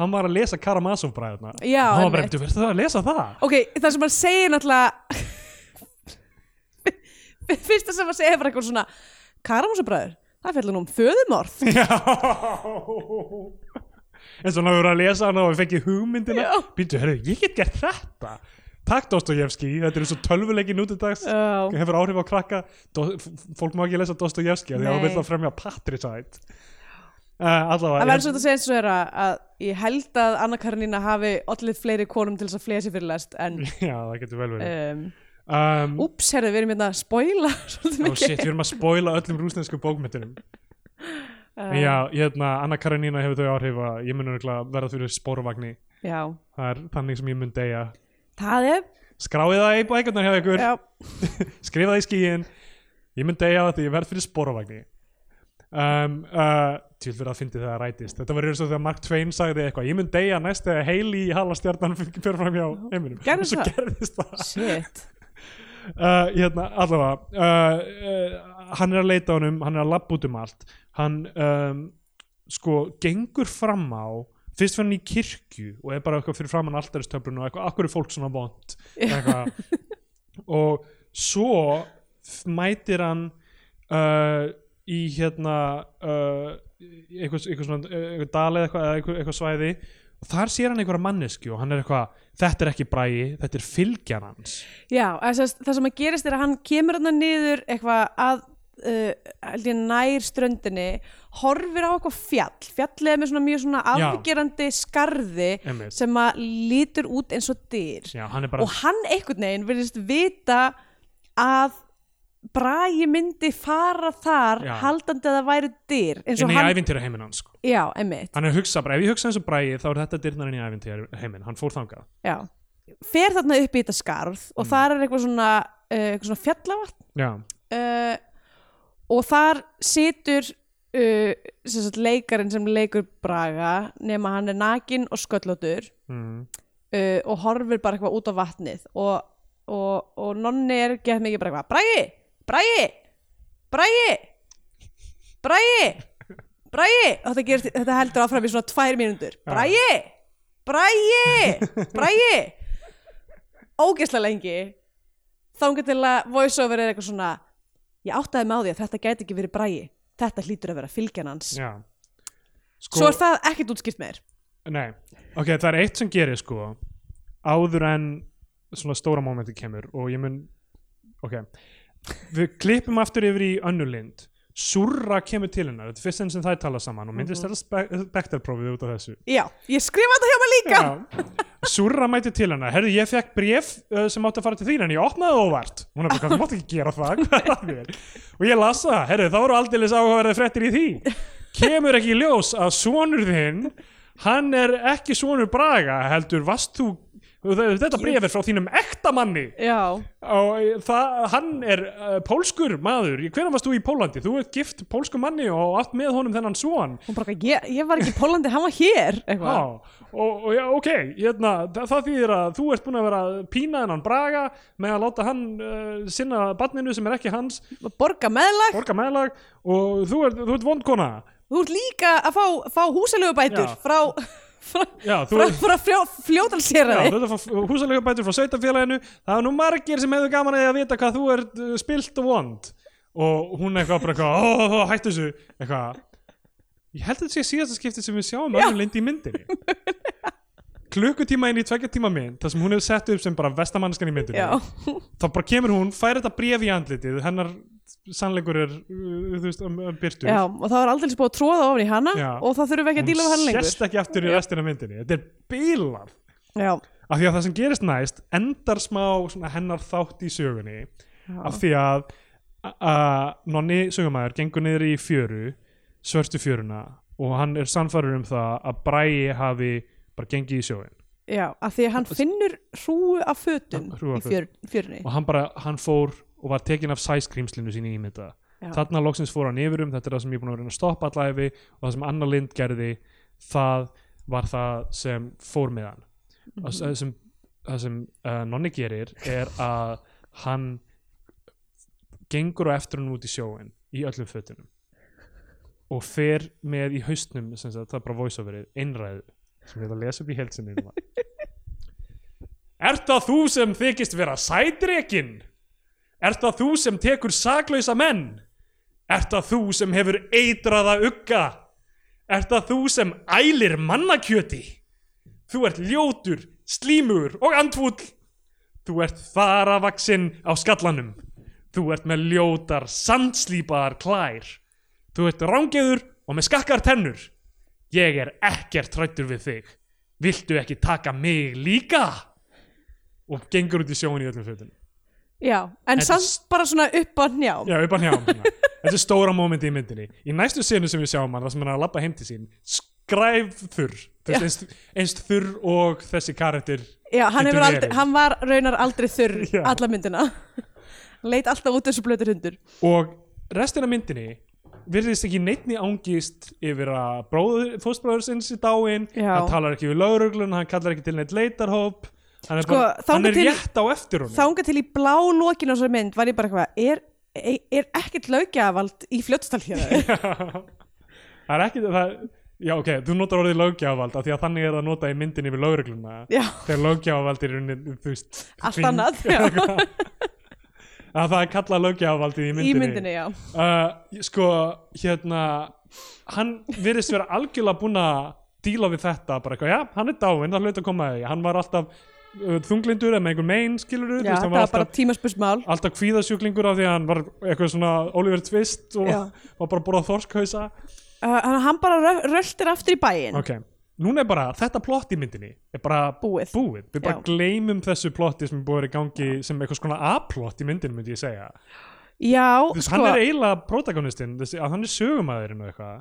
hann var að lesa Karamazov bræðuna,
Já,
hann var bara,
einmitt.
"Bíddu, verður það að lesa það?
Ok, það sem hann segir náttúrulega Fyrsta sem hann segir er bara eitthvað svona Karamúsabræður, það fjallar nú um föðumorð
Já En svona voru að lesa hana og við fengið hugmyndina
Já.
Býtu, herru, ég get gert þetta Takk Dostojevski, þetta er eins og tölvuleikin út í dags
Já.
Hefur áhrif á krakka Do f- Fólk má ekki lesa Dostojevski Því að það
Nei.
vil það fremja patricide uh, Allavega
Það verður svolítið að segja eins og er að, að ég held að Anna Karnína hafi allir fleiri konum til þess að flega sér fyrir lest en
Já, það getur vel verið
um,
um,
úps, herðu, við erum hérna að spoila svolítið
Og Oh, shit,
mikið
við erum að spoila öllum rúsnesku bókmyndunum
uh,
En já, hérna, Anna Karenina hefur þau áhrif að ég mun örugglega verða fyrir spórvagni
já.
það er þannig sem ég mun deyja
það er
skráið það í bækarnar hjá ykkur
já,
skrifa það í skíin ég mun deyja af því ég verð fyrir spórvagni um, uh, til fyrir að fyndi það að rætist þetta var eins og þegar Mark Twain sagði eitthvað ég mun deyja næst þegar Hailey í halastjarnan fyrir fram hjá heiminum
Gerðist
og svo
það?
gerðist það
shit
uh, hérna, allavega uh, uh, hann er að leita honum hann er að labba út um allt hann um, sko gengur fram á fyrst fyrir hann í kirkju og er bara eitthvað fyrir framann alltaristöflun og eitthvað, akkur er fólk svona vond eitthvað og svo f- mætir hann uh, í hérna uh, eitthvað, eitthvað svona eh, eitthvað dalið eitthvað, eða eitthvað, eitthvað svæði og þar sér hann einhverja mannesku og hann er eitthvað þetta er ekki bræði, þetta er fylgjan hans
Já, þess, það sem að gerist er að hann kemur hann niður eitthvað að uh, held ég nær ströndinni horfir á eitthvað fjall fjallið er með svona mjög svona
Já.
afgerandi skarði
Einmitt.
sem að lítur út eins og dyr
Já, hann er bara,
og hann einhvern veginn virðist vita að Bragi myndi fara þar
Já.
haldandi að það væri dyr eins og
inn í
hann,
ævintýra heiminn hans sko.
já, emmitt
hann er að hugsa bara, ef ég hugsa eins og bræði þá er þetta dyrnar inn í ævintýra heiminn, hann fór þangað
já. fer þarna upp í þetta skarð
Mm.
og þar er eitthvað svona, uh, eitthvað svona fjallavatn
já,
uh, og þar situr uh, sem sagt, leikarin sem leikur Braga nema hann er nakin og sköllótur
mm.
uh, og horfir bara eitthvað út á vatnið og, og, og nonni er gett mikið bara eitthvað Bragi, Bragi, Bragi Bragi Bragi og þetta, gerist, þetta heldur áfram í svona tvær mínútur Bragi, Bragi Bragi ógeðslega lengi þá um til að voiceover er eitthvað svona ég áttaði með á því að þetta gæti ekki verið Bragi þetta hlýtur að vera fylgjan hans
já sko,
svo er það ekkert útskipt meir
nei, ok, það er eitt sem gerir sko, áður en svona stóra mómenti kemur og ég mun, ok við klippum aftur yfir í önnulind Surra kemur til hennar, þetta er fyrst enn sem það tala saman og
Mhm.
myndist þetta spe- Bechdel-prófið út af þessu
já, ég skrifa þetta hjá maður líka
Surra mæti til hana, herðu ég fekk bref uh, sem átti að fara til þín en ég opnaði það óvart hún er bara, hvað, þú mátt ekki gera það hvað er að þér?" og ég las það, herðu þá voru aldeilis áhugaverði fréttir í því kemur ekki í ljós að sonur þinn hann er ekki sonur Braga heldur, varst þú þetta bref er frá þínum ekta manni
já,
og eh, það, hann er uh, pólskur maður, hvernig varst þú í Pólandi þú ert gift pólskur manni og átt með honum þennan son
hún bara, eitthvað, ég, ég var ekki í Pólandi, hann var hér eitthvað.
Já, og, og já, ok, hérna, það, það þýðir að þú ert búin að vera að pína hennan Braga með að láta hann uh, sinna barninu sem er ekki hans,
borga meðlag,
borga meðlag og þú ert, þú ert vondkona.
þú ert líka að fá, fá húsalegu bætur
Já.
frá, frá,
Já, þú
frá,
ert...
frá frjó,
Já,
fljóðalseraði
þú ert að fá húsalega bætur frá sveitafélaginu það er nú margir sem hefur gaman að því að vita hvað þú ert uh, spilt og vond og hún eitthvað bara eitthvað, ó, hættu þessu eitthvað ég held að þetta sé síðasta skiptið sem við sjáum önnur lind í myndinni klukkutíma inn í tvekja tíma mynd þar sem hún hefur sett upp sem bara vestamannskan í myndinni
Já.
þá bara kemur hún, fær þetta bref í andlitið hennar sannleikur er uh, þú veist, um, um byrtu
Já, og það var aldrei búið að tróða ofan í hana
Já.
og það þurfum við ekki að díla við hann lengur
sérst ekki aftur í restina af myndinni þetta er bílar
Já,
af því að það sem gerist næst endar smá svona, hennar þátt í sögunni af því að a- a- nonni sögumæður gengur niður í fjöru svörstu fjöruna og hann er sannfæður um það að Bræi hafi bara gengið í sjóin
já, af því að hann finnur hrúu af fötum
Hrúgu af
í fjör, fjörni
og hann bara, hann fór og var tekinn af sæskrýmslinu sínu ímynda
Já.
þarna loksins fór hann yfir um, þetta er það sem ég er búin að reyna að stoppa allæfi og það sem Anna Lind gerði það var það sem fór með hann mm það sem, það sem uh, Nonni gerir er að hann gengur á eftir hann út í sjóin í öllum fötunum og fer með í haustnum sem sagt, það er bara voiceoverið, einræðu sem ég ætla að lesa upp í helsinu núna Ert það þú sem þykist vera sætrekin? Ert það þú sem tekur saklausa menn? Ert það þú sem hefur eitraða ugga? Ert það þú sem ælir mannakjöti? Þú ert ljótur, slímur og andfúll. Þú ert þaravaksinn á skallanum. Þú ert með ljótar, sandslípaðar klær. Þú ert rángeður og með skakkar tennur. Ég er ekkert trættur við þig. Viltu ekki taka mig líka? og gengur út í sjóin í öllum fötunum
já, en
Þetta-
samt bara svona upp á njá
Já, við bara hjáum hana. Þetta er stóra mómenti í myndinni. Í næstu senu sem við sjáum hann, það sem hann er að labba heim til sín, skræf þurr. Þú
Já.
veist, eins, eins þurr og þessi karakter.
Já, hann,
Getur
hefur aldrei,
verið.
hann var raunar aldrei þurr
Já.
alla myndina hann leit alltaf út þessu blötu hundur
Og restin af myndinni virðist ekki neittni ángist yfir að bróður, fóstbróður sinns í dáin,
Já.
hann talar ekki við lauruglun, hann kallar ekki til neitt leitarhóp, hann er,
Sko,
bara,
þangað
hann er
til-
rétt á eftir honum.
þánga til í blá lokin á þessari mynd var ég bara eitthvað, er, er, er ekkert lögjafald í fljóttstal hér
það er ekki það, já ok, þú notar orðið löggjafald af því að þannig er það notað í myndinni við laurugluna
Já.
þegar löggjafald er unni, þú veist
Allt
þing-
annað, já.
að það er kallað löggjafarvaldið í
í
myndinni,
myndinni, já
Uh, sko, hérna hann virðist vera algjörlega búinn að díla við þetta, bara eitthvað, já, hann er dáinn það hlut að koma að því, hann var alltaf uh, þunglindur eða með einhver mein, skilur
Já, það var bara tímaspursmál
alltaf kvíðasjúklingur af því að hann var eitthvað svona Oliver Twist og
Já.
var bara að borða þorskhausa
uh, hann bara rö- röltir aftur í bæin
ok, núna er bara þetta plott í myndinni er bara
Búið.
við bara
Já.
gleymum þessu plotti sem er búið að vera í gangi sem eitthvað svona A-plott í myndinni myndi ég segja
já,
Þú veist,
sko
hann er eiginlega protagonistinn þessi, að hann er sögumæðurinn og eitthvað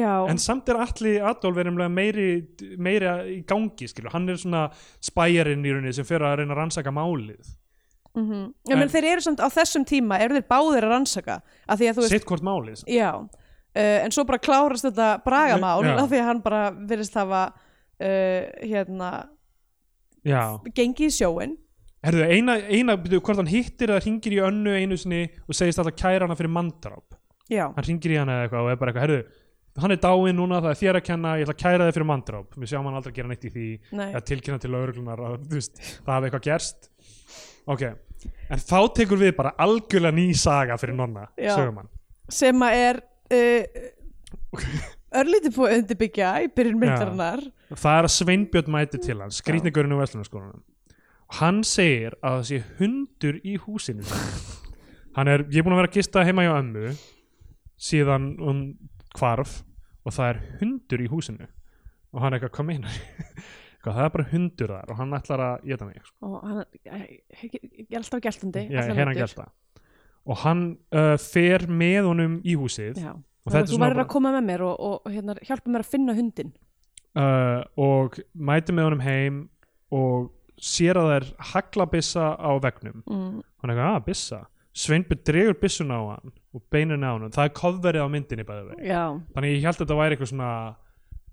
já,
en samt er allir Adolf er nefnilega meiri, meiri í gangi skilur, hann er svona spæjarinn í rauninni sem fer að reyna að rannsaka málið
mhm. já menn
en-
þeir eru samt á þessum tíma eru þeir báðir að rannsaka að því að þú veist,
sitt hvort málið
já uh, en svo bara klárast þetta bragamál
Já.
af því að hann bara virðist hafa uh, hérna
já
gengið í sjóin
Herðu, eina, eina byrju, hvort hann hittir eða hringir í önnu einu sinni og segist alltaf kæra hana fyrir mandráp
já,
hann hringir í hana eða eitthvað og er bara eitthvað herðu, hann er dáinn núna, það er þér að kenna ég ætla að kæra þig fyrir mandráp, við sjáum hann aldrei gera neitt í því
nei,
að tilkynna til lauruglunar að þú veist, það hafi eitthvað gerst ok, en þá tekur við bara algjörlega ný saga fyrir nonna
Já.
sögum hann
sem að er uh, örlítið búið að undirbyggja í byrjun myndarinnar
það er að Sveinbjörn mæti til hann skrýtningurinn úr Vestlunarskólanum og hann segir að það sé hundur í húsinu sínu. hann er, ég er búin að vera að gista heima hjá ömmu síðan um hvarf og það er hundur í húsinu og hann er eitthvað, hvað meinar hvað, það er bara hundur þar og hann ætlar að geta mig sko.
og hann er alltaf gæltandi
Já, hérna gert það og hann uh, fer með honum í húsið
Já,
Og þetta er
þú
svona
verður
bara-
að koma með mér og, og, og hérna, hjálpa mér að finna hundin
uh, og mæti með honum heim og sér að það er haglabissa á vegnum
mm.
hann er eitthvað að bissa Sveinbjörn dregur bissuna á hann og beinir á hann það er kofverið á myndinni bæði veginn
Já,
þannig ég held að þetta væri eitthvað svona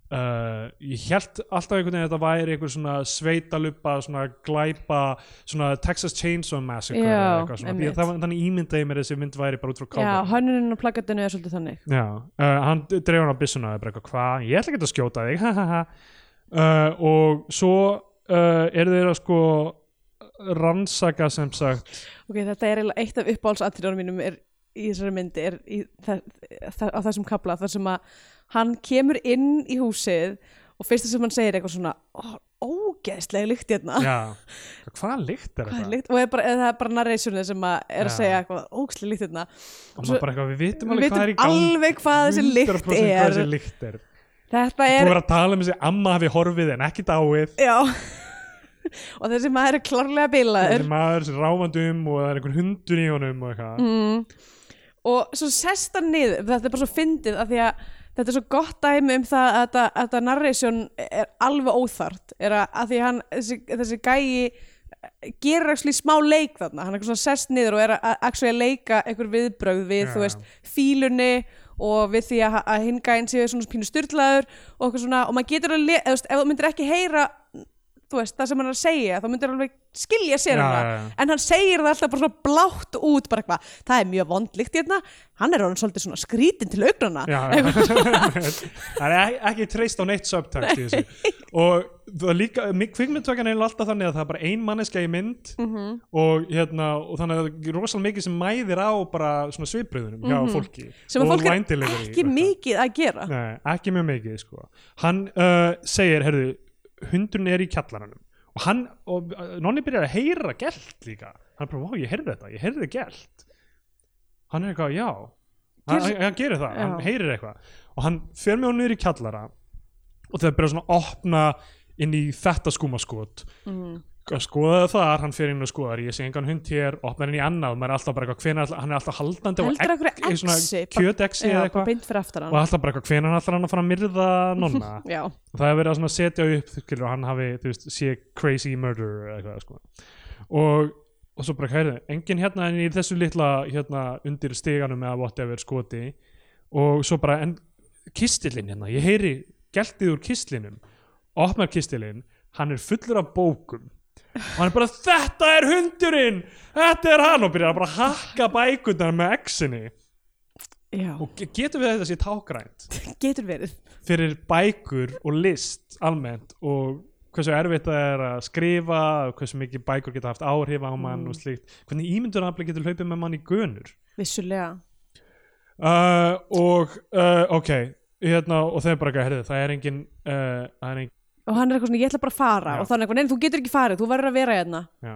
uh, ég held alltaf einhvern veginn að þetta væri eitthvað svona sveitaluppa svona glæpa, svona Texas Chainsaw Massacre
Já,
eða eitthvað svona.
einmitt.
Því að það, var- þannig ímyndaði ég mér að þessi mynd væri bara út frá
já
kofverið
hönnunin og plakatinu er svolítið þannig
Já, uh, hann dreifur hann á byssuna og er bara eitthvað, hvað, ég ætla ekki að skjóta þig ha, ha, ha." uh, og svo uh, eru þeir að sko rannsaka sem sagt
Ok, þetta er eiginlega eitt af uppáhaldsatriðunum mínum er, í þessari myndi er í, það, það, á þessum kapla þar sem að hann kemur inn í húsið og fyrsta sem hann segir er eitthvað svona "Ó, ógeðslega lykt hérna
já, hvað lykt er
Hvað er
þetta?
lykt? og er bara, eða það er bara narrationið sem að er að
Já.
segja eitthvað ógeðslega lykt hérna
og
Svo-
maður bara eitthvað, við vitum
Við
alveg hvað er í
vitum
gangi
alveg hvað þessi lykt
100% hvað
er
þessi lykt er
Þetta
Þú
er
verður að tala um þessi amma hafi horfið en ekki dáið
Já Og þessi maður er klárlega bilaður
þessi maður sem ráfandi um og það er einhver hundur í honum og eitthvað
mm. og svo sest hann niður þetta er bara svo fyndið af því að þetta er svo gott dæmi um það að þetta, að þetta narration er alveg óþart er að, að því hann, þessi, þessi gæi eh, gerir ekki smá leik þarna hann er eitthvað svona sest niður og er að, að, að leika einhver viðbrögð við,
Já.
þú veist, fílunni og við því að, að hinn gæinn séu svona pínu styrlaður og eitthvað svona og maður getur að, le- eða, þú veist, ef þú myndir ekki heyra þú veist, það sem hann er að segja þá myndir alveg skilja sér
Já,
hana
já, já.
en hann segir það alltaf bara svona blátt út bara eitthvað, það er mjög vondlikt hérna hann er orðin svolítið svona skrítin til augnana
Já, það er ek- ekki treyst á neitt subtext í þessu og það er líka, kvikmyndtökan er alltaf þannig að það er bara ein manneska í mynd
Mhm.
og, hérna, og þannig að það er rosalega mikið sem mæðir á bara svona svipriðunum hjá fólki
Mhm. sem að
Og
fólk
line
er
delivery og
ekki
eitthvað.
mikið að gera
Nei, ekki mjög mikið sko. hann uh, segir, herðu hundurinn er í kjallaranum og hann, og uh, nonni byrjar að heyra gelt líka, hann er bara, vá, ég heyrði þetta ég heyrði gelt hann er eitthvað, já, hann,
Gerist-
hann, hann gerir það
Já.
hann heyrir eitthvað og hann fer með hún niður í kjallara og þegar byrjar svona að opna inn í þetta skúmaskot
mm.
að skoða það þar, hann fer inn og skoðar ég sé engan hund hér, opnar inn í annað maður er alltaf bara eitthvað, hvenær, ætla- hann er alltaf haldandi á
heldur
egg-
einhverju
í svona
exi bara-
kjötexi
já,
eða
bara
eitthvað
beint fyrir aftan
og
hann
alltaf bara eitthvað, hvenær hann allar hann að fara að myrða nonna
já,
það er verið að svona setja upp skilur, hann hafi, þú veist, sé crazy murderer eða eitthvað, sko og, og svo bara, hæðu, enginn hérna en í þessu litla, hérna, undir stiganum eða whatever skoti og svo bara, en kistilinn hérna ég heyri geltið úr kistlinum opnar kistilinn, hann er fullur af bókum og hann er bara þetta er hundurinn, þetta er hann og byrjar að bara hakka bækundar með exinni
já,
og ge- getum við að þetta sé tákrænt
getur verið
fyrir bækur og list almennt og hversu erfitt það er að skrifa og hversu mikið bækur geta haft áhrif á mann og slíkt hvernig ímyndunafli getur hlaupið með mann í gönur
vissulega
uh, og uh, ok hérna, og þau bara herðu, það er engin uh, það er engin
og hann er eitthvað svona, ég ætla bara að fara
Já.
og þannig eitthvað, neina, þú getur ekki farið, þú verður að vera hérna
já.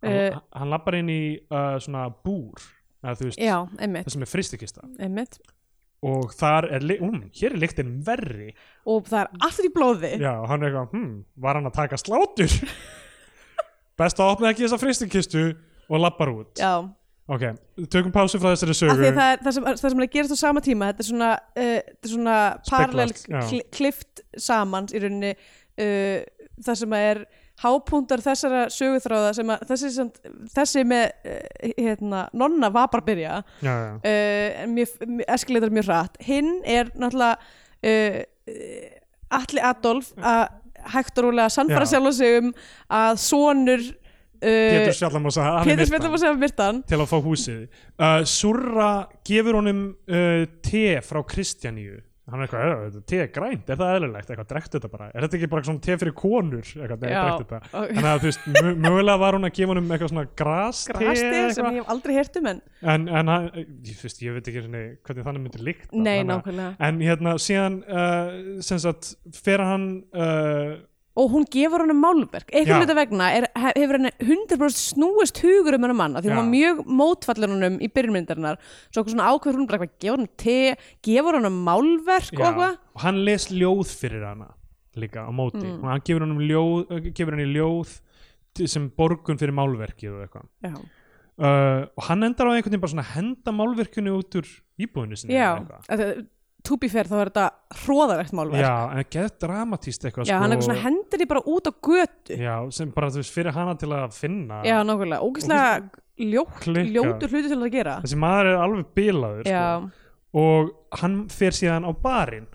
Eh.
hann, hann lappar inn í uh, svona búr eða, þú veist,
já, einmitt,
það sem er fristikista
einmitt
og þar er, ly- um, hér er lyktin verri
og það er allt í blóði
Já, og hann er eitthvað, hm, var hann að taka slátur? Best að opna ekki þessa fristikistu og lappar út.
já.
Ok, tökum pásu frá þessari
Af
sögu.
því að það, er, það, sem, það sem er að gerast á sama tíma þetta er svona, uh, þetta er svona parallel
já.
kli, klift saman í rauninni uh, það sem að er hápúntar þessara söguþráða sem að þessi, sem, þessi með uh, hérna, nonna var bara að byrja uh,
Já, já,
en mjög, mjög, eskileitar mjög hratt hinn er náttúrulega uh, uh, Alli Adolf að hægt og rúlega sannfara
Já.
sjálf sig um að sonur
Pétur
uh,
Sjallamósa, hann
Pétur
er myrtan
Sveitlamósa Myrtan
til að fá húsið. Uh, Surra gefur honum uh, te frá Kristjaníu. Hann er eitthvað, "Eh, þetta te er grænt, er það eðlilegt? Eitthvað, drekkt þetta bara. Er þetta ekki bara svona te fyrir konur? Eitthvað, nei,
Já,
drekkt þetta.
ok.
Þannig að þú veist, mö- mögulega var hún að gefa honum eitthvað svona graste.
grastið sem ég hef aldrei heyrt um en
En, en hann, ég, fyrst, ég veit ekki einu sinni hvernig þannig myndi líkt.
Nei, nákvæmlega.
En hérna, síðan, uh, sem sagt, fer hann, uh,
og hún gefur hann um málverk
Já.
einhvern veit vegna er, he- hefur hann 100% snúist hugur um hennar manna því hún
Já.
var mjög mótfallin honum í byrjunmyndarinnar svo okkur svona ákveður hún bara eitthvað gefur hann te, gefur hann um málverk og eitthvað
og hann les ljóð fyrir hana líka á móti.
Mm.
Og hann gefur hann ljóð, eh, gefur hann í ljóð til- sem borgun fyrir málverkið og eitthvað.
já.
Uh, og hann endar á einhvern veginn bara svona að henda málverkinu út úr íbúinu sinni.
Já.
eða eitthvað.
Að það- to be fair þá er þetta hróðalegt málverk
Já, en geðt dramatíst eitthvað. sko.
Já, hann eitthvað svona hendur því bara út á götu já,
Já, sem bara, þú veist, fyrir hana til að finna.
nákvæmlega, ógeðslega ljótt,
Klikkað.
ljótur hluti til að gera
Þessi maður er alveg bilaður, sko.
já,
og hann fer síðan á barinn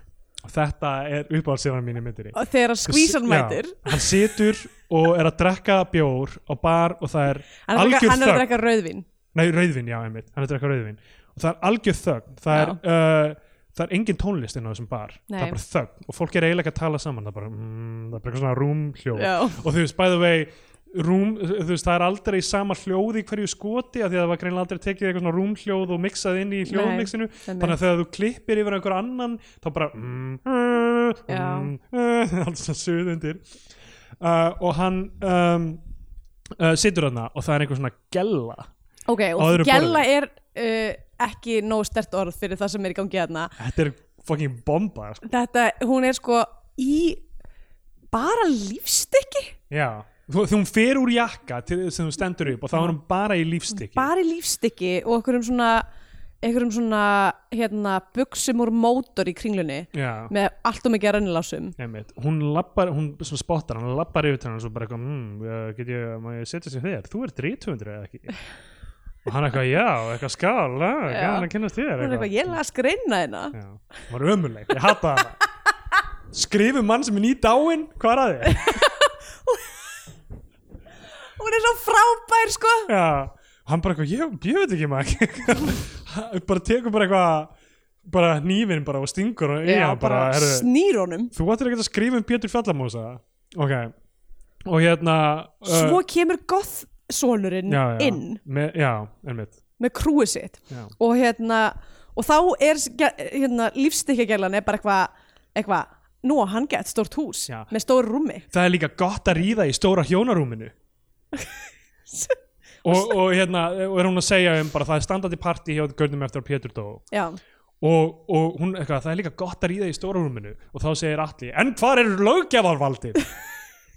og þetta er uppáhaldsíðan mín í myndinni
Og þegar að skvísan mætir
Já, hann situr og er að drekka bjór á bar og það er
hann er að drekka-
algjör
hann er að
þögn
drekka rauðvin
nei, rauðvin, já, einmitt, hann er að drekka rauðvin og það er algjör þögn það er, uh, það er engin tónlist inn á þessum bar það
Nei.
er bara þögn og fólk er eiginlega ekki að tala saman það er bara, mm, það er bara eitthvað svona rúmhljóð
Já.
og þú veist, by the way Rúm, þú veist, það er aldrei sama hljóð í hverju skoti af því að það var greinlega aldrei tekið eitthvað svona rúmhljóð og miksað inn í hljóðmixinu
einmitt.
þannig að þegar þú klippir yfir einhver annan þá bara mm, mm,
Já.
mm, mm, allt svona suðundir uh, og hann um, uh, situr þarna og það er einhver svona gella
Ok,
Á
og
öðru
gæla er uh, ekki nóg stert orð fyrir það sem er í gangi hérna.
þetta er fucking bomba sko.
Þetta, hún er sko í bara lífstykki,
já Þú- þegar hún fer úr jakka til, sem hún stendur upp og þá er hún bara í lífstykki
bara í lífstykki og einhverjum svona, einhverjum svona, hérna, buksum úr mótor í kringlunni
já,
með allt og mikið rennilásum.
einmitt. hún lappar, hún svona spottar hann lappar yfir til hann og svo bara eitthvað mm, eh, get ég, má ég setja sér þér, þú ert rítumundur eða ekki og hann eitthvað, já, eitthvað skál já, gaman að kynast þér
Hún er eitthvað, ég las greina hérna.
Já, hún var ömuleg, ég hata hana Skrifu mann sem er ný dáin, hvað er að þér?
Hún er svo frábær, sko.
Já, hann bara eitthvað, ég, ég veit ekki maður Hann Bara tekur bara eitthvað, bara hnífinn bara og stingur og
Já,
bara,
bara
heyrðu,
snýr honum.
Þú ættir ekki að skrifa um Pétur Fjallamósa Ok, og hérna uh,
Svo kemur goth sonurinn
já, já,
inn
með, Já, einmitt
með krúið sitt
Já.
og hérna og þá er s- ge- hérna, lífstykkjagjallan er bara eitthvað eitthvað, nú á hann gett stórt hús
Já.
með stór rúmi
það er líka gott að ríða í stóra hjónarúminu og, og hérna og er hún að segja um bara það er standandi partí hjá görnum eftir að Pétur dó
já,
og, og hún eitthvað, það er líka gott að ríða í stóra rúminu og þá segir Atli, en hvar er löggjafarvaldið?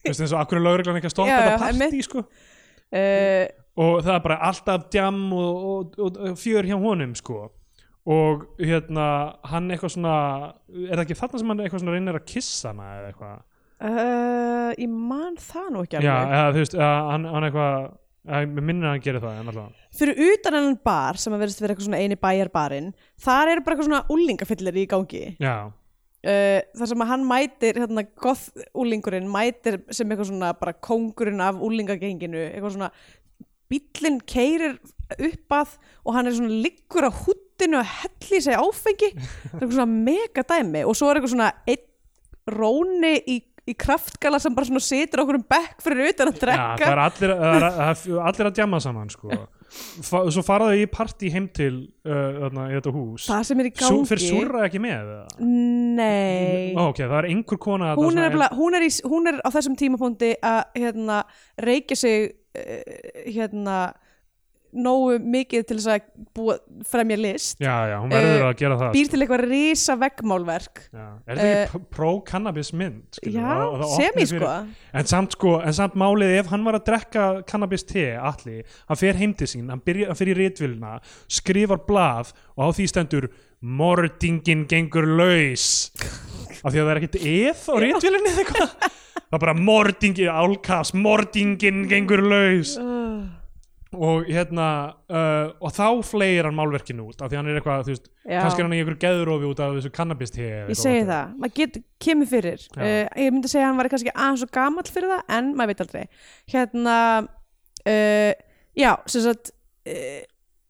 Þú veist eins og akkur er lögreglan ekki að stoppa
Já, já,
þetta partí
einmitt.
sko
uh,
og það er bara alltaf djam og, og, og, og fjör hjá honum sko og hérna hann eitthvað svona er það ekki þarna sem hann eitthvað svona reynir að kissa hana eða eitthvað
uh, ég man það nú ekki
já, eh.
alveg
eða, þú veist, eða, hann, hann eitthvað eða, mér minnir að hann gerir það en alltaf
fyrir utan enn bar sem að verðist vera eitthvað svona eini bæjarbarinn þar eru bara eitthvað svona úlingafillir í gangi
já,
uh, þar sem að hann mætir hérna, goth úlingurinn mætir sem eitthvað svona bara kóngurinn af úlingagenginu eitthvað svona bíllinn keirir upp að og hann er svona liggur á húttinu að helli í sig áfengi það er eitthvað svona mega dæmi og svo er eitthvað svona einn róni í, í kraftgala sem bara svona situr okkur um bekk fyrir utan að
já það
drekka
er allir, það er, það er allir að djama saman sko Fa, svo faraðu í partí heim til uh, þarna, í þetta hús
það sem er í
Sú,
gangi
fyrir súra ekki með eða?
nei
Ó, ok, það er einhver kona þarna
hún
svona
er, nefnilega, hún, er í, hún er á þessum tímapunkti að hérna, reykja sig uh, hérna nógu mikið til þess að búa, fremja list
Já, já, sko. hún verður
Eh,
að gera það
býr til eitthvað risa veggmálverk
Já, er þetta ekki uh, pro-cannabis mynd? skilur
já,
við, að- að það opni
semi
fyrir-
sko
En samt sko, en samt málið ef hann var að drekka cannabis te, allir hann fer heim til sín, hann, byrja, hann fer í ritvilna skrifar blað og á því stendur mordingin gengur laus af því að það er ekkert eð á ritvillinni eða eitthvað það er bara mordingin, álkast mordingin gengur laus
uh,
og hérna uh, og þá fleir hann málverkinu út af því hann er eitthvað, þú veist,
Já.
kannski er hann í einhver geðurofi út af þessu cannabis te eða
ég
eitthvað
segi
whatever.
það, maður get, kemur fyrir
Já.
uh, ég myndi segja að hann var kannski aðeins og gamall fyrir það en maður veit aldrei hérna uh, já, sem sagt uh,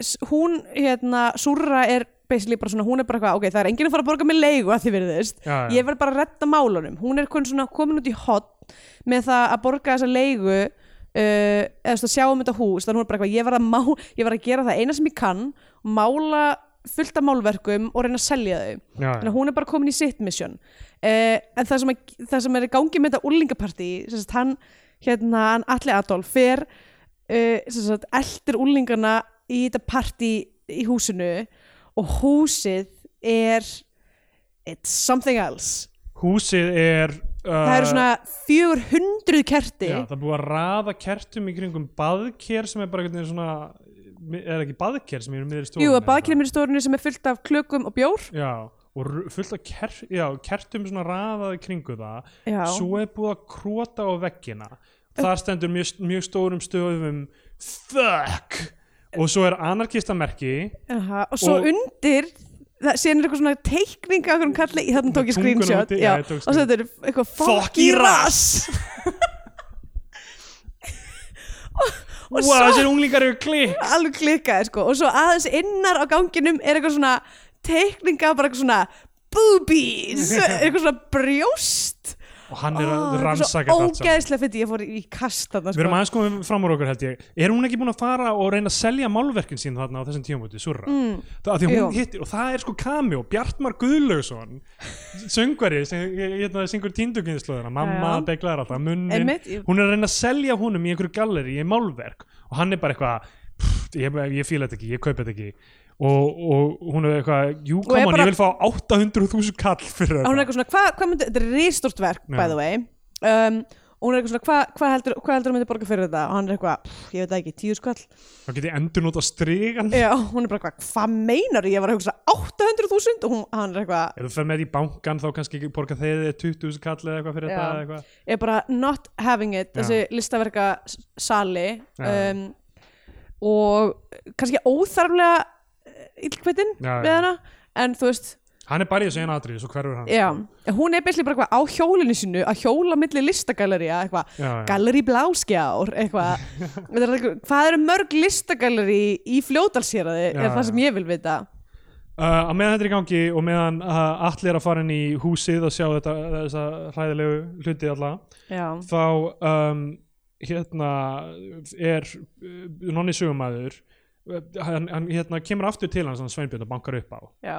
s- hún, hérna, Súra er basically bara svona, hún er bara eitthvað, ok, það er enginn að fara að borga með leigu að því virðist,
Já, já.
ég verð bara að retta málunum, hún er komin svona komin út í hot með það að borga þessa leigu uh, eða svona sjá um þetta hús, þannig hún er bara eitthvað ég verð að, má, ég verð að gera það eina sem ég kann mála fullt af málverkum og reyna að selja þau
Já, já.
þannig að hún er bara komin í sitt mission uh, en það sem, að, það sem er í gangi með þetta úlingapartí sagt, hann, hérna, hann Alli Adolf fer uh, sagt, eldir úlingana í þetta partí í húsinu og húsið er it's something else
húsið er uh,
það eru svona 400 kerti
já, það er búið að raða kertum í kringum baðker sem er bara einhvern veginn svona er ekki baðker sem eru miður í stofunni
jú,
eða
að baðkrimir í stórinu sem er fullt af klökum og bjór
eitthvað? já, og ru- fullt af ker, já, kertum svona raðaði kringu það
já,
svo er búið að krota á veggina þar stendur mjög, mjög stórum stöðum fuck og svo er anarkistamerki
Aha, og svo
og-
undir það séðan er eitthvað svona teikning af hverjum kalli, þannig tók ég
Tunguna
screenshot
úti,
já,
já, ég tók
og svo þetta er eitthvað
Fokk í rass.
og, og
wow,
svo
þessir unglingar eru klikk
alveg klikkaði sko og svo aðeins innar á ganginum er eitthvað svona teikninga bara eitthvað svona boobies, eitthvað svona brjóst
og hann er að
Ó, eitthvað Ah, svo
rannsaka þetta allt saman.
ógeðslega fyrir ég fór í, í kast þarna
Við
sko.
erum aðeins komið fram úr okkur held ég Er hún ekki búin að fara og reyna að selja málverkin sín þarna á þessum tíumúti, Surra mm. það, að að
Jú.
hún hittir, Og það er sko Kamjó Bjartmar Guðlaugsson Söngvari sem hérna, syngur tínduginslóðina Mamma
Já.
beglar alltaf munnin
Einmitt, ég-
Hún er að reyna að selja honum í einhverju galleri í málverk og hann er bara eitthvað "Pff, Ég, ég fíla þetta ekki, ég kaupa þetta ekki og, og hún er eitthvað Jú,
Og er
koman,
bara-
ég vil fá 800.000 kall
Og
fyrir
hún er
þetta
eitthvað svona, hvað hva myndi, þetta er ristort verk
Já.
by the way um, og hún er eitthvað svona, hvað hva heldur, hva heldur hún myndi borga fyrir þetta og hann er eitthvað, "Pff, ég veit það ekki, tíu skall
Þá get ég endur nota strigan
já, hún er bara eitthvað, hvað meinar ég var að hugsa 800.000 og hún, hann er eitthvað
Ef þú fer með því bankan þá kannski ekki borga þeir þig 20.000 kall eða eitthvað fyrir
Já.
þetta eða eitthvað.
er bara not having it
Já.
þessi listaverka sali
Já.
um, og kannski óþarflega eh, illkveitin
Já,
við
já.
hana en þú veist,
Hann er bara í þessu eina atriði, svo hverfur hann.
já en hún er byrðið bara eitthvað á hjólinu sinu að hjóla milli listagalería, eitthvað
Já, já.
gallerí bláskjár, eitthvað Þetta er eitthvað- hvað eru mörg listagalerí í fljótalsýraði,
Já,
er það
já.
sem ég vil vita
Uh, að meðan þetta er í gangi og meðan uh, allir er að fara inn í húsið og sjá þetta, uh, þessa hræðilegu hluti alla,
já,
þá um, hérna er uh, nonni sögumæður, uh, hann, hann hérna, kemur aftur til hans, hann Sveinbjörn og bankar upp á
já,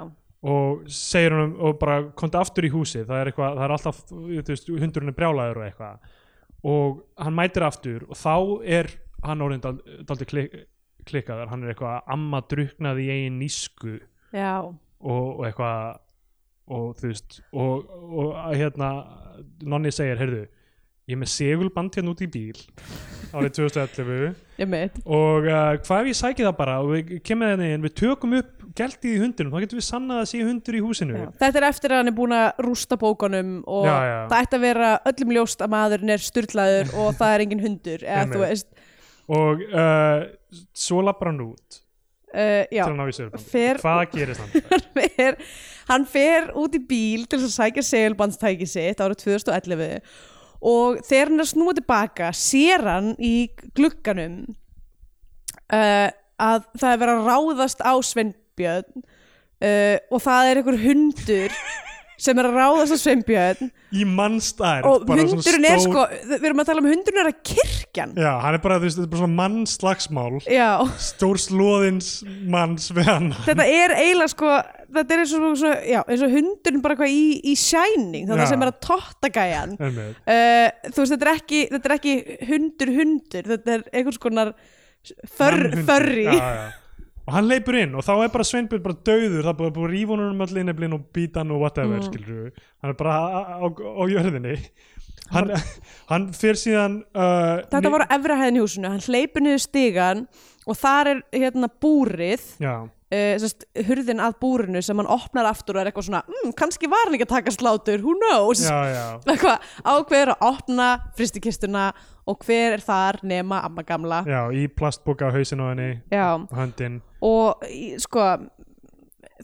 og segir hann og bara komdu aftur í húsið, það er, eitthvað, það er alltaf, þú veist, hundurinn er brjálæður og eitthvað og hann mætir aftur og þá er hann orðin dal- daldið klik, klikkaður, hann er eitthvað amma druknaði í eigin nísku
já
og, og eitthvað og þú veist og, og að, hérna, Nonni segir, heyrðu ég er með segulband hérna út í bíl árið 2011
ég meit
og uh, hvað ef ég sæki það bara og við kemur þenni en við tökum upp gæltið í hundinum, þá getum við sannað að sé hundur í húsinu
Þetta er eftir að hann er búin að rústa bókunum og
Já, já.
það ætti að vera öllum ljóst að maðurinn er styrlaður og það er engin hundur eða þú
Einmitt.
veist
og uh, svo lappar hann út
uh, já,
til að ná í segulband
Fer-
hvað gerist hann?
hann fer, hann fer út í bíl til þess að sækja segulbandstæki sitt árið 2011 og þegar hann er að snúa tilbaka sér hann í glugganum uh, að það er verið að ráðast á Sveinbjörn uh, og það er einhver hundur sem er að ráðast á Sveinbjörn
í mannstærð
og
bara svona
hundurinn er
stór-
sko við erum að tala um hundurinn er að kirkjan
já, hann er bara, þú veist, þetta er bara svona mannslagsmál
já,
stór slóðins manns við hann
þetta er eiginlega sko þetta er eins og, svo, já, eins og hundurinn bara hvað í, í shining þannig
Já.
sem er að totta gæjan
Einmitt.
uh, þú veist þetta er ekki, þetta er ekki hundur hundur, þetta er einhvers konar för,
Mannhundur.
förri
já, já. og hann leipur inn og þá er bara Sveinbjörn bara döður, það er bara búið að rífa honum um öll inneblin og býta hann og whatever mm. hann er bara á, á, á jörðinni hann, hann fyrir síðan uh,
þetta
ni-
var á efra hæðin í húsinu, hann hleypur niður stigan og þar er hérna búrið
já,
uh, sest, hurðin að búrinu sem hann opnar aftur og er eitthvað svona, mm, kannski var hann ekki að taka slátur who knows
já, já,
eitthvað ákveður að opna fristikistuna og hver er þar nema amma gamla
já í plastboka á hausin á henni
Já.
höndin
og í- sko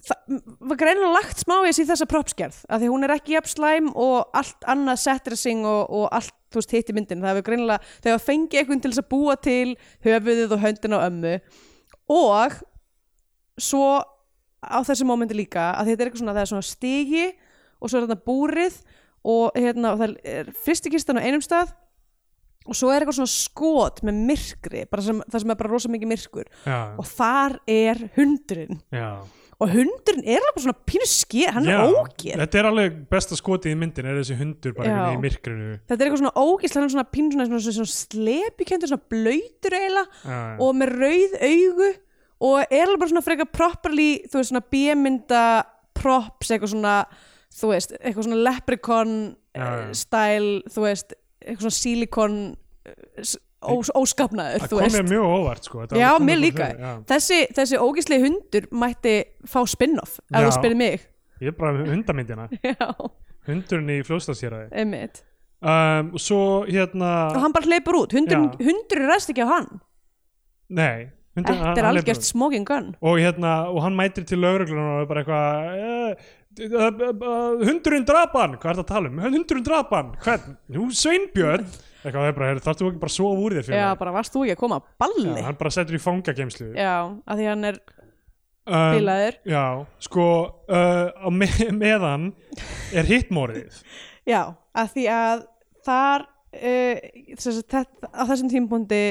það var greinilega lagt smávegis í þessa propskerð af því hún er ekki jafn slæm og allt annað setdressing og, og allt þú veist hitt í myndin það hefur greinilega, þegar að fengi einhvern til þess að búa til höfuðið og höndin á ömmu og svo á þessu mómenti líka að þetta er eitthvað svona, það er svona stigi og svo er þetta búrið og hérna, og það er fristikistan á einum stað og svo er eitthvað svona skot með myrkri, bara sem, það sem er bara rosa mikið myrkur
já,
og þar er hundurinn
já
og hundurinn er alveg bara svona pínu sker hann
Já,
er ógeð
þetta er alveg besta skotið í myndin er þessi hundur bara
Já.
einhvern veginn í myrkrinu
þetta er eitthvað svona ógeð hann er svona pínu svona, svona, svona slepikendur svona blöytur eiginlega
Já,
og með rauð augu og er alveg bara svona frekar properly þú veist svona bímynda props eitthvað svona þú veist eitthvað svona leprechaun
Já, já.
eh, style þú veist eitthvað svona silikon eh, s- ós, óskapnaður
það
þú
kom
veist
mér mjög á óvart sko, þetta
Já,
kom
mér
bara
líka.
fyrir, já.
Þessi, þessi ógísli hundur mætti fá spin-off ef
Já.
þú spyrir mig
ég er bara með hundamyndina
Já,
hundurinn í fljóðstafsýraði
einmitt
um, og svo hérna
og hann bara hleypur út, hundurinn
Já.
hundur ræðst ekki á hann
nei, hundur,
þetta er
hleypur
algjört smoking gun
út. og hérna, og hann mætir til lögreglunar og er bara eitthvað eh, d- d- d- d- hundurinn drap hann, hvað er það að tala um hundurinn drap hann, hvern, nú Sveinbjörn eitthvað, það er bara, "Heyrðu, þarftu ekki bara að sofa úr þér fyrir
já, bara varst þú ekki að koma að balli já,
hann bara settur í fangageimslu
af því hann er
um,
bilaður
já, sko uh, á me meðan er hittmórið
já, af því að þar uh, þess að þetta, á þessum tímpúndi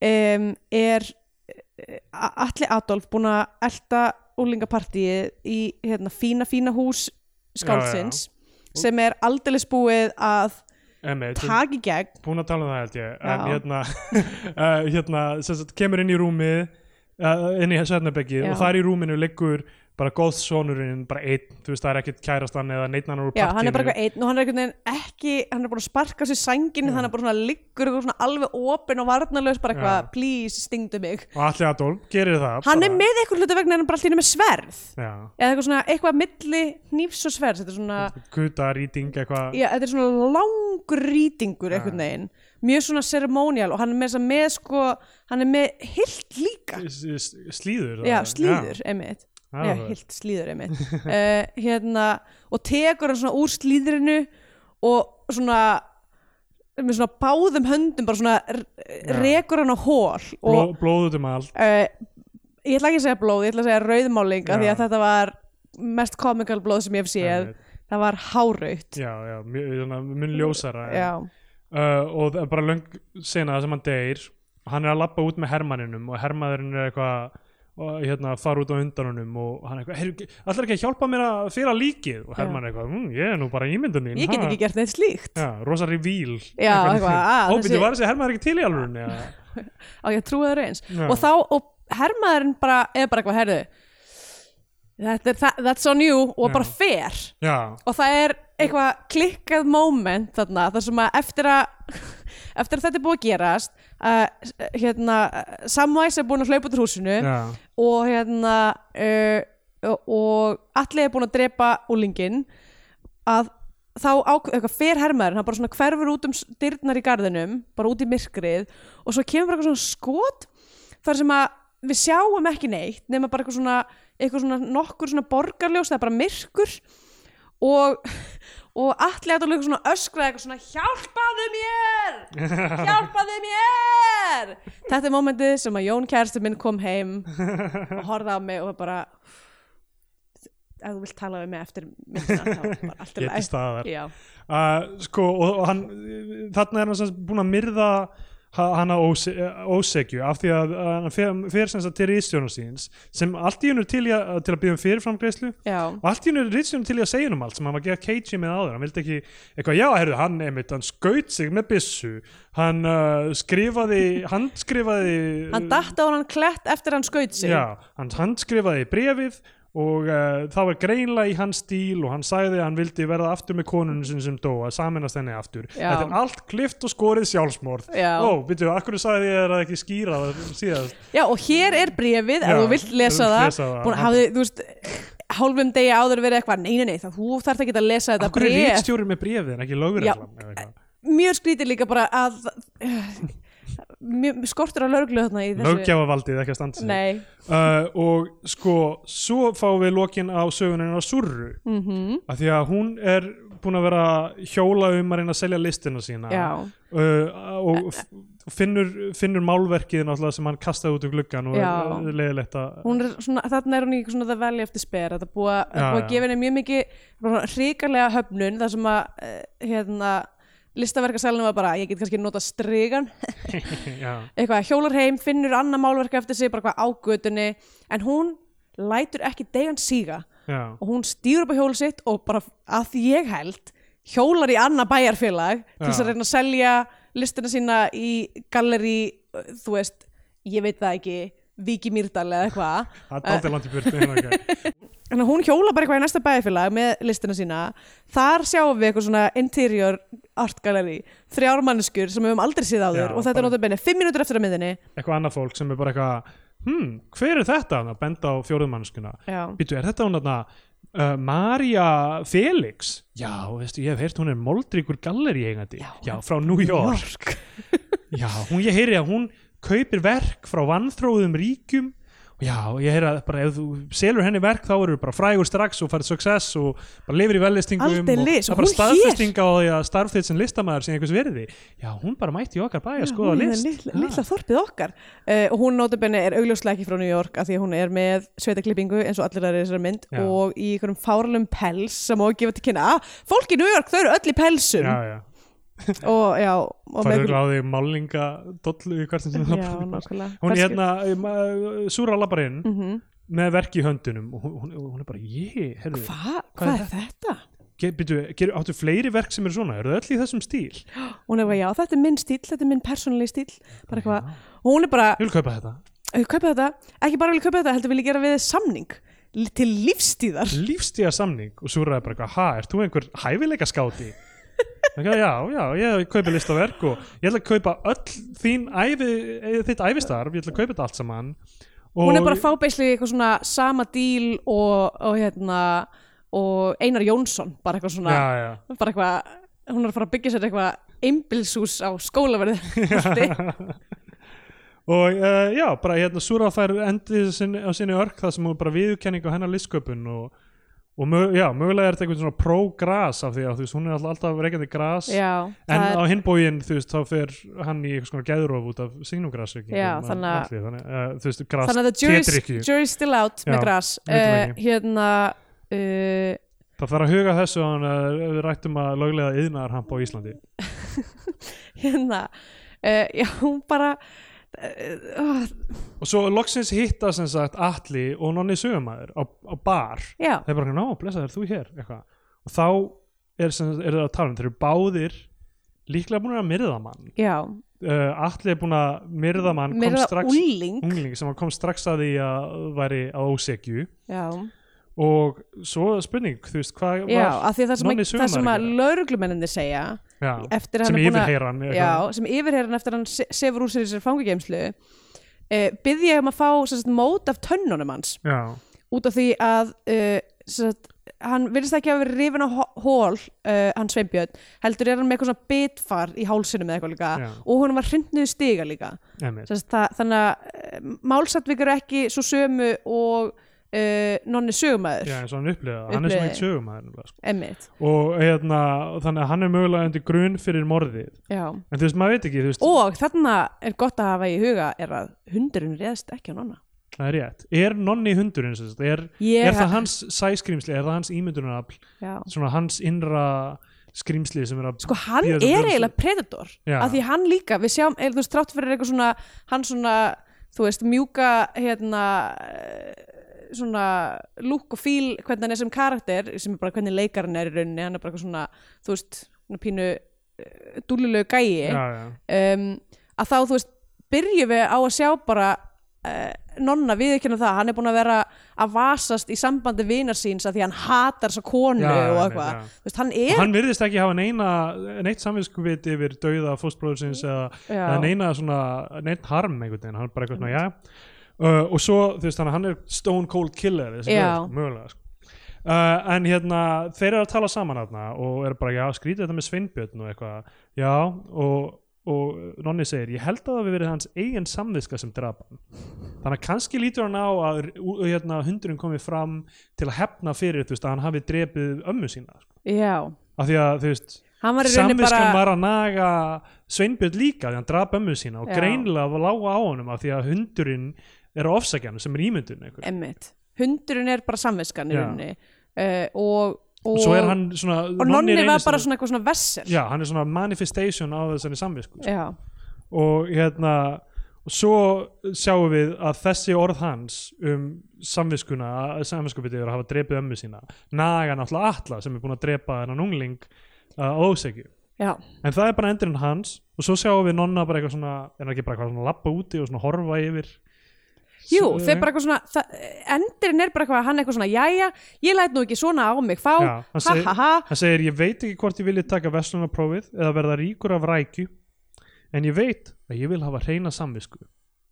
um, er eh, A- Atli Adolf búin að elta úlingapartíið í hérna, fína fína hús skáldsins sem er aldeilis búið að taka í gegn
búin að tala um það held ég en
Já.
hérna, uh, hérna sem sagt, kemur inn í rúmið uh, inn í svefnabeggið
Já.
og þar í rúminu liggur bara góðsonurinn, bara einn þú veist það er ekkert kærastan eða neitt annar úr
Já, hann er bara
partíinu
eitthvað einn og hann er einhvern veginn ekki, hann er búin að sparka sér sængin þannig að hann er bara svona liggur eitthvað svona alveg opinn og varnarlaus bara eitthvað,
Já.
please, stingdu mig
og allir Adolf gerir það
Hann
bara.
er með eitthvað hluta vegna en hann er bara allir með sverð
já,
eða eitthvað svona, eitthvað milli hnífs og sverð þetta er svona,
kuta, rýting, eitthvað
já, þetta er svona langur rýtingur einhvern veginn mjög svona ceremonial og hann er með þess að með sko, hann er með hilt líka
s- s- slíður það
Já,
er.
slíður, einmitt
Já,
Já,
það er.
hilt slíður einmitt uh, hérna, og tekur hann svona úr slíðrinu og svona með svona báðum höndum bara svona
Já.
r- rekur hann á hól
Bló,
og
blóð út um allt
uh, ég ætla ekki að segja blóð, ég ætla að segja rauðmáling af
Já.
því að þetta var mest komikal blóð sem ég hef séð
Einmitt.
það var háraut
já, já, mjög, svona, mun ljósara en-
já,
uh, og það er bara löng sena sem hann deyr og hann er að labba út með hermanninum og hermaðurinn er eitthvað og hérna fara út á undanunum og hann er eitthvað, "Heyrðu, allar ekki að hjálpa mér að fyrra líkið og hermann er eitthvað, mmm, ég er nú bara ímyndun mín
ég get ekki gert neitt slíkt
Já, rosa revíl
Já, eitthvað, að,
Óbyrði,
þessi-
var þessi hermaður ekki til í alvörun Já,
á ég að trúa það reyns
Já.
og þá, og hermaðurinn bara, er bara eitthvað herðu þetta er, það, that's on you og
Já.
bara fer
já,
og það er eitthvað klikkað moment þarna þar sem að eftir að eftir að þetta er búið að gerast uh, hérna, Samvæs er búin að hlaupa út úr húsinu
já,
og hérna uh, og allir er búin að drepa úlingin að þá ákveð, eitthvað fer hermaðurinn hann bara svona hverfur út um s- dyrnar í garðinum bara út í myrkrið og svo kemur bara eitthvað svona skot þar sem að við sjáum ekki neitt nema bara eitthvað svona, eitthvað svona nokkur svona borgarljós það er bara myrkur og, og allir að svona öskraði eitthvað svona hjálpaðu mér hjálpaðu mér þetta er momentið sem að Jón kæristu minn kom heim og horfði á mig og var bara ef þú vilt tala við mig eftir myndina þá er bara allt í
ég til
lagi."
staðar
Já.
uh, sko, og, og hann þarna er hann sem sagt búinn að myrða ha- hana óse- eh, ósekju af því að að hann fer, fer sem sagt til rýstjónum síns sem allt í hennu til, í að- til að byrja um fyrirframgreyslu
Já.
og allt í hennu er rýstjónum til í að segja um allt sem hann var að gera Keiji með áður, hann vildi ekki eitthvað, já, heyrðu, hann einmitt, hann skaut sig með byssu hann uh, skrifaði handskrifaði
hann datt á hann klett eftir hann skaut sig
Já, hann handskrifaði brefið og uh, það var greinlega í hans stíl og hann sagði að hann vildi verða aftur með konunum sinni sem dó að saminast henni aftur
Já.
þetta er allt klift og skorið sjálfsmorð
Já.
ó, byrju, akkur sagði ég þér að ekki skýra það síðast
Já, og hér er bréfið, ef
Já,
þú vilt lesa
ef þú vilt
það,
lesa það.
Búin, hafði, þú veist, hálfum degi áður verið eitthvað, nei, nei, nei, það, þú þarf ekki að lesa þetta
akkur er
bréf.
ríkstjóri með brefið en ekki lögreglan eða eitthvað.
Mjög skrítið líka bara að, mjög skortur á löglu þarna í þessu.
löggjafarvaldið ekki að standa sig
Nei,
uh, og sko svo fáum við lokin á sögunin á Surru mm -hmm.
Mhm.
af því að hún er búin að vera hjóla um að reyna að selja listina sína
Já.
uh, og f- finnur, finnur málverkið náttúrulega sem hann kastaði út um gluggan og
Já.
er leiðilegt að
hún er svona, þarna er hún í eitthvað svona það velja eftir spera, þetta er búið að-
Já,
búið
já.
að gefa henni mjög mikið ríkarlega höfnun, þar sem að, eh, hérna, listaverkasalinn var bara, ég get kannski nota strigan,
já,
eitthvað hjólar heim, finnur annað málverk eftir sig, bara eitthvað ágötunni en hún lætur ekki degan síga
já,
og hún stýr upp á hjólu sitt og bara að því ég held hjólar í annað bæjarfélag til þess
Já.
að reyna að selja listina sína í galleri, uh, þú veist ég veit það ekki, Viki Mýrdal eða eitthvað
það er aldrei langt í burtu en ok.
Þannig að hún hjóla bara eitthvað í næsta bæjarfélag með listina sína. Þar sjáum við eitthvað svona interior art gallery, þrjár mannskjur sem við höfum aldrei séð áður
Já,
og þetta er
bara-
nota benni fimm mínútur eftir að miðinni.
eitthvað annað fólk sem er bara eitthvað hmm, hver er þetta hann að benda á fjóruðmannskuna
Já.
býtu, er þetta hún þarna Uh, Marja Felix já, veistu, ég hef heyrt hún er moldríkur galleri eigandi, já, frá New York, já, hún, ég heyri að hún kaupir verk frá vanþróðum ríkjum já, ég heyri að bara ef þú selur henni verk þá eru bara frægur strax og farið success og bara lifir í vellistingum
Aldeilis, og
og það er bara
hún hér.
staðfesting á því að starf þitt sem listamæður sem einhvers verði já, hún bara mætti í okkar bæ að skoða
Hún er
list
litla, litla þorpið okkar uh, og hún notabenni er augljóslega ekki frá New York af því að hún er með sveitaklippingu eins og allir aðrir í þessari mynd
Já.
og í einhverjum fáralum pels sem má gefa til kynna ah, fólk í New York, þau eru öll í pelsum
Ah. já, já,
og já, og
farið einhver... á því málinga dollu í hvert sem sem
já,
það-
nákvæmlega
hún er
Kannski-
hérna um, uh, súra labbar inn
Mhm.
með verk í höndunum og hún, hún, hún er bara, ég, herðu
Hva, hvað
er
er þetta?
ger, byrju, ger, áttu fleiri verk sem eru svona, eru þau öll í þessum stíl ég
Hún er bara, já, þetta er minn stíl, þetta er minn persónulegi stíl bara eitthvað, og hún er bara
vil kaupa þetta
"Ég kaupa þetta, ekki bara vil ég kaupa þetta heldur vil ég gera við þig samning li- til lífstíðar
lífstíða samning og Súra er bara eitthvað, ha, ert þú einhver hæfileika skáti? já, já, ég kaupi listaverk og ég ætla að kaupa öll þín æfi, eh, þitt æfistarf, ég ætla að kaupa þetta allt saman og
hún er bara að fá beisli eitthvað svona sama díl og, og hérna og Einar Jónsson bara eitthvað svona
já, já.
bara eitthvað, hún er að fara að byggja sér eitthvað einbilsús á skólaverði
og uh, já, bara hérna Súra fær endið sinni, á sinni örk það sem hún bara viðurkenning á hennar listsköpun og, og mög, já, mögulega er þetta einhvern svona pró-gras af því að þú veist, hún er alltaf, alltaf reykjandi gras
já,
En
það
á
er,
hinn bóginn, þú veist, þá fer hann í eitthvað svona gæðurof út af signugrasöki
Já, þannig að-
þannig að, þú veist, gras
þannig að the jury's,
tetrykju.
jury's still out
Já,
með gras
vitum
uh,
ekki.
hérna uh,
Það þarf að huga þessu á hann að við rættum að löglega yðnaðarhampa á Íslandi.
hérna uh, já, hún bara uh,
Og svo loksins hitta sem sagt Atli og nonni sögumæður á, á bar.
já,
Það er bara, ná, blessa þér, þú hér, eitthvað. Og þá er, sem, sagt- er það að tala um, þeir eru báðir líklega búin að myrða mann.
já
Uh, Atli er búin að myrða mann, kom
meira
strax,
úling
ungling sem hann kom strax að því að væri á ósekju.
já,
og svo er spurning, þú veist, hvað
já,
var
af því að það sem, að,
Nonni
það sem að
sögumaðurinn
lauruglumenninni segja
já,
eftir að
sem
hann er búin að
yfirheyran eða
já,
eitthvað.
sem yfirherran eftir að hann se- sefur úr sér í sér fangageimslu eh, byði ég um að fá sem sagt, mót af tönnunum hans
já,
út af því að uh, sagt, hann virðist ekki að vera rifin á hó- hól uh, hann Sveinbjörn, heldur er hann með eitthvað svona bitfar í hálsinum eða eitthvað líka
Já.
og honum var hrinduðu stiga líka
einmitt.
Sest, það, þannig að uh, málsatvik eru ekki svo sömu og uh, nonni sögumæður
já, eins og hann upplifa hann er
Upplifaði.
svona eitt sögum að
emmitt
sko. og hérna, þannig að hann er mögulega undir grun fyrir morðið en þú veist, maður veit ekki, þú veist,
og þarna er gott að hafa í huga er að hundurinn reðst ekki á nonna
það er rétt er nonni hundurinn, sem sagt, er,
Ég-
er það hans sæskrimsli, er það hans ímyndunarafl
já.
svona hans innra skrimsli sem er að
sko hann er
bíða eftir brjósti?
eiginlega predator
Já.
af því hann líka, við sjáum eða þú veist, trátt fyrir eitthvað svona hann svona, þú veist, mjúka hérna eh, svona lúk og fíl hvernig hann er sem karakter, sem er bara hvernig leikarinn er í rauninni, hann er bara eitthvað svona, þú veist svona pínu uh, dúlulegu gæi
já, já,
um, að þá þú veist byrjum við á að sjá bara uh, nonna viðurkenna það, hann er búin að vera að vasast í sambandi vinar síns að því hann hatar þessa konu
Já, já,
og
einmitt, já.
eitthvað, þú veist, hann
og
er
hann virðist ekki hafa neina neitt samvinskuvit yfir dauða fóstbróðsins eða,
Já.
eða neina svona neitt harm einhvern veginn, hann er bara eitthvað svona, já uh, og svo, þú veist, þannig að hann er stone cold killer, þessi
Já.
gaur, sko, mögulega sko. Uh, en hérna, þeir eru að tala saman hérna og eru bara, já, skrítið þetta með Sveinbjörn og eitthvað, já og, og Nonni segir, ég held að það við verið hans eigin samviska sem drap hann þannig að kannski lítur hann á að ú- hérna, hundurinn komið fram til að hefna fyrir, þú veist, að hann hafi drepið ömmu sína, sko.
Já,
af því að, þú veist
hann var í rauninni
samviskan
bara
var að naga Sveinbjörn líka því hann draf ömmu sína og
Já.
greinilega var lága á honum af því að hundurinn er á ofsækjanum sem er ímyndun einhver.
emmitt, hundurinn er bara samviskan í
Já.
rauninni uh, og, og,
og svo er hann svona
og nonni var
reynist-
bara svona eitthvað svona vesser
já, hann er svona manifestation á þessari samvisku sko.
Já,
og hérna og svo sjáum við að þessi orð hans um samviskuna samviskupið yfir að hafa drepið ömmu sína naga náttúrulega Atla sem er búin að drepa þennan ungling uh, á ósækju
já,
en það er bara endurinn hans og svo sjáum við nonna bara eitthvað svona er hann ekki bara eitthvað svona lappa úti og svona horfa yfir
jú,
S-
þau bara eitthvað svona það, endurinn er bara eitthvað, hann eitthvað svona jæja, ég læt nú ekki svona á mig fá
Já, hann
ha
segir-
ha ha,
hann segir ég veit ekki hvort ég vilja taka verslunarprófið eða verða ríkur af rækju en ég veit að ég vil hafa hreina samvisku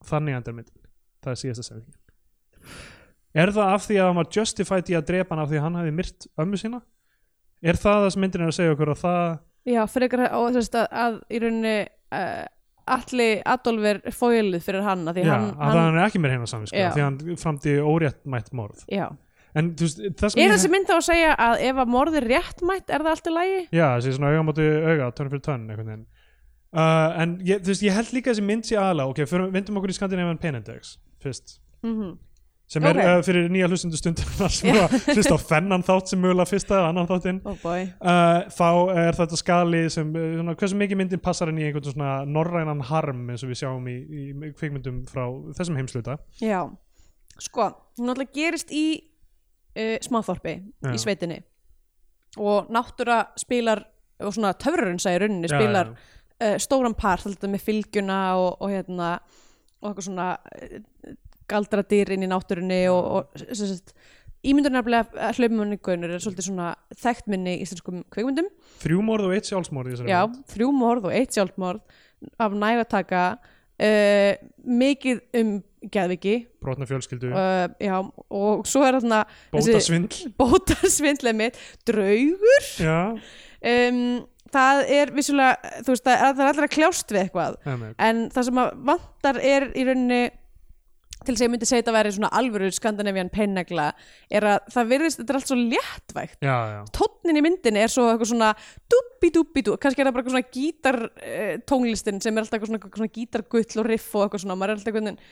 þannig endar myndin það er síðasta sendingin er það af því að hann var justified í að drepa hann af því að hann hafi myrt ömmu sína er það það sem myndin er að segja okkur að það
já, fyrir eitthvað og þess að, að í rauninni uh, allir Adolf er fóilið fyrir hann að því
já,
hann,
að hann, hann er ekki með hreina samvisku
Já.
af því að hann framdi óréttmætt morð
já.
en þú veist það
er
sem ég-
þessi mynd þá að segja að ef að morði réttmætt er það allt í lagi?
Já, þessi svona auga móti auga, tönn fyrir tönn einhvern veginn. Uh, en ég, þú veist, ég held líka þessi mynd sé aðla, ok, fyrir, vindum okkur í Scandinavian Penindex fyrst,
Mm
sem
Ok.
er uh, fyrir nýja hlustundu stundunar sem yeah. hlust á þennan þátt sem mögulega fyrsta eða annan þáttinn
Oh boy,
uh, þá er þetta skali sem, uh, svona, hversu mikið myndin passar inn í einhvern svona norrænan harm eins og við sjáum í, í kvikmyndum frá þessum heimsluta
Já, sko, hún náttúrulega gerist í uh, smáþorpi,
Já.
í sveitinni og náttúra spilar og svona töfrurinn sagði rauninni
Já,
spilar
já.
Uh, stóran part, þetta með fylgjuna og, og hérna og eitthvað svona uh, galdradýr inn í náttúrunni og, og sem sagt, ímyndurinn er nefnilega að hlaupumunningunur er svolítið svona þekkt minni í íslenskum kvikmyndum
Þrjú morð og eitt sjálfsmorð í þessari
Já,
mynd.
þrjú morð og eitt sjálfmorð af nægataka uh, mikið um geðviki
brotna fjölskyldu, uh,
uh, já, og svo er þarna
bóta
þessi-
svindl
bótasvindlið mitt draugur
Já,
um, það er vissulega þú veist, það, það er allra kljást við eitthvað
emmi,
en það sem að vantar er í rauninni til þess að ég myndi segja þetta væri svona alvöru skandinavían pennegla er að það virðist, þetta er allt svo léttvægt
já, já
tónnin í myndinni er svo eitthvað svona dubbi dubbi dú, kannski er það bara eitthvað svona gítar eh, tónlistin sem er alltaf eitthvað svona, eitthvað svona gítargull og riff og eitthvað svona maður er alltaf eitthvað,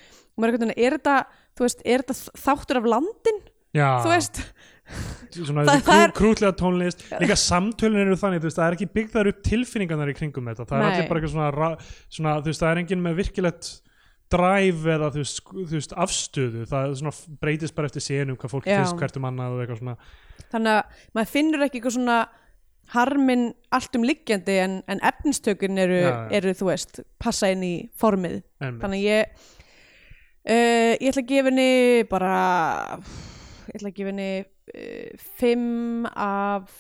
maður er eitthvað, er þetta þú veist, er þetta þáttur af landin
Já,
þú veist,
svona
Það-
það, krú,
það er-
krútlega tónlist líka samtölun eru þannig, þú veist, það er ekki byggðar upp tilfinningarnar í kringum þetta það er
Nei.
allir bara eitthvað svona, ra- svona þú veist, það er enginn með virkilegt dræf eða þú veist, sku- þú veist, afstöðu það er svona f- breytist bara eftir senum hvað fólk
Já.
finnst hvert um annað og eitthvað svona
þannig að maður finnur ekki eitthvað svona harminn allt um liggjandi en, en efnistökin eru,
Já, Mm. já.
eru, þú veist, passa inn í formið
en,
þannig að ég eh, uh, ég ætla að gefa henni bara ég ætla að gefa henni eh, fimm af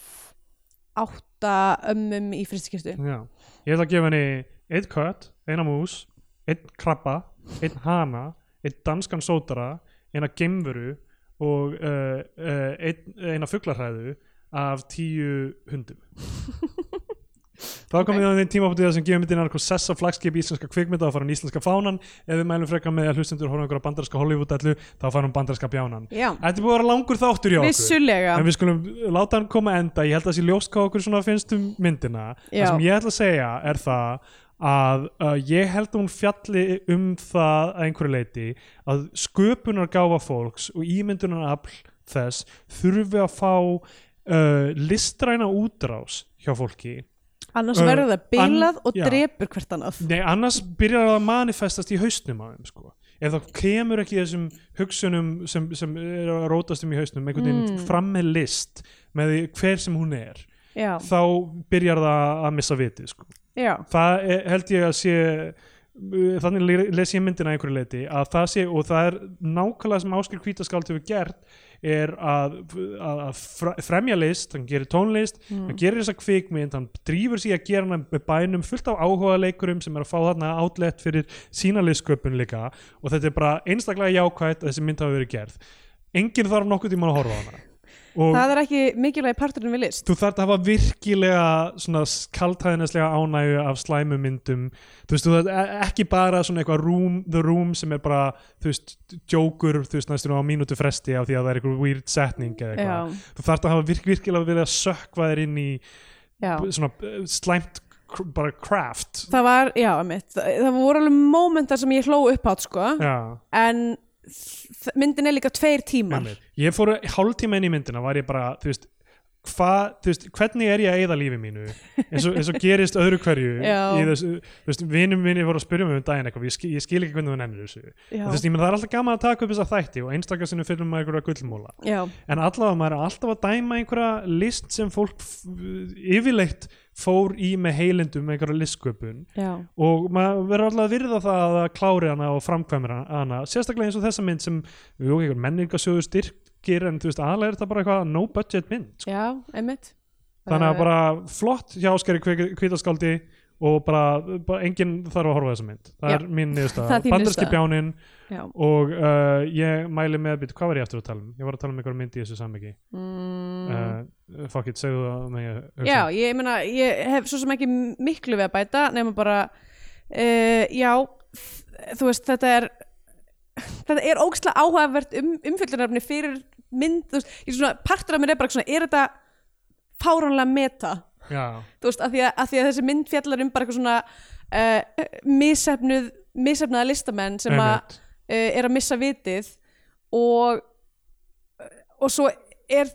átta ömmum í fristikistu
Já. Ég ætla að gefa henni einn kött, eina mús, einn krabba, einn hana, einn danskan sótara, eina gemveru og uh, uh, ein, eina fuglarhæðu af tíu hundum. Þá komum við á þeim tímapunktið þar sem gefum myndin eitthvað sessa flagskip íslenska kvikmynda og fara hann íslenska fánan ef við mælum frekar með að hlustendur horfum einhverja bandarska Hollywood-allu þá fara hann bandarska bjánan
Já,
Þetta er búið að vera langur þáttur hjá okkur
vissulega
en við skulum láta hann koma að enda ég held að það sé ljóst hvað okkur svona finnst um myndina
Já.
það sem ég ætla að segja er það að uh, ég held að hún fjalli um það að einhverju leiti að sköpunar gáfa fólks og ímyndunar afl þess þurfi að fá uh, listræna útrás hjá fólki
Annars
Ö,
verður það bilað
ann-
og
Eh, já.
drepur hvert annað
Nei, annars byrjar það að manifestast í hausnum á þeim sko. ef það kemur ekki þessum hugsunum sem, sem er að rótast um í hausnum einhvern veginn
Mm.
fram með list með því hver sem hún er
Já,
þá byrjar það að missa vitið sko.
já,
það er, held ég að sé uh, þannig le- les ég myndina að einhverju leiti að það sé og það er nákvæmlega sem Áskil Kvítaskáld hefur gert er að, að, að fre- fremja list hann gerir tónlist, hann gerir þessa kvikmynd hann drífur sig að gera hann með bænum fullt af áhuga leikurum sem er að fá þarna outlet fyrir sína listsköpun líka og þetta er bara einstaklega jákvætt að þessi mynd hafi verið gerð enginn þarf nokkuð tíma að horfa á hana og
það er ekki mikilvægi parturinn við list
þú þarft að hafa virkilega svona kaltæðineslega ánægju af slæmu myndum þú veist, þú þarft e- ekki bara svona eitthvað room, the room sem er bara þú veist, joker, þú veist, næstum á mínútu fresti af því að það er eitthvað weird setning eða
Já,
eitthvað, þú þarft að hafa virk, virkilega vilja að sökva þér inn í
já
svona eh, slæmt kr- bara craft
Það var, já, mitt, það, það voru alveg mómentar sem ég hló upp átt, sko,
Já,
en þ- myndin er líka tveir tímar.
einmitt. ég fór hálftíma inn í myndina var ég bara, þú veist Hva, þú veist, hvernig er ég að eyða lífi mínu eins og, eins og gerist öðru hverju
Já.
í þessu, þú veist, vinum minni voru að spyrja mig um daginn eitthvað, ég skil, ég skil ekki hvernig þú nennir þessu já.
Já,
þú veist, ég menn það er alltaf gaman að taka upp þessa þætti og einstakar sinni fyrir maður einhverja gullmóla
já,
en allavega maður er alltaf að dæma einhverja list sem fólk f- yfirleitt fór í með heilindum með einhverja listsköpun
já,
og maður verður alltaf að virða það að það klári hana og framkvæmir hana sérstaklega eins og þessa mynd sem jú, einhver menningasjóðu styrkir en þú veist aðlega er þetta bara eitthvað no budget mynd sko.
já, einmitt.
þannig
Eh,
að bara flott hjá Óskari kvítaskaldi og bara, bara enginn þarf að horfa á þessa mynd það
Já.
er mín
Það
niðurstaða,
er þín
banderski
niðurstaða.
bjáninn
Já,
og uh, ég mæli með bit, hvað var ég aftur að tala um? ég var að tala um einhver mynd í þessu sammyggi
mm,
uh, fuck it, segðu það með ég hugsa.
já, ég meina, ég hef svo sem ekki miklu við að bæta, nema bara, uh, já, þ- þú veist, þetta er, þetta er ógstlega áhugavert um, umfyllunarfni fyrir mynd, þú veist, ég svona, partur af mér er bara svona, er þetta fáránlega meta?
Já.
þú veist, af því að, af því að þessi mynd fjallar um bara eitthvað svona uh, misefnuð, misefnaða listamenn sem að uh,
Einmitt.
er að missa vitið og eh, og svo er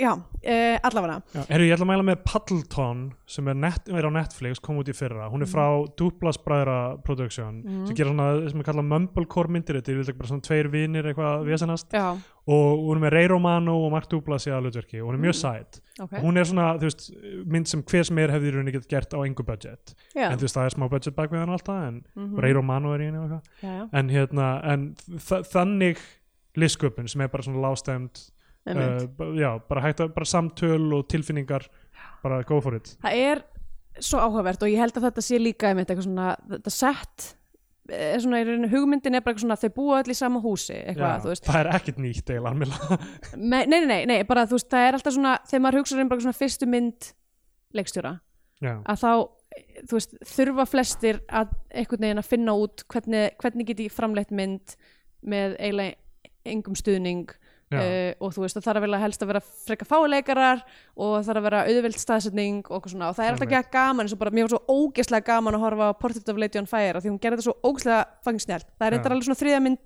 já, uh, allafana
Já, Herru, ég ætla að mæla með Paddleton sem er, net, er á Netflix, kom út í fyrra hún er
Mhm.
frá Duplas Bræðra Production sem gerir svona, sem er kallað Mumblecore myndir þetta er bara svona tveir vinir eitthvað vesanast
já,
og hún er með Ray Romano og Mark Duplas í aðlutverki og hún er
Mhm.
mjög sæt
ok
hún er svona, þú veist, mynd sem hver sem er hefði í rauninni gett gert á engu budget
já,
en þú veist, það er smá budget bak við hann alltaf en
Mhm.
Ray Romano er í henni og eitthvað
já, já,
en hérna, en þa- þannig listsköpun sem er bara svona lástæmd
einmitt.
uh, ba- já, bara hægt að bara samtöl og tilfinningar bara go for it
það er svo áhugavert og ég held að þetta sé líka einmitt eitthvað svona, þetta sett eh, svona, í rauninni- hugmyndin er bara eitthvað svona þau búa öll í sama húsi, eitthvað, þú veist
það er ekkert nýtt eiginlega almennilega.
Me- nei, nei, nei, nei, bara þú veist, það er alltaf svona þegar maður hugsa um bara svona fyrstu mynd leikstjóra,
já,
að þá þú veist, þurfa flestir að einhvern veginn að finna út hvernig, hvernig get ég framleitt mynd með eiginlega engum stuðning
já,
uh, og þú veist það þarf að vera helst að vera freka fáleikarar og það þarf að vera auðveld staðsetning og, eitthvað svona, og það er alltaf ekki að gaman eins og bara, mér var svo ógeðslega gaman að horfa á Portrait of Lady on Fire af því hún gerði þetta svo ógeðslega fangsnjælt það er
Já.
eitthvað alveg svona þriðja mynd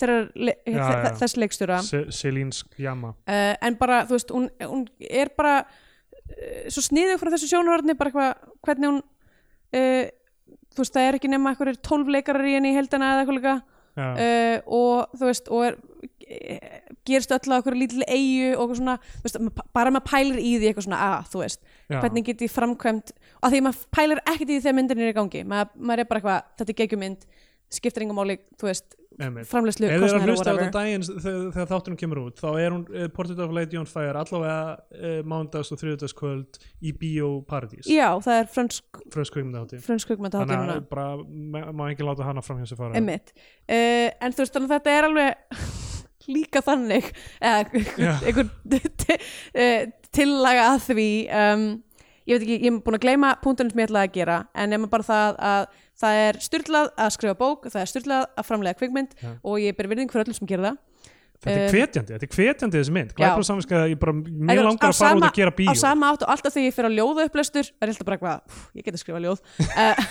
þeirrar le-
Já,
þe-
já.
þess leikstjóra
Se- Celine Skjama
uh, en bara, þú veist, hún, hún er bara uh, svo sniðug frá þessu sjónhörni bara eitthvað, hvernig hún uh, þú veist, það er ekki nema eitthvað tólf leikarar í henni í heldana eða eitthvað líka
já,
uh, og þú veist, og er eh, gerist öll á eitthvað lítið eigu og eitthvað svona, þú veist, ma- bara maður pælir í því eitthvað svona að, þú veist,
já,
hvernig get ég framkvæmt og því maður pælir ekkert í því þegar myndin er í gangi maður, maður er bara eitthvað, þetta er geggjumynd skiptir engum máli, þú veist
einmitt.
framleyslu
Ef þið eru að
kostnaðar og
hlusta á
whatever.
þetta daginn s- þegar, þegar þáttunum kemur út þá er hún eh, Portrait of a Lady on Fire allavega uh, mándags og þriðudagskvöld í Bíó Paradís
Já, það er frönsk,
frösku kvikmyndahátti
frönsk kvikmyndahátíð
þannig
núna
að bara ma- má ekki láta hana fram hjá sér fara
einmitt uh, en þú veist þannig að þetta er alveg líka þannig eða
Já.
einhver t- eh, tillaga að því um, ég veit ekki, ég er búin að gleyma punktunum sem ég ætlaði að gera en nema bara það að það er styrlað að skrifa bók það er styrlað að framlega kvikmynd
Já.
og ég ber virðing fyrir öllum sem gera það
þetta er
um,
hvetjandi, þetta er hvetjandi þessi mynd glæpur og samviska, ég bara
Þetta
mjög
er á
langar að fara út
sama-
að gera bíó
á sama átt og alltaf þegar ég fyrir á ljóða upplestur er alltaf bara eitthvað, "Pff, ég geti skrifa ljóð uh,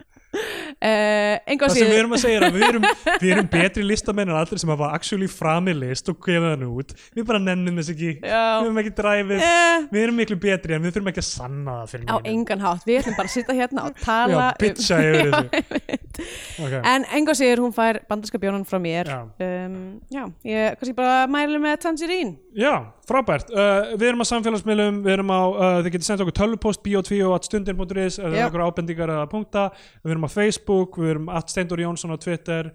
uh, enga
það sem við erum að segja er að við erum, við erum betri listamenn en allir sem hafa actually frami list og gefa hann út við bara nennum þess ekki, við
já,
erum ekki dræfið
uh,
við erum miklu betri en við þurfum ekki að sanna það fyrir
á
neinum.
engan hátt, við ætlum bara að sitta hérna og tala
Já, bitcha yfir
Já,
þessu.
einmitt.
okay.
en enga sér hún fær bandarska bjónan frá mér
Já.
um, já ég, kannski bara mæli með tangerine
Já, frábært. Uh, við erum á samfélagsmiðlum, við erum á, uh, þið getur sendt okkur tölvupost bio2 og atstundin.is ef það
Já.
er okkur ábendingar eða punkta. Við erum á Facebook, við erum atsteindur Jónsson á Twitter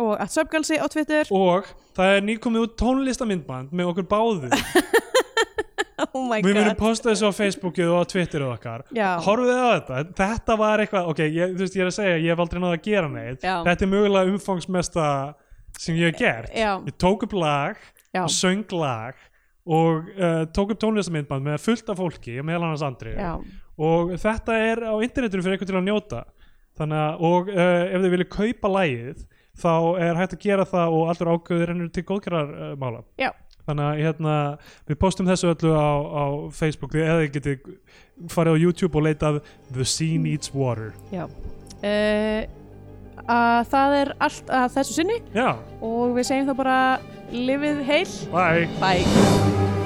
og að söpgalsi á Twitter
og það er nýkomið út tónlistamindband með okkur báðu.
oh my
við
god
munum posta þessu á Facebookið og á Twitterið okkar.
Já.
Horfið á þetta. Þetta var eitthvað, ok, ég, þú veist, ég er að segja, ég hef aldrei náða að gera neitt.
Já.
Þetta er mögulega umfangsmesta sem ég hef gert.
Já.
Ég tók upp lag.
já,
og söng lag og uh, tók upp tónlistamindband með fullt af fólki, meðal annars Andri
já,
og þetta er á internetinu fyrir einhvern til að njóta þannig að, og uh, ef þið viljið kaupa lagið þá er hægt að gera það og allur ágöður ennur til góðgerðarmála uh, mála.
já
þannig að hérna, við postum þessu öllu á, á Facebook eða þið getið farið á YouTube og leitað The Sea Needs Water
já uh, að það er allt að þessu sinni
Já,
og við segjum þá bara lifið heil
bye
bye